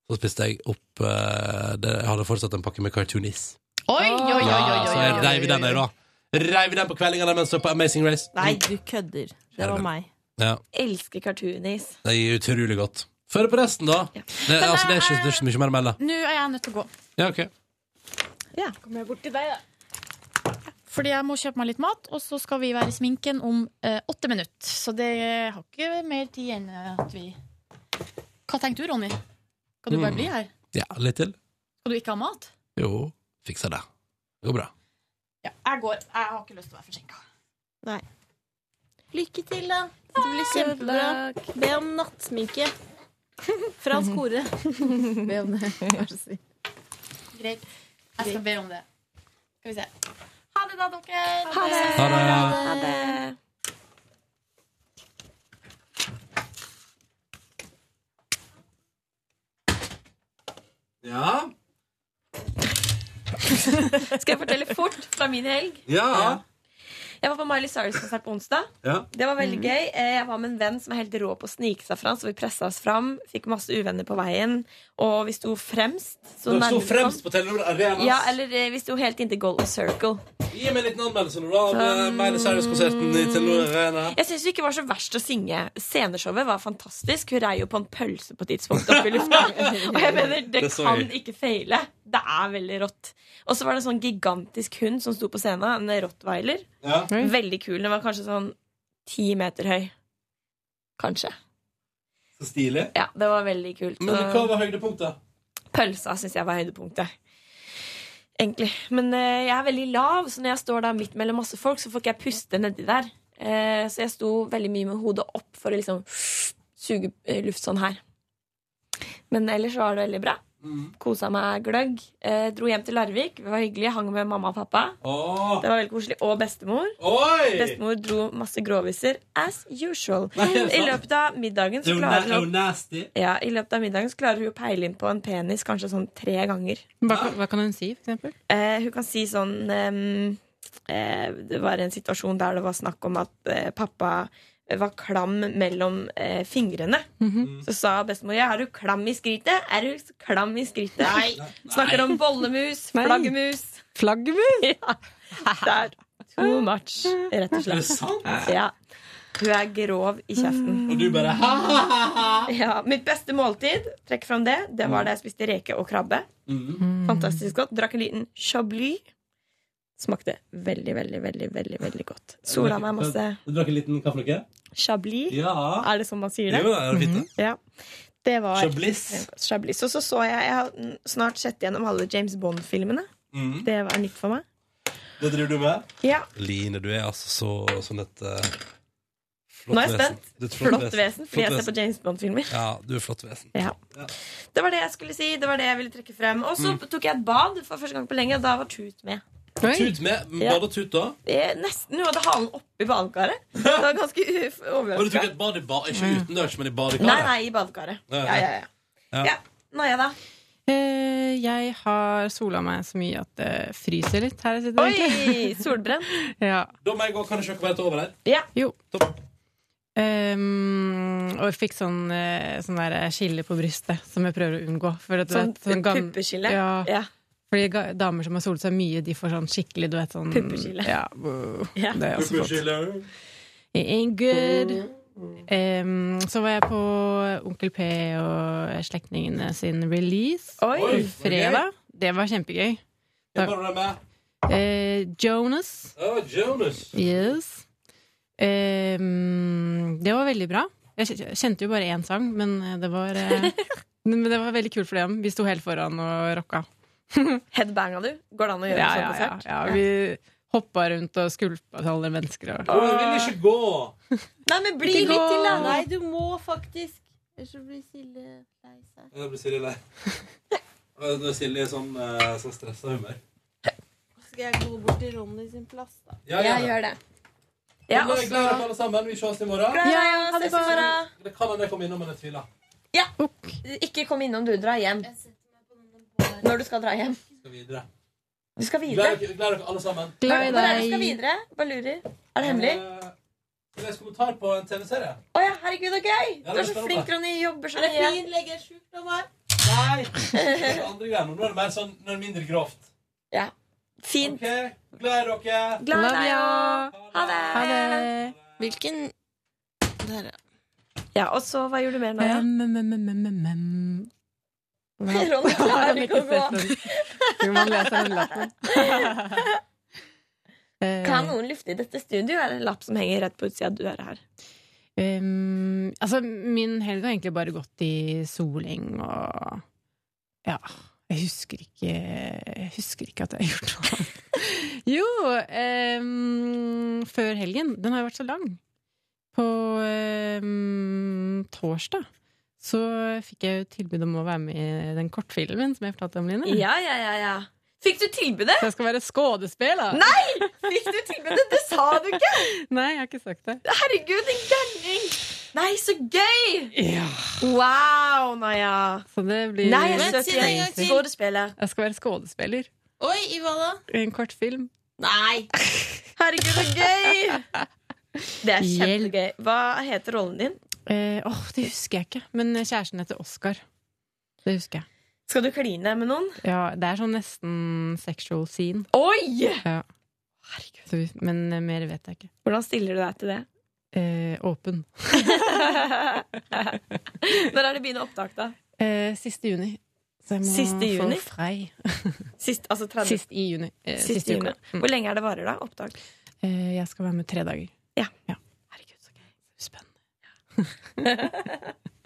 Speaker 1: så spiste jeg opp eh, det, Jeg hadde fortsatt en pakke med cartoonis.
Speaker 2: Oi, oi, oi, oi,
Speaker 1: Ja,
Speaker 2: oi,
Speaker 1: så
Speaker 2: oi,
Speaker 1: jeg reiv i den der, da. Reiv i den på kveldingene mens jeg var på Amazing Race.
Speaker 11: Nei, du kødder. Det var meg.
Speaker 1: Ja,
Speaker 10: Elsker cartoonis.
Speaker 1: Det gir utrolig godt. Føre på resten, da. Det, altså, det, er ikke, det
Speaker 2: eh,
Speaker 1: er ikke så mye mer å melde.
Speaker 2: Nå er jeg nødt til å gå.
Speaker 1: Ja, ok.
Speaker 2: Ja, kommer jeg bort til deg, da. Fordi jeg må kjøpe meg litt mat, og så skal vi være i sminken om eh, åtte minutter. Så det har ikke mer tid enn at vi Hva tenker du, Ronny? Skal du bare
Speaker 1: Mm.
Speaker 2: bli her?
Speaker 1: Ja, litt til.
Speaker 2: Skal du ikke ha mat?
Speaker 1: Jo, fikser det. Det går bra.
Speaker 2: Ja, jeg går. Jeg har ikke lyst til å være forsinka.
Speaker 11: Nei. Lykke til, da. Det blir kjempebra. Be om nattsminke. Frans Kore. Be om det, vær så snill.
Speaker 2: Greit. Jeg skal be om det. Skal vi se. Ha det, da, dere. Ha det.
Speaker 1: Ha det. Ja.
Speaker 8: Skal jeg fortelle fort fra min helg?
Speaker 1: Ja.
Speaker 8: Jeg var på Miley Cyrus-konsert på onsdag.
Speaker 1: Ja.
Speaker 8: Det var
Speaker 11: Mm.
Speaker 8: veldig gøy. Eh, Jeg var med en venn som er helt rå på å snike seg fram, så vi pressa oss fram. Fikk masse uvenner på veien, og vi sto fremst. så
Speaker 1: Dere sto
Speaker 8: nærmest kom.
Speaker 1: fremst på Telenor Arena.
Speaker 8: Ja, eller eh, vi sto helt inntil Golden Circle.
Speaker 1: Gi meg en liten anmeldelse nå, da,
Speaker 8: Sånn-
Speaker 1: av eh, Miley Cyrus-konserten i Telenor Arena.
Speaker 8: Jeg syns det ikke var så verst å synge. Sceneshowet var fantastisk. Hun rei jo på en pølse på et tidspunkt opp i lufta. Og jeg mener, det
Speaker 10: Det så
Speaker 8: kan
Speaker 10: jeg.
Speaker 8: ikke feile. Det er veldig rått. Og så var det en sånn gigantisk hund som sto på scenen. En rottweiler.
Speaker 1: Ja. Oi.
Speaker 8: Veldig kul. Den var kanskje sånn ti meter høy. Kanskje.
Speaker 1: Så stilig.
Speaker 8: Ja, det var veldig kult.
Speaker 1: Men
Speaker 8: Så-
Speaker 1: hva var høydepunktet?
Speaker 8: Pølsa syns jeg var høydepunktet. Egentlig. Men eh, jeg er veldig lav, så når jeg står da midt mellom masse folk, så får ikke jeg puste nedi der. Eh, så jeg sto veldig mye med hodet opp for å liksom suge eh, luft sånn her. Men ellers var det veldig bra.
Speaker 1: Mm.
Speaker 8: Kosa meg gløgg. Eh, dro hjem til Larvik. Det var hyggelig. Hang med mamma og pappa.
Speaker 1: Åh.
Speaker 8: Det var veldig koselig. Og bestemor.
Speaker 1: Oi!
Speaker 8: Bestemor dro masse groviser as usual.
Speaker 1: Nei, er det
Speaker 8: I
Speaker 1: sant?
Speaker 8: løpet av middagen så
Speaker 1: Jo,
Speaker 8: klarer
Speaker 1: na- jo,
Speaker 8: hun
Speaker 1: nasty.
Speaker 8: ja, I løpet av middagen så klarer hun å peile inn på en penis kanskje sånn tre ganger.
Speaker 12: Hva, kan- hva kan hun si, for eksempel?
Speaker 8: Eh, hun kan si sånn ehm, eh, Det var en situasjon der det var snakk om at eh, pappa var klam mellom eh, fingrene.
Speaker 12: Mhm.
Speaker 8: Så sa bestemor ja, er du klam i skrittet? Er du klam i skrittet?
Speaker 12: Nei.
Speaker 8: Snakker om bollemus,
Speaker 12: Nei.
Speaker 8: flaggermus.
Speaker 12: Flaggermus?
Speaker 8: Ja. Det er too much, rett
Speaker 1: Er
Speaker 8: og
Speaker 1: det
Speaker 8: slett.
Speaker 1: sant?
Speaker 8: Ja. Hun er grov i kjeften.
Speaker 1: Og du bare ha, ha, ha, ha.
Speaker 12: Mm.
Speaker 8: Ja, Mitt beste måltid, trekk fram det, det var da jeg spiste reke og krabbe.
Speaker 1: Mm.
Speaker 8: Fantastisk godt. Drakk en liten chablis. Smakte veldig, veldig, veldig veldig, veldig godt. Sola meg masse
Speaker 1: Du drakk en liten kaffe, ikke?
Speaker 8: chablis.
Speaker 1: Ja.
Speaker 8: Er det sånn man sier det?
Speaker 1: Jo, det er fint, det.
Speaker 8: Mhm. Ja. Det var
Speaker 1: Chablis.
Speaker 8: Chablis. Og så så jeg Jeg har snart sett gjennom alle James Bond-filmene.
Speaker 1: Mhm.
Speaker 8: Det var nytt for meg.
Speaker 1: Det driver du med?
Speaker 8: Ja.
Speaker 1: Line, du er altså så sånn et eh, flott
Speaker 8: Nå er jeg
Speaker 1: vesen.
Speaker 8: spent.
Speaker 1: Du er et
Speaker 8: Flott vesen, fordi
Speaker 1: Flott
Speaker 8: jeg ser på James Bond-filmer.
Speaker 1: Ja, du er et flott vesen.
Speaker 8: Ja. Det var det jeg skulle si. Det var det jeg ville trekke frem. Og så
Speaker 1: Mm.
Speaker 8: tok jeg et bad for første gang på lenge, og da var Tut med.
Speaker 1: Tut med.
Speaker 8: Ja.
Speaker 1: Bad og tut, da.
Speaker 8: Eh, Nesten. Hun hadde halen oppi badekaret. Det var ganske uf-
Speaker 1: Og du tok
Speaker 8: overraskende.
Speaker 1: et bad i bad, ikke utendørs, men i badekaret?
Speaker 8: Mm. Nei, nei, i badekaret.
Speaker 1: Ja,
Speaker 8: Ja, ja, ja.
Speaker 1: Ja.
Speaker 8: ja. Naja, da.
Speaker 12: Eh, jeg har sola meg så mye at det fryser litt her jeg sitter.
Speaker 8: Oi,
Speaker 12: egentlig.
Speaker 8: solbrenn.
Speaker 12: ja.
Speaker 1: Da må jeg gå, kan jeg kjøpe meg et over her?
Speaker 12: Jo. Ehm, og jeg fikk sånn, eh, sånn der skille på brystet som jeg prøver å unngå. For at, du
Speaker 8: Sånn
Speaker 12: vet, gam-
Speaker 8: puppeskille?
Speaker 12: Ja.
Speaker 8: Ja.
Speaker 12: Fordi ga- damer som har solet seg mye, de får sånn skikkelig du vet, sånn,
Speaker 8: Puppeskille.
Speaker 12: Ja, wow.
Speaker 8: Ja.
Speaker 12: Det er også flott. It ain't good.
Speaker 8: Mm.
Speaker 12: Ehm, så var jeg på Onkel P og slektningene sin release
Speaker 1: Oi,
Speaker 12: på fredag. Det var kjempegøy.
Speaker 1: Jeg bare er med.
Speaker 12: Eh, Jonas.
Speaker 1: Å, Jonas.
Speaker 12: Yes. Ehm, det var veldig bra. Jeg kj- kjente jo bare én sang, men eh, det var, eh, men det var veldig kult for dem. Vi sto helt foran og rocka.
Speaker 8: Headbanga du? Går det an å gjøre
Speaker 12: Ja,
Speaker 8: sånn
Speaker 12: ja,
Speaker 8: på
Speaker 12: ja,
Speaker 8: konsert?
Speaker 12: ja. Vi
Speaker 2: hoppa rundt og skulpa til alle mennesker. Og...
Speaker 1: Å, jeg vil ikke gå!
Speaker 13: Nei, men bli
Speaker 2: Ikke gå.
Speaker 13: litt til, da. Nei, du må faktisk. Ellers så blir Silje lei seg.
Speaker 1: Ja, Da blir Silje lei. Da er Silje i sånn, eh, sånn stressa humør.
Speaker 13: Skal jeg gå bort til Ronny sin plass, da?
Speaker 1: Ja, gjør det.
Speaker 13: Ja,
Speaker 1: Ja, jeg
Speaker 13: også-
Speaker 1: gleder meg alle sammen. Vi ses i morgen.
Speaker 8: Ja, ja, ses i morgen.
Speaker 1: Det kan hende jeg kommer innom, men jeg tviler.
Speaker 8: Ja. Ikke kom innom, du. Dra hjem. Når du skal dra hjem.
Speaker 1: Skal videre.
Speaker 8: Du skal videre.
Speaker 1: Gleder dere, gleder dere alle sammen.
Speaker 8: Hvor er det du skal videre? Hva lurer? Er det hemmelig?
Speaker 1: Eh, Jeg leser kommentar på en TV-serie.
Speaker 8: Å ja, herregud, så gøy!
Speaker 1: Ja,
Speaker 8: Du
Speaker 1: det
Speaker 8: er så
Speaker 1: skal
Speaker 8: flink,
Speaker 1: det.
Speaker 8: Ronny. Jobber så
Speaker 1: Er det
Speaker 8: mye.
Speaker 1: fin
Speaker 13: legesjukdom her?
Speaker 1: Nei! Det er andre greier. Nå Nå er det mer sånn, nå er det mindre grovt.
Speaker 8: Ja. Fint.
Speaker 1: Ok, Gleder dere.
Speaker 13: Glad i deg, ja.
Speaker 8: Ha det.
Speaker 13: Ha det. Hvilken Der, ja.
Speaker 8: Ja, og så hva gjorde du mer nå? Ja?
Speaker 2: Mm-mm-mm-mm-mm.
Speaker 8: Ronny klarer ikke å gå.
Speaker 2: Jo, man leser den lappen. Eh,
Speaker 8: Kan noen lufte i dette studioet? Er det en lapp som henger rett på utsida av døra her?
Speaker 2: Um, altså, min helg har egentlig bare gått i soling og Ja, jeg husker ikke Jeg husker ikke at jeg har gjort noe annet. jo, um, før helgen. Den har jo vært så lang. På um, torsdag så fikk jeg jo tilbud om å være med i den kortfilmen som jeg fortalte om, Line.
Speaker 8: Ja, ja, ja, ja. Fikk du tilbudet?
Speaker 2: Så jeg skal være skuespiller?
Speaker 8: Nei! Fikk du tilbudet? Det sa du ikke!
Speaker 2: Nei, jeg har ikke sagt det.
Speaker 8: Herregud, en gærning! Nei, så gøy!
Speaker 2: Ja.
Speaker 8: Wow, Naya.
Speaker 2: Så det blir
Speaker 8: Nei, jeg er søt igjen. Skuespiller.
Speaker 2: Jeg skal være skuespiller.
Speaker 13: Oi, i hva da?
Speaker 2: I en kortfilm.
Speaker 13: Nei!
Speaker 8: Herregud, så gøy! Det er
Speaker 2: Hjelp.
Speaker 8: kjempegøy. Hva heter rollen din?
Speaker 2: Eh, åh, det husker jeg ikke. Men kjæresten heter Oskar. Det husker jeg.
Speaker 8: Skal du kline med noen?
Speaker 2: Ja, det er sånn nesten sexual scene.
Speaker 8: Oi!
Speaker 2: Ja. Så vi- Men eh, mer vet jeg ikke.
Speaker 8: Hvordan stiller du deg til det?
Speaker 2: Eh, åpen.
Speaker 8: Når er det begynner opptak, da?
Speaker 2: Eh, siste juni. Så jeg må
Speaker 8: Siste juni?
Speaker 2: få frei.
Speaker 8: Sist, altså 30.
Speaker 2: Sist i juni. Eh,
Speaker 8: Sist i
Speaker 2: siste
Speaker 8: juni.
Speaker 2: uka. Mm.
Speaker 8: Hvor lenge er det varer, da? Opptak?
Speaker 2: Eh, jeg skal være med tre dager.
Speaker 8: Ja.
Speaker 2: Herregud, så gøy. Spennende.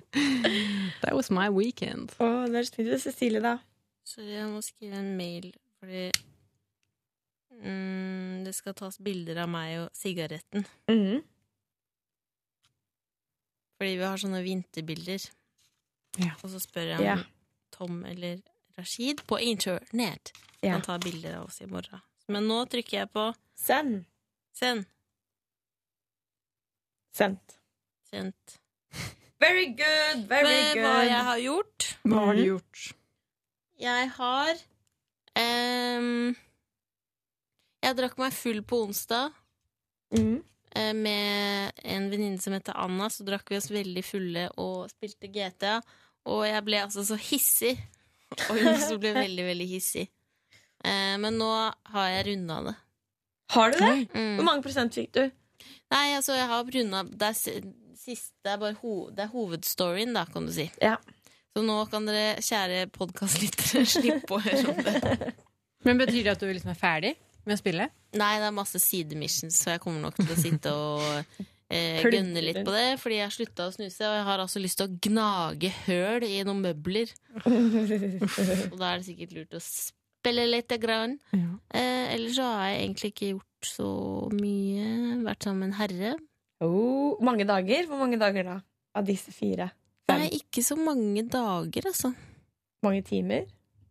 Speaker 2: That was my weekend.
Speaker 8: Å, det er spennende. Cecilie, da?
Speaker 7: Sorry, jeg må skrive en mail, fordi mm, det skal tas bilder av meg og sigaretten.
Speaker 8: Mhm.
Speaker 7: Fordi vi har sånne vinterbilder. Og så spør jeg om
Speaker 8: Ja.
Speaker 7: Tom eller Rashid på internett
Speaker 8: Ja.
Speaker 7: kan ta bilder av oss i morgen. Men nå trykker jeg på
Speaker 8: Send.
Speaker 7: Send.
Speaker 8: Sendt.
Speaker 7: Sendt.
Speaker 8: Very good,
Speaker 7: Det
Speaker 8: very
Speaker 7: er
Speaker 8: good.
Speaker 7: hva jeg har gjort.
Speaker 2: Hva har du gjort?
Speaker 7: Jeg har ehm, Jeg drakk meg full på onsdag eh, med en venninne som heter Anna. Så drakk vi oss veldig fulle og spilte GTA. Og jeg ble altså så hissig. Og hun også ble veldig, veldig hissig. Eh, men nå har jeg runda det.
Speaker 8: Har du det?
Speaker 7: Mm.
Speaker 8: Hvor mange prosent fikk du?
Speaker 7: Nei, altså, jeg har runda Det er, s- sist, det er bare ho, det er hovedstoryen, da, kan du si. Så nå kan dere, kjære podkastlyttere, slippe å høre om det.
Speaker 2: Men betyr det at du liksom er ferdig med å spille?
Speaker 7: Nei, det er masse sidemissions, så jeg kommer nok til å sitte og eh,
Speaker 2: Plugge
Speaker 7: gønne litt på det. Fordi jeg har slutta å snuse, og jeg har altså lyst til å gnage høl i noen møbler. Og da er det sikkert lurt å spille litt. Grann. Eh, ellers så har jeg egentlig ikke gjort så mye. Vært sammen med en herre.
Speaker 8: Oh, mange dager? Hvor mange dager da? Av disse fire?
Speaker 7: Nei, ikke så mange dager, altså.
Speaker 8: Mange timer?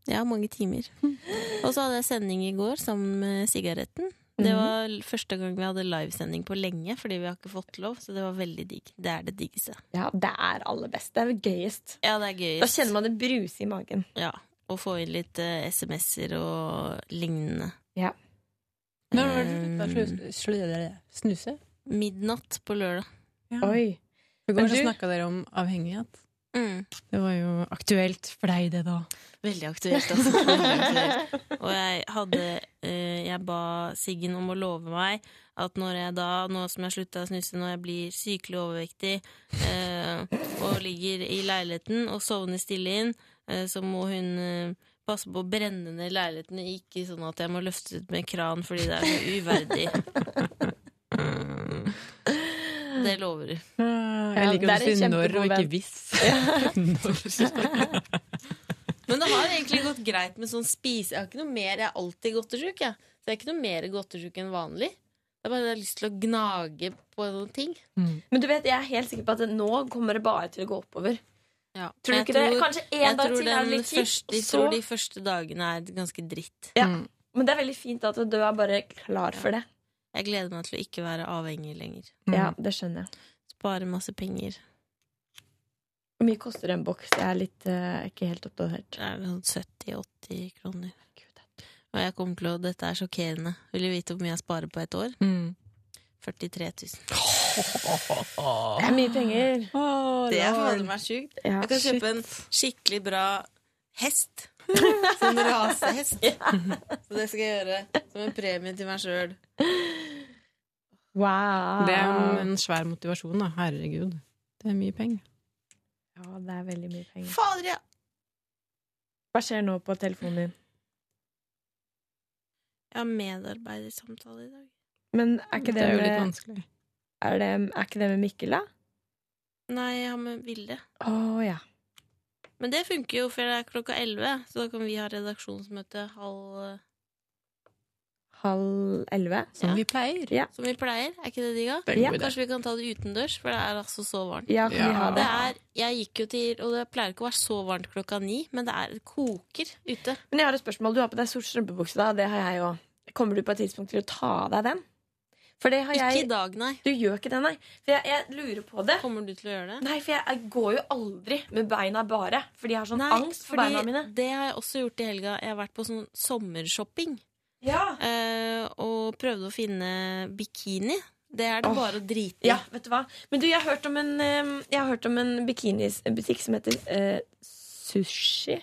Speaker 7: Ja, mange timer. Og så hadde jeg sending i går sammen med sigaretten.
Speaker 11: Mhm.
Speaker 7: Det var l- første gang vi hadde livesending på lenge, fordi vi har ikke fått lov. Så det var veldig digg. Det er det diggeste.
Speaker 8: Ja, det er aller best. Det er det gøyest.
Speaker 7: Ja, det er gøyest.
Speaker 8: Da kjenner man det bruse i magen.
Speaker 7: Ja, og få inn litt eh, SMS-er og lignende.
Speaker 8: Ja.
Speaker 2: Når var
Speaker 8: Eh.
Speaker 2: det du slutta å slu- slu- dere- snuse?
Speaker 7: Midnatt på lørdag.
Speaker 8: Oi.
Speaker 2: I
Speaker 7: Men
Speaker 2: går så
Speaker 7: du-
Speaker 2: snakka dere om avhengighet.
Speaker 7: Mm.
Speaker 2: Det var jo aktuelt for deg, det, da.
Speaker 7: Veldig aktuelt, altså. Veldig aktuelt. Og jeg hadde eh, Jeg ba Siggen om å love meg at når jeg da, nå som jeg slutta å snuse, når jeg blir sykelig overvektig eh, og ligger i leiligheten og sovner stille inn, eh, så må hun eh, passe på å brenne ned leiligheten, ikke sånn at jeg må løfte ut med kran fordi det er så uverdig. Det lover du.
Speaker 2: Jeg liker å si når og ikke hvis.
Speaker 7: Men det har egentlig gått greit med sånn spise... Jeg har ikke noe mer. Jeg har alltid gått til sjuk, jeg. Så det er ikke noe mer godtesjuk enn vanlig. Det er bare at jeg har lyst til å gnage på noen ting.
Speaker 8: Men du vet, jeg er helt sikker på at det- nå kommer det bare til å gå oppover.
Speaker 2: Ja.
Speaker 8: Tror du
Speaker 2: Men jeg
Speaker 8: ikke det?
Speaker 2: tror-
Speaker 8: Kanskje en
Speaker 2: jeg
Speaker 8: dag
Speaker 2: tror
Speaker 8: til er
Speaker 2: den
Speaker 8: litt kjipt,
Speaker 2: første- Jeg
Speaker 8: og så-
Speaker 2: tror de første dagene er ganske dritt.
Speaker 8: Ja. Men det er veldig fint at du er bare klar for det.
Speaker 2: Jeg gleder meg til å ikke være avhengig lenger.
Speaker 8: Ja, det skjønner jeg.
Speaker 2: Spare masse penger.
Speaker 8: Hvor mye koster en boks? Jeg er litt, eh, ikke helt oppdatert.
Speaker 2: Det er sånn 70-80 kroner. Og jeg kommer til å Dette er sjokkerende. Vil du vite hvor mye jeg sparer på et år?
Speaker 6: Mm.
Speaker 2: 43 000.
Speaker 8: Det er mye penger.
Speaker 2: det er fader meg sjukt.
Speaker 8: Ja,
Speaker 6: Ah,
Speaker 2: jeg kan
Speaker 8: shit.
Speaker 2: kjøpe en skikkelig bra hest. Sånn rasehest. Så det skal jeg gjøre som en premie til meg sjøl.
Speaker 8: Wow.
Speaker 14: Det er jo en svær motivasjon, da. Herregud. Det er mye penger.
Speaker 8: Ja, det er veldig mye penger.
Speaker 2: Fader, ja!
Speaker 8: Hva skjer nå på telefonen din?
Speaker 2: Jeg har medarbeidersamtale i dag.
Speaker 8: Men er ikke det,
Speaker 14: Det er jo
Speaker 8: med,
Speaker 14: litt vanskelig.
Speaker 8: Er, det, er ikke det med Mikkel, da?
Speaker 2: Nei, jeg har med Vilde.
Speaker 8: Å ja.
Speaker 2: Men det funker jo, for det er klokka 11, så da kan vi ha redaksjonsmøte halv eh,
Speaker 8: Halv elleve?
Speaker 2: Som
Speaker 8: vi
Speaker 14: pleier.
Speaker 8: Ja.
Speaker 2: Som vi pleier, er ikke det digga?
Speaker 8: Det er en god idé.
Speaker 2: Kanskje vi kan ta det utendørs, for det er altså så varmt.
Speaker 8: Ja, kan vi ha det?
Speaker 2: det er, jeg gikk jo til, og det pleier ikke å være så varmt klokka ni, men det er det koker ute.
Speaker 8: Men jeg har et spørsmål. Du har på deg sort strømpebukse, da. Det har jeg òg. Kommer du på et tidspunkt til å ta av deg den? For det har
Speaker 2: Ikke
Speaker 8: jeg
Speaker 2: i dag, nei.
Speaker 8: Du gjør ikke det, nei. For jeg, jeg lurer på det.
Speaker 2: Kommer du til å gjøre det?
Speaker 8: Nei, for jeg, jeg går jo aldri med beina bare. Fordi jeg har sånn angst for
Speaker 2: fordi
Speaker 8: beina mine.
Speaker 2: Det har jeg også gjort i helga. Jeg har vært på sånn sommershopping. Eh, og prøvde å finne bikini. Det er det
Speaker 8: Åh.
Speaker 2: bare å drite i.
Speaker 8: Ja, vet du hva? Men du, jeg har hørt om en, um, jeg har hørt om en bikinibutikk som heter eh, Sushi.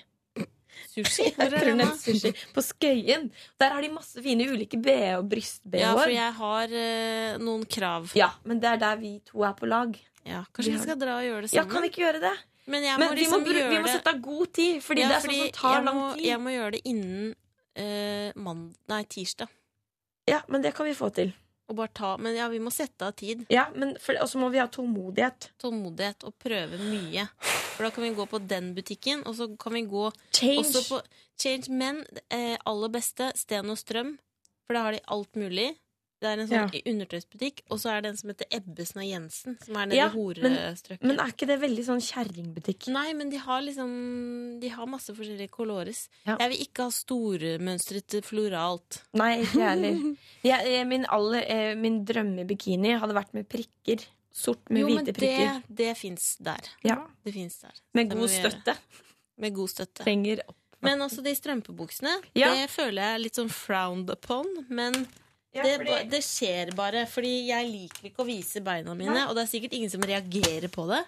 Speaker 2: Sushi?
Speaker 8: Jeg tror den heter sushi. På Skøyen. Der har de masse fine ulike BH og bryst-BH-er.
Speaker 2: Ja, for jeg har eh, noen krav.
Speaker 8: Ja, men det er der vi to er på lag.
Speaker 2: Ja, Kanskje vi skal dra og gjøre det
Speaker 8: Ja,
Speaker 2: sammen?
Speaker 8: kan vi ikke gjøre det?
Speaker 2: Men, jeg
Speaker 8: Men
Speaker 2: må
Speaker 8: vi må
Speaker 2: liksom
Speaker 8: bru-
Speaker 2: gjøre
Speaker 8: vi må
Speaker 2: det-
Speaker 8: sette av god tid, fordi det er sånn som tar
Speaker 2: jeg
Speaker 8: lang
Speaker 2: må,
Speaker 8: tid.
Speaker 2: Jeg må gjøre det innen eh, mand- nei, tirsdag.
Speaker 8: Ja, men det kan vi få til.
Speaker 2: Og bare ta, men ja, vi må sette av tid.
Speaker 8: Ja, men for, Og så må vi ha tålmodighet.
Speaker 2: Tålmodighet og prøve mye. For da kan vi gå på den butikken, og så kan vi gå
Speaker 8: Change.
Speaker 2: også på Change. Men eh, aller beste Sten og Strøm, for da har de alt mulig. Det er en sånn
Speaker 8: Ja.
Speaker 2: undertøysbutikk, og så er det en som heter Ebbesen og Jensen, som er nede
Speaker 8: Ja,
Speaker 2: i
Speaker 8: men,
Speaker 2: horestrøket.
Speaker 8: men er ikke det veldig sånn kjerringbutikk?
Speaker 2: Nei, men de har liksom De har masse forskjellige colores.
Speaker 8: Ja.
Speaker 2: Jeg vil ikke ha stormønstret floralt.
Speaker 8: Nei, ikke jeg heller. Jeg, eh, min, aller, eh, min drømmebikini hadde vært med prikker. Sort med
Speaker 2: jo, men
Speaker 8: hvite prikker.
Speaker 2: det, det fins der.
Speaker 8: Ja.
Speaker 2: Det finnes der.
Speaker 8: Med
Speaker 2: Det må
Speaker 8: god
Speaker 2: vi gjøre.
Speaker 8: støtte.
Speaker 2: Med god støtte.
Speaker 8: Trenger opp.
Speaker 2: Men også de strømpebuksene.
Speaker 8: Ja.
Speaker 2: Det føler jeg er litt sånn frowned upon, men
Speaker 8: Ja,
Speaker 2: det,
Speaker 8: fordi-
Speaker 2: ba- det skjer bare. Fordi jeg liker ikke å vise beina mine,
Speaker 8: Nei.
Speaker 2: og det er sikkert ingen som reagerer på det.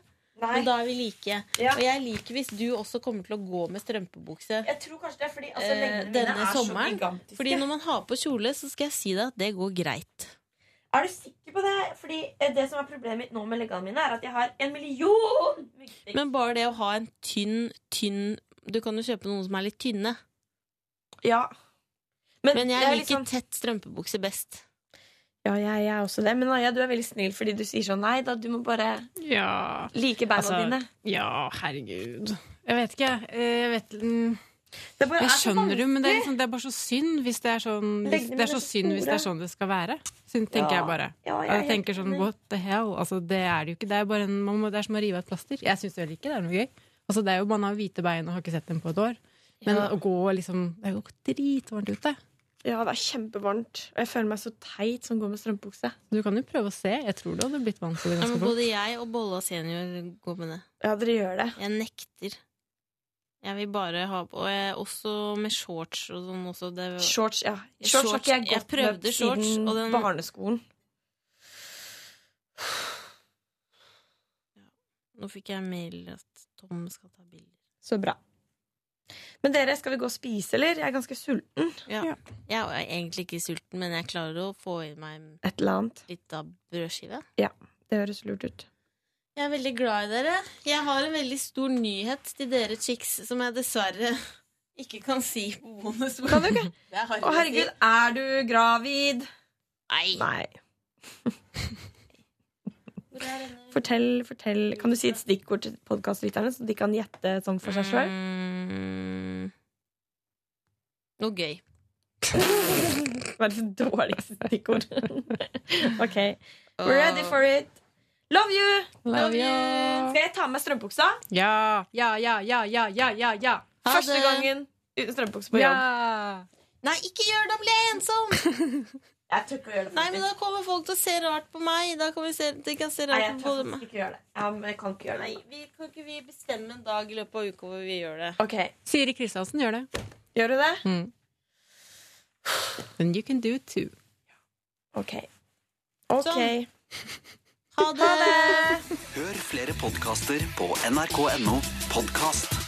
Speaker 8: Nei.
Speaker 2: Men da er vi like.
Speaker 8: Ja.
Speaker 2: Og jeg liker hvis du også kommer til å gå med strømpebukse
Speaker 8: Jeg tror kanskje det er fordi altså,
Speaker 2: eh,
Speaker 8: lengdene mine
Speaker 2: denne
Speaker 8: er så
Speaker 2: sommeren.
Speaker 8: gigantiske.
Speaker 2: Fordi når man har på kjole, så skal jeg si deg at det går greit.
Speaker 8: Er du sikker på det? Fordi eh, det som er problemet mitt nå med leggene mine, er at jeg har en million myggstikk.
Speaker 2: Men bare det å ha en tynn, tynn Du kan jo kjøpe noen som er litt tynne.
Speaker 8: Ja.
Speaker 2: Men, jeg
Speaker 8: det er
Speaker 2: liker
Speaker 8: liksom-
Speaker 2: tett strømpebukse best.
Speaker 8: Ja, jeg, jeg er også det. Men Aya, du er veldig snill fordi du sier sånn nei da, du må bare
Speaker 14: Ja.
Speaker 8: like beina
Speaker 14: Altså,
Speaker 8: dine.
Speaker 14: Ja, herregud. Jeg vet ikke. eh, Jeg vet mm.
Speaker 8: bare
Speaker 14: Jeg
Speaker 8: er så
Speaker 14: skjønner jo, men det er,
Speaker 8: vanskelig.
Speaker 14: liksom, det er bare så synd hvis det er sånn hvis,
Speaker 8: Leggene
Speaker 14: Det er
Speaker 8: mine er
Speaker 14: så
Speaker 8: så
Speaker 14: synd hvis det er
Speaker 8: store.
Speaker 14: sånn det skal være. Syn, tenker
Speaker 8: Ja.
Speaker 14: jeg bare.
Speaker 8: Ja,
Speaker 14: Og
Speaker 8: jeg er
Speaker 14: jeg tenker
Speaker 8: helt
Speaker 14: sånn
Speaker 8: enig.
Speaker 14: what the hell? Altså, det er det jo ikke. Det er, bare en, man må, det er som å rive av et plaster. Jeg syns vel ikke det er noe gøy. Altså, det er jo, man har hvite bein og har ikke sett dem på et år. Men
Speaker 8: Ja.
Speaker 14: å gå liksom Det er jo dritvarmt ute.
Speaker 8: Ja, det er kjempevarmt. Og jeg føler meg så teit som går med strømpebukse.
Speaker 14: Du kan jo prøve å se. Jeg tror det hadde blitt vant til det
Speaker 2: Ja, men
Speaker 14: ganske fort.
Speaker 2: både jeg og Bolla senior går med det.
Speaker 8: Ja, dere gjør det.
Speaker 2: Jeg nekter. Jeg vil bare ha på Og jeg, også med shorts og sånn også. Det,
Speaker 8: Shorts, ja. Shorts har ikke jeg gått
Speaker 2: prøvde
Speaker 8: med
Speaker 2: shorts,
Speaker 8: siden
Speaker 2: og den-
Speaker 8: barneskolen.
Speaker 2: Nå fikk jeg mail at Tom skal ta bilder.
Speaker 8: Så bra. Men dere, skal vi gå og spise, eller? Jeg er ganske sulten.
Speaker 2: Ja. Jeg er egentlig ikke sulten, men jeg klarer å få i meg
Speaker 8: Et eller annet.
Speaker 2: litt av brødskive.
Speaker 8: Ja, det høres lurt ut.
Speaker 2: Jeg er veldig glad i dere. Jeg har en veldig stor nyhet til dere chicks som jeg dessverre ikke kan si på bonus. Kan du ikke? Det er
Speaker 8: Å,
Speaker 2: harry å si.
Speaker 8: herregud, er du gravid?
Speaker 2: Nei.
Speaker 8: Fortell, fortell. Kan du si et stikkord til podkastlytterne, så de kan Mm.
Speaker 2: Mm,
Speaker 8: gjette sånn for seg sjøl?
Speaker 2: Noe gøy.
Speaker 8: Verdens dårligste stikkord. OK. We're ready for it. Love you!
Speaker 2: Love you.
Speaker 8: Skal jeg ta med strømpuksa?
Speaker 2: Ja, ja, ja, ja, ja, ja, ja, ja.
Speaker 8: Ha Første det. gangen uten strømpukse på jobb.
Speaker 5: Nei, ikke gjør det, blir jeg ensom!
Speaker 8: Jeg tør ikke å gjøre det.
Speaker 5: Nei, men da kommer folk til å se rart på meg. Da kan vi se, de kan se
Speaker 8: Nei,
Speaker 5: rart
Speaker 8: jeg
Speaker 5: på
Speaker 8: tør
Speaker 5: meg.
Speaker 8: faktisk ikke gjøre det. Jeg kan ikke gjøre det.
Speaker 5: Nei, vi, kan ikke vi bestemme en dag i løpet av uka hvor vi gjør det?
Speaker 2: Siri Kristiansen gjør det.
Speaker 8: Gjør du det?
Speaker 2: Mm. Then you can do it too.
Speaker 8: OK.
Speaker 5: Sånn. Ha det!
Speaker 15: Hør flere podkaster på nrk.no podkast.